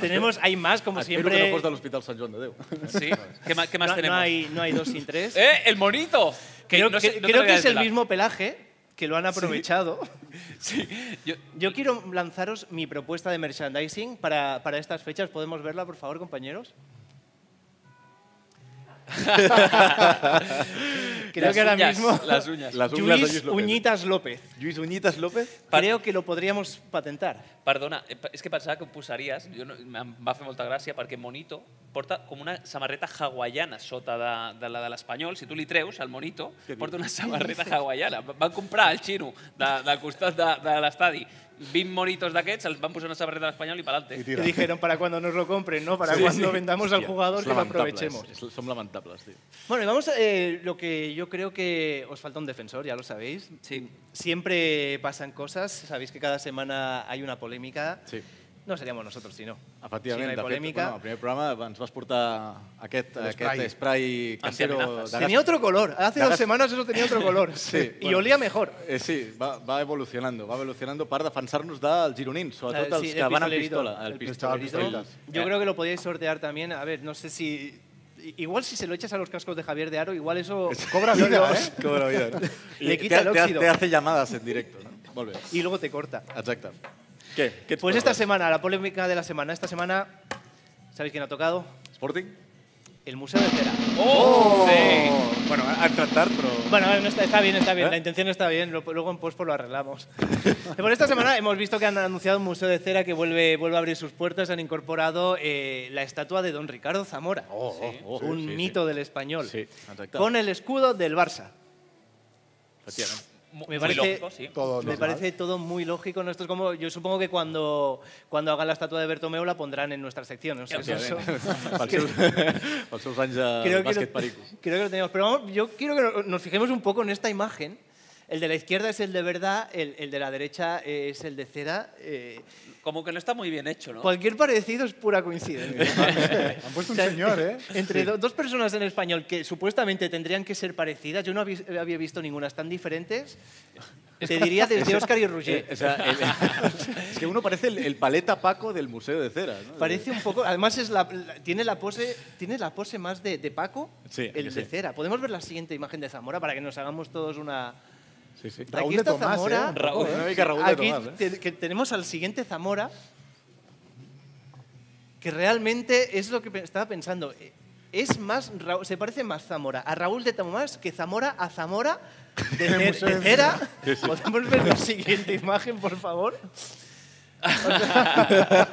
Speaker 8: tenemos, hay más, como
Speaker 2: Espero
Speaker 8: siempre.
Speaker 2: que no fos de l'Hospital Sant Joan de
Speaker 8: [LAUGHS]
Speaker 2: Déu.
Speaker 8: Sí?
Speaker 4: ¿Qué ma- qué más
Speaker 8: no,
Speaker 4: tenemos?
Speaker 8: No hay, no hay dos sin
Speaker 4: [LAUGHS]
Speaker 8: tres.
Speaker 4: ¡Eh, el monito! Que
Speaker 8: creo
Speaker 4: no
Speaker 8: que,
Speaker 4: sé- no te lo
Speaker 8: creo
Speaker 4: voy
Speaker 8: que
Speaker 4: a
Speaker 8: es el
Speaker 4: desvelar.
Speaker 8: mismo pelaje que lo
Speaker 4: [LAUGHS]
Speaker 8: han aprovechado.
Speaker 4: Yo,
Speaker 8: quiero lanzaros mi propuesta de merchandising para, para estas fechas. ¿Podemos verla, por favor,
Speaker 4: [LAUGHS]
Speaker 8: compañeros? Creo
Speaker 4: Las
Speaker 8: que ahora
Speaker 4: uñas,
Speaker 8: mismo.
Speaker 4: las uñas. Las
Speaker 8: Lluís
Speaker 4: uñas de Lluís López.
Speaker 8: Uñitas López.
Speaker 2: Lluís Uñitas López.
Speaker 8: Creo que lo podríamos patentar.
Speaker 4: Perdona, eh, pa- és que pensava que ho posaries, jo no, em va fer molta gràcia, perquè Monito porta com una samarreta hawaiana sota de, de la de l'Espanyol. Si tu li treus, el Monito porta una samarreta hawaiana. Va- Van comprar al xino de, del costat de, de l'estadi 20 monitos d'aquests, els van posar una samarreta de l'Espanyol i pa'lante.
Speaker 8: Que dijeron para cuando nos lo compren, ¿no? Para
Speaker 2: Sí,
Speaker 8: cuando
Speaker 2: sí.
Speaker 8: vendamos al
Speaker 2: Hòstia,
Speaker 8: jugador
Speaker 2: és
Speaker 8: que lo
Speaker 2: lamentable,
Speaker 8: aprovechemos.
Speaker 2: és- és- Som lamentables, tio.
Speaker 8: Bueno, y vamos a eh, lo que yo creo que os falta un defensor, ya lo sabéis.
Speaker 4: Sí.
Speaker 8: Siempre pasan cosas, sabéis que cada semana hay una polémica.
Speaker 2: Sí.
Speaker 8: No seríamos nosotros si no.
Speaker 2: Efectivament,
Speaker 8: si no
Speaker 2: de
Speaker 8: hay
Speaker 2: fet,
Speaker 8: polémica.
Speaker 2: bueno, al primer programa ens vas portar aquest,
Speaker 8: L'esprai.
Speaker 2: aquest spray casero
Speaker 8: Antiamenazas.
Speaker 2: de gas.
Speaker 8: Tenía otro color. Hace
Speaker 2: De
Speaker 8: dos
Speaker 2: gas.
Speaker 8: semanas eso tenía otro color.
Speaker 2: Sí,
Speaker 8: [LAUGHS] Y olía mejor.
Speaker 2: Eh, sí, va, va evolucionando, va evolucionando per defensar-nos dels gironins, sobretot els
Speaker 8: Eh, sí,
Speaker 2: que
Speaker 8: el
Speaker 2: van amb
Speaker 8: pistolerito,
Speaker 2: pistola.
Speaker 8: el pistolerito. Yo
Speaker 2: [LAUGHS]
Speaker 8: creo que lo podíais sortear también. A ver, no sé si... i- Igual si se lo echas a los cascos de Javier de Aro, igual
Speaker 2: [LAUGHS]
Speaker 8: eso...
Speaker 2: Cobra
Speaker 8: lo-
Speaker 2: vida,
Speaker 8: lo-
Speaker 2: eh? [LAUGHS] Cobra vida. ¿no?
Speaker 8: [LAUGHS] Le
Speaker 2: I
Speaker 8: quita el
Speaker 2: te, te,
Speaker 8: óxido.
Speaker 2: te hace llamadas en directo. ¿no?
Speaker 8: [LAUGHS]
Speaker 2: Molt bé.
Speaker 8: Y luego te corta.
Speaker 2: Exacte. Què? Què ets
Speaker 8: Pues
Speaker 2: per
Speaker 8: esta
Speaker 2: res?
Speaker 8: semana, la polémica de la semana. Esta semana, ¿sabéis quién ha tocado?
Speaker 2: Sporting.
Speaker 8: El Museo de Cera.
Speaker 2: Oh! Sí. Bueno, ha entrat tard, però...
Speaker 8: Bueno, no está, está bien, está bien.
Speaker 2: ¿Eh?
Speaker 8: La intención está bien. lo- luego en pospo lo arreglamos. [LAUGHS] Por esta semana hemos visto que han anunciado un museo de cera que vuelve, vuelve a abrir sus puertas. Han incorporado eh, la estatua de don Ricardo Zamora,
Speaker 2: oh,
Speaker 8: un
Speaker 2: sí, sí.
Speaker 8: mito del español,
Speaker 2: Sí, exacte.
Speaker 8: con el escudo del Barça. [LAUGHS]
Speaker 2: Efectivament.
Speaker 8: Me parece, me parece todo muy lógico. ¿no? Esto es como, yo supongo que cuando, cuando hagan la estatua de Bertomeu la pondrán en nuestra sección. No sé, eso-
Speaker 2: [LAUGHS]
Speaker 8: [LAUGHS]
Speaker 2: Pels seus, pels seus anys Ah, de
Speaker 8: creo que,
Speaker 2: bàsquet
Speaker 8: lo, [LAUGHS]
Speaker 2: perico.
Speaker 8: creo que lo tenemos. Pero vamos, yo quiero que no- nos fijemos un poco en esta imagen. El de la izquierda es el de verdad, el, el de la derecha eh, es el de cera. eh,
Speaker 4: Como que no está muy bien hecho, ¿no?
Speaker 8: Cualquier parecido es
Speaker 2: [LAUGHS]
Speaker 8: pura coincidencia.
Speaker 3: Han puesto un señor, ¿eh?
Speaker 8: Entre
Speaker 3: Sí.
Speaker 8: do- dos personas en español que supuestamente tendrían que ser parecidas, yo no habí- había visto ninguna tan diferentes. Te
Speaker 2: [LAUGHS]
Speaker 8: diría desde Oscar y Roger.
Speaker 2: Eh, o sea, el- [LAUGHS] es que uno parece el, el paleta Paco del Museo de Cera. ¿no?
Speaker 8: Parece un poco, además es la- la- tiene la pose, tiene la pose más de, de Paco,
Speaker 2: Sí,
Speaker 8: el
Speaker 2: que
Speaker 8: de
Speaker 2: sí.
Speaker 8: cera. Podemos ver la siguiente imagen de Zamora para que nos hagamos todos una.
Speaker 2: Sí, sí.
Speaker 8: Aquí está Zamora.
Speaker 2: ¿eh? Raúl, una mica Raúl de
Speaker 8: Aquí
Speaker 2: Tomàs. Eh?
Speaker 8: te- que tenemos al siguiente Zamora, que realmente es lo que pe- estaba pensando. Eh, Es más, Ra- se parece más Zamora a Raúl de Tomás que Zamora a Zamora
Speaker 3: [LAUGHS]
Speaker 8: de,
Speaker 3: Del
Speaker 8: ce-
Speaker 3: Museo
Speaker 8: de
Speaker 3: de
Speaker 8: cera.
Speaker 3: Cera. Sí, sí.
Speaker 8: Podemos ver la siguiente imagen, por favor.
Speaker 3: [LAUGHS]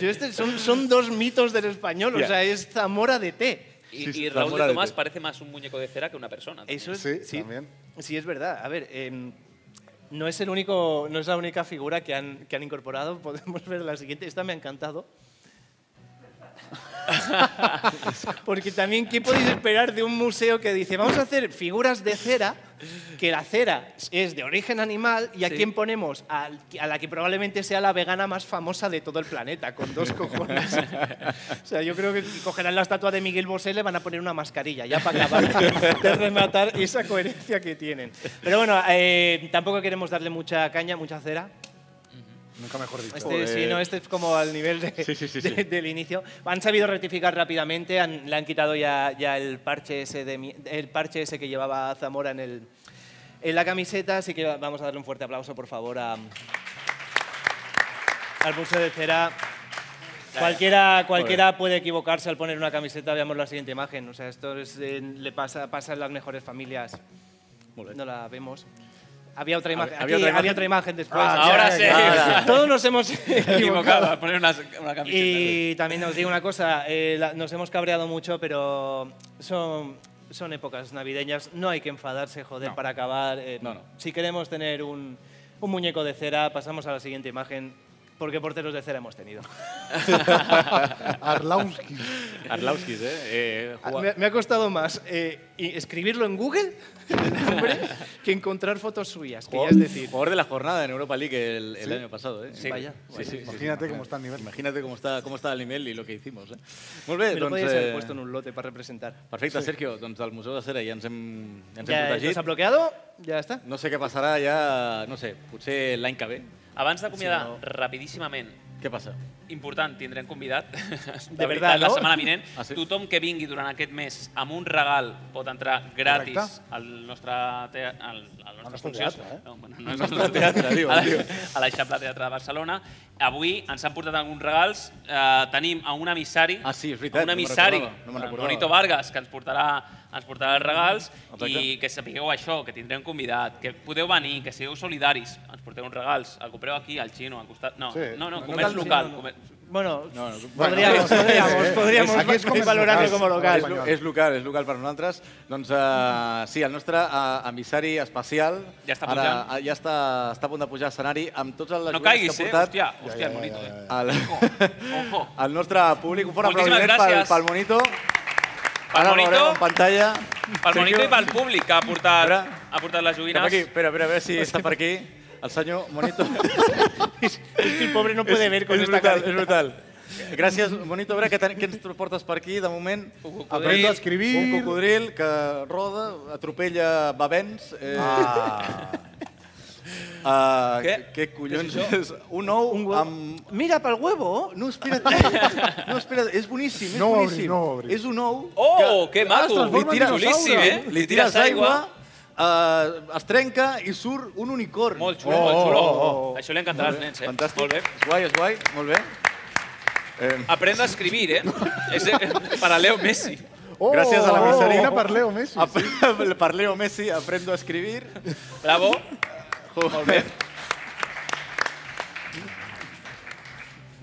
Speaker 8: Yo este- son, son dos mitos del español,
Speaker 4: Ya.
Speaker 8: o sea, es Zamora de té.
Speaker 4: Y, y Raúl de Tomás parece más un muñeco de cera que una persona.
Speaker 8: Eso es,
Speaker 4: también.
Speaker 8: sí, sí, es verdad. A ver, em, no, es el único, no es la única figura que han, que han incorporado. [LAUGHS] Podemos ver la siguiente. Esta me ha encantado. [LAUGHS] Porque también, ¿qué podéis esperar de un museo que dice, vamos a hacer figuras de cera, que la cera es de origen animal, y a
Speaker 4: Sí.
Speaker 8: quién ponemos? Al- a la que probablemente sea la vegana más famosa de todo el planeta, con dos cojones. o sea, yo creo que cogerán la estatua de Miguel Bosé y le van a poner una mascarilla, ya para acabar de rematar esa coherencia que tienen. Pero bueno, eh, tampoco queremos darle mucha caña, mucha cera.
Speaker 3: Nunca mejor
Speaker 2: Pues
Speaker 3: dicho.
Speaker 8: Este, sí, no, este es como al nivel de- de- del inicio. Han sabido rectificar rápidamente, han- le han quitado ya, ya el, parche ese de, mi- el parche ese que llevaba Zamora en, el, en la camiseta, así que vamos a darle un fuerte aplauso, por favor, a- al Museo de Cera. Cualquiera, cualquiera puede equivocarse al poner una camiseta, veamos la siguiente imagen. O sea, esto es, eh, le pasa, pasa en las mejores familias. No la vemos. Había otra imagen.
Speaker 4: había
Speaker 8: aquí,
Speaker 4: otra
Speaker 8: había
Speaker 4: imagen.
Speaker 8: otra imagen después.
Speaker 4: Ah, ahora sí. Ahora.
Speaker 8: [LAUGHS] Todos nos hemos
Speaker 4: [LAUGHS] Equivocado,
Speaker 8: equivocado.
Speaker 4: al poner una, una camiseta.
Speaker 8: Y también os digo una cosa, eh, la- nos hemos cabreado mucho, pero son, son épocas navideñas, no hay que enfadarse, joder, para acabar. eh, Si queremos tener un, un muñeco de cera, pasamos a la siguiente imagen, porque porteros de cera hemos tenido.
Speaker 3: Arlauskis.
Speaker 16: Arlauskis, ¿eh? eh
Speaker 8: Ah,
Speaker 16: jugaba-
Speaker 8: Me, me ha costado más eh, y- escribirlo en Google [LAUGHS] el nombre, que encontrar fotos suyas, que ya es decir.
Speaker 2: Jugador de la jornada en Europa League el, el
Speaker 8: Sí.
Speaker 2: año pasado. ¿eh?
Speaker 8: Sí. Vaya. Vaya.
Speaker 3: Imagínate cómo está el nivel.
Speaker 2: Imagínate cómo està, com està el nivell i el que hicimos. Eh? Molt bé,
Speaker 8: Me lo
Speaker 2: doncs...
Speaker 8: podías haber puesto en un lote para representar.
Speaker 2: Perfecte,
Speaker 8: Sí.
Speaker 2: Sergio, doncs del Museu de Cera ja ens hem, ja ens
Speaker 8: Ya eh,
Speaker 2: hem protegit.
Speaker 8: nos ha bloqueado, ya está.
Speaker 2: No sé què passarà ja, no sé, potser l'any que ve.
Speaker 4: Abans d'acomiadar,
Speaker 2: Si
Speaker 4: rapidíssimament,
Speaker 2: Què passa?
Speaker 4: important, tindrem convidat. De,
Speaker 2: De
Speaker 4: veritat,
Speaker 2: veritat,
Speaker 4: la
Speaker 2: no?
Speaker 4: setmana vinent.
Speaker 2: Ah, sí?
Speaker 4: Tothom que vingui durant aquest mes amb un regal pot entrar gratis
Speaker 2: Correcte.
Speaker 4: al nostre, te al, al nostre,
Speaker 2: nostre
Speaker 4: funció.
Speaker 2: teatre, eh?
Speaker 4: No, bueno,
Speaker 2: Al
Speaker 4: no, no,
Speaker 2: nostre
Speaker 4: no,
Speaker 2: teatre, diu,
Speaker 4: a la-
Speaker 2: diu.
Speaker 4: A l'Eixample Teatre de Barcelona. Avui ens han portat alguns regals. Eh, tenim a un emissari, ah, sí,
Speaker 2: veritat,
Speaker 4: un
Speaker 2: no me'n
Speaker 4: emissari,
Speaker 2: recordava, no me'n
Speaker 4: el
Speaker 2: recordava. Ah,
Speaker 4: Monito Vargas, que ens portarà, ens portarà els regals i
Speaker 2: Exacte.
Speaker 4: que sapigueu això, que tindrem convidat, que podeu venir, que sigueu solidaris, ens porteu uns regals, el compreu aquí, al xino, al costat... No,
Speaker 8: Sí.
Speaker 4: no, no,
Speaker 8: No
Speaker 4: comerç
Speaker 8: cal-
Speaker 4: local.
Speaker 8: sí, no, no.
Speaker 4: comer-
Speaker 8: Bueno,
Speaker 2: No, no,
Speaker 8: podríamos, podríamos, podríamos
Speaker 2: Aquí és com-
Speaker 8: valorarlo
Speaker 2: és-
Speaker 8: como local.
Speaker 2: És, lo- és local, és local per nosaltres. Doncs uh, sí, el nostre uh, emissari especial
Speaker 4: Ja està
Speaker 2: ara,
Speaker 4: pujant.
Speaker 2: ah, ja està, està a punt de pujar a escenari amb tots els
Speaker 4: No
Speaker 2: jugadors
Speaker 4: caiguis,
Speaker 2: que ha
Speaker 4: eh?
Speaker 2: portat.
Speaker 4: Hòstia, hòstia, el monito, eh?
Speaker 2: El,
Speaker 4: Ojo.
Speaker 2: el nostre públic, un fort
Speaker 4: Moltíssimes
Speaker 2: aplaudiment pel,
Speaker 4: gràcies.
Speaker 2: pel Monito.
Speaker 4: Pel
Speaker 2: Ara el
Speaker 4: Monito.
Speaker 2: veureu en pantalla.
Speaker 4: Pel Monito i pel públic que ha portat,
Speaker 2: Espera.
Speaker 4: ha portat les joguines.
Speaker 2: Cap aquí, espera, espera, a veure si està per aquí. El senyor
Speaker 8: [LAUGHS]
Speaker 2: Monito.
Speaker 8: el pobre no puede ver con
Speaker 2: es
Speaker 8: esta
Speaker 2: brutal,
Speaker 8: carita.
Speaker 2: és brutal. Gràcies, Monito. A veure què, ten, què ens portes per aquí, de moment.
Speaker 3: cocodril. Aprendo a escribir.
Speaker 2: Un cocodril que roda, atropella bavens. Eh,
Speaker 3: Ah.
Speaker 2: Ah,
Speaker 8: Què?
Speaker 2: què? què collons
Speaker 8: Què és
Speaker 2: és,
Speaker 8: això?
Speaker 2: un ou amb...
Speaker 8: Mira, pel huevo.
Speaker 2: No, espera't.
Speaker 4: [LAUGHS]
Speaker 2: No, espera't, és boníssim, és
Speaker 3: No ho obri,
Speaker 2: boníssim.
Speaker 3: no ho obri.
Speaker 2: És un ou
Speaker 4: Oh,
Speaker 2: Ara
Speaker 4: que
Speaker 2: es
Speaker 4: maco!
Speaker 2: transforma en dinosaure.
Speaker 4: Xulíssim, eh?
Speaker 2: Li tires aigua, eh, es trenca i surt un unicorn. Molt
Speaker 4: xulo, molt xulo.
Speaker 3: Oh,
Speaker 4: Això li encantarà als nens, eh?
Speaker 2: oh, Fantàstic.
Speaker 4: Molt bé.
Speaker 2: És guai, és guai, molt bé. Em,
Speaker 4: Aprenda a escribir,
Speaker 2: [LAUGHS]
Speaker 4: eh? És eh, per a Leo Messi.
Speaker 2: Gràcies a la
Speaker 3: Marcelina
Speaker 2: Marcelina.
Speaker 3: per Leo Messi.
Speaker 4: Ah,
Speaker 2: Ap- [LAUGHS] per Leo Messi aprendo a escribir.
Speaker 4: Bravo.
Speaker 2: Molt bé.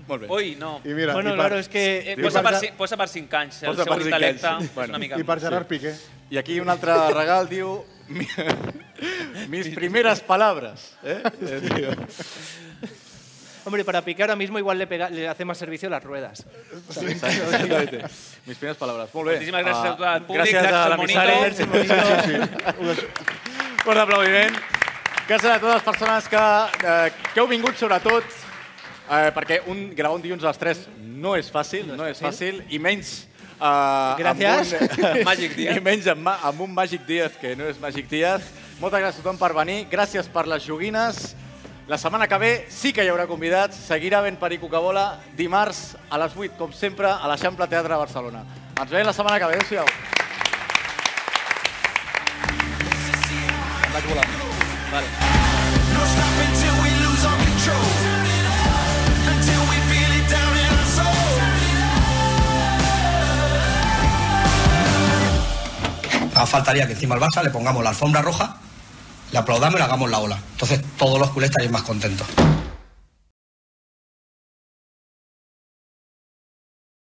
Speaker 2: Molt bé.
Speaker 4: Ui, no.
Speaker 3: I mira, Bueno, i per-
Speaker 2: claro, és que-
Speaker 4: Eh,
Speaker 2: i
Speaker 4: posa,
Speaker 2: per
Speaker 4: per,
Speaker 2: ja-
Speaker 4: ci- posa per 5 anys, eh? el
Speaker 2: Posa
Speaker 4: seu
Speaker 2: per cinc
Speaker 4: intel·lecte
Speaker 2: anys.
Speaker 4: és una mica...
Speaker 2: Piqué. I aquí un altre regal diu... "Mi- [LAUGHS] Mis primeres palabres. Eh? Eh, tio.
Speaker 8: Hombre, para picar ahora mismo igual le, pega- le hace más servicio a las ruedas.
Speaker 2: Exactamente. Mis primeres palabres. Molt bé.
Speaker 8: Moltíssimes gràcies a
Speaker 2: Ah,
Speaker 8: tot el públic,
Speaker 2: gràcies
Speaker 8: gràcies
Speaker 2: a
Speaker 8: al
Speaker 2: l'emissari.
Speaker 8: Monito. Merci, Monito.
Speaker 2: Sí, sí. Fort aplaudiment. Gràcies a totes les persones que, eh, que heu vingut, sobretot, eh, perquè un, gravar un dilluns a les 3 no és fàcil, no és fàcil, i menys eh,
Speaker 8: Gràcies.
Speaker 2: Amb un,
Speaker 8: Magic Díaz.
Speaker 2: I menys amb, ma- amb un Magic Díaz, que no és Magic Díaz. Moltes gràcies a tothom per venir. Gràcies per les joguines. La setmana que ve sí que hi haurà convidats. Seguirà ben Perico que vola dimarts a les 8, com sempre, a l'Eixample Teatre de Barcelona. Ens veiem la setmana que ve. Adéu-siau. Vaig volant. Vale.
Speaker 17: No stop until we lose all control. Until we feel it down in our soul.
Speaker 18: Ah, faltaría que encima al Barça le pongamos la alfombra roja, le aplaudamos y le hagamos la ola. Entonces todos los culés estarían más contentos.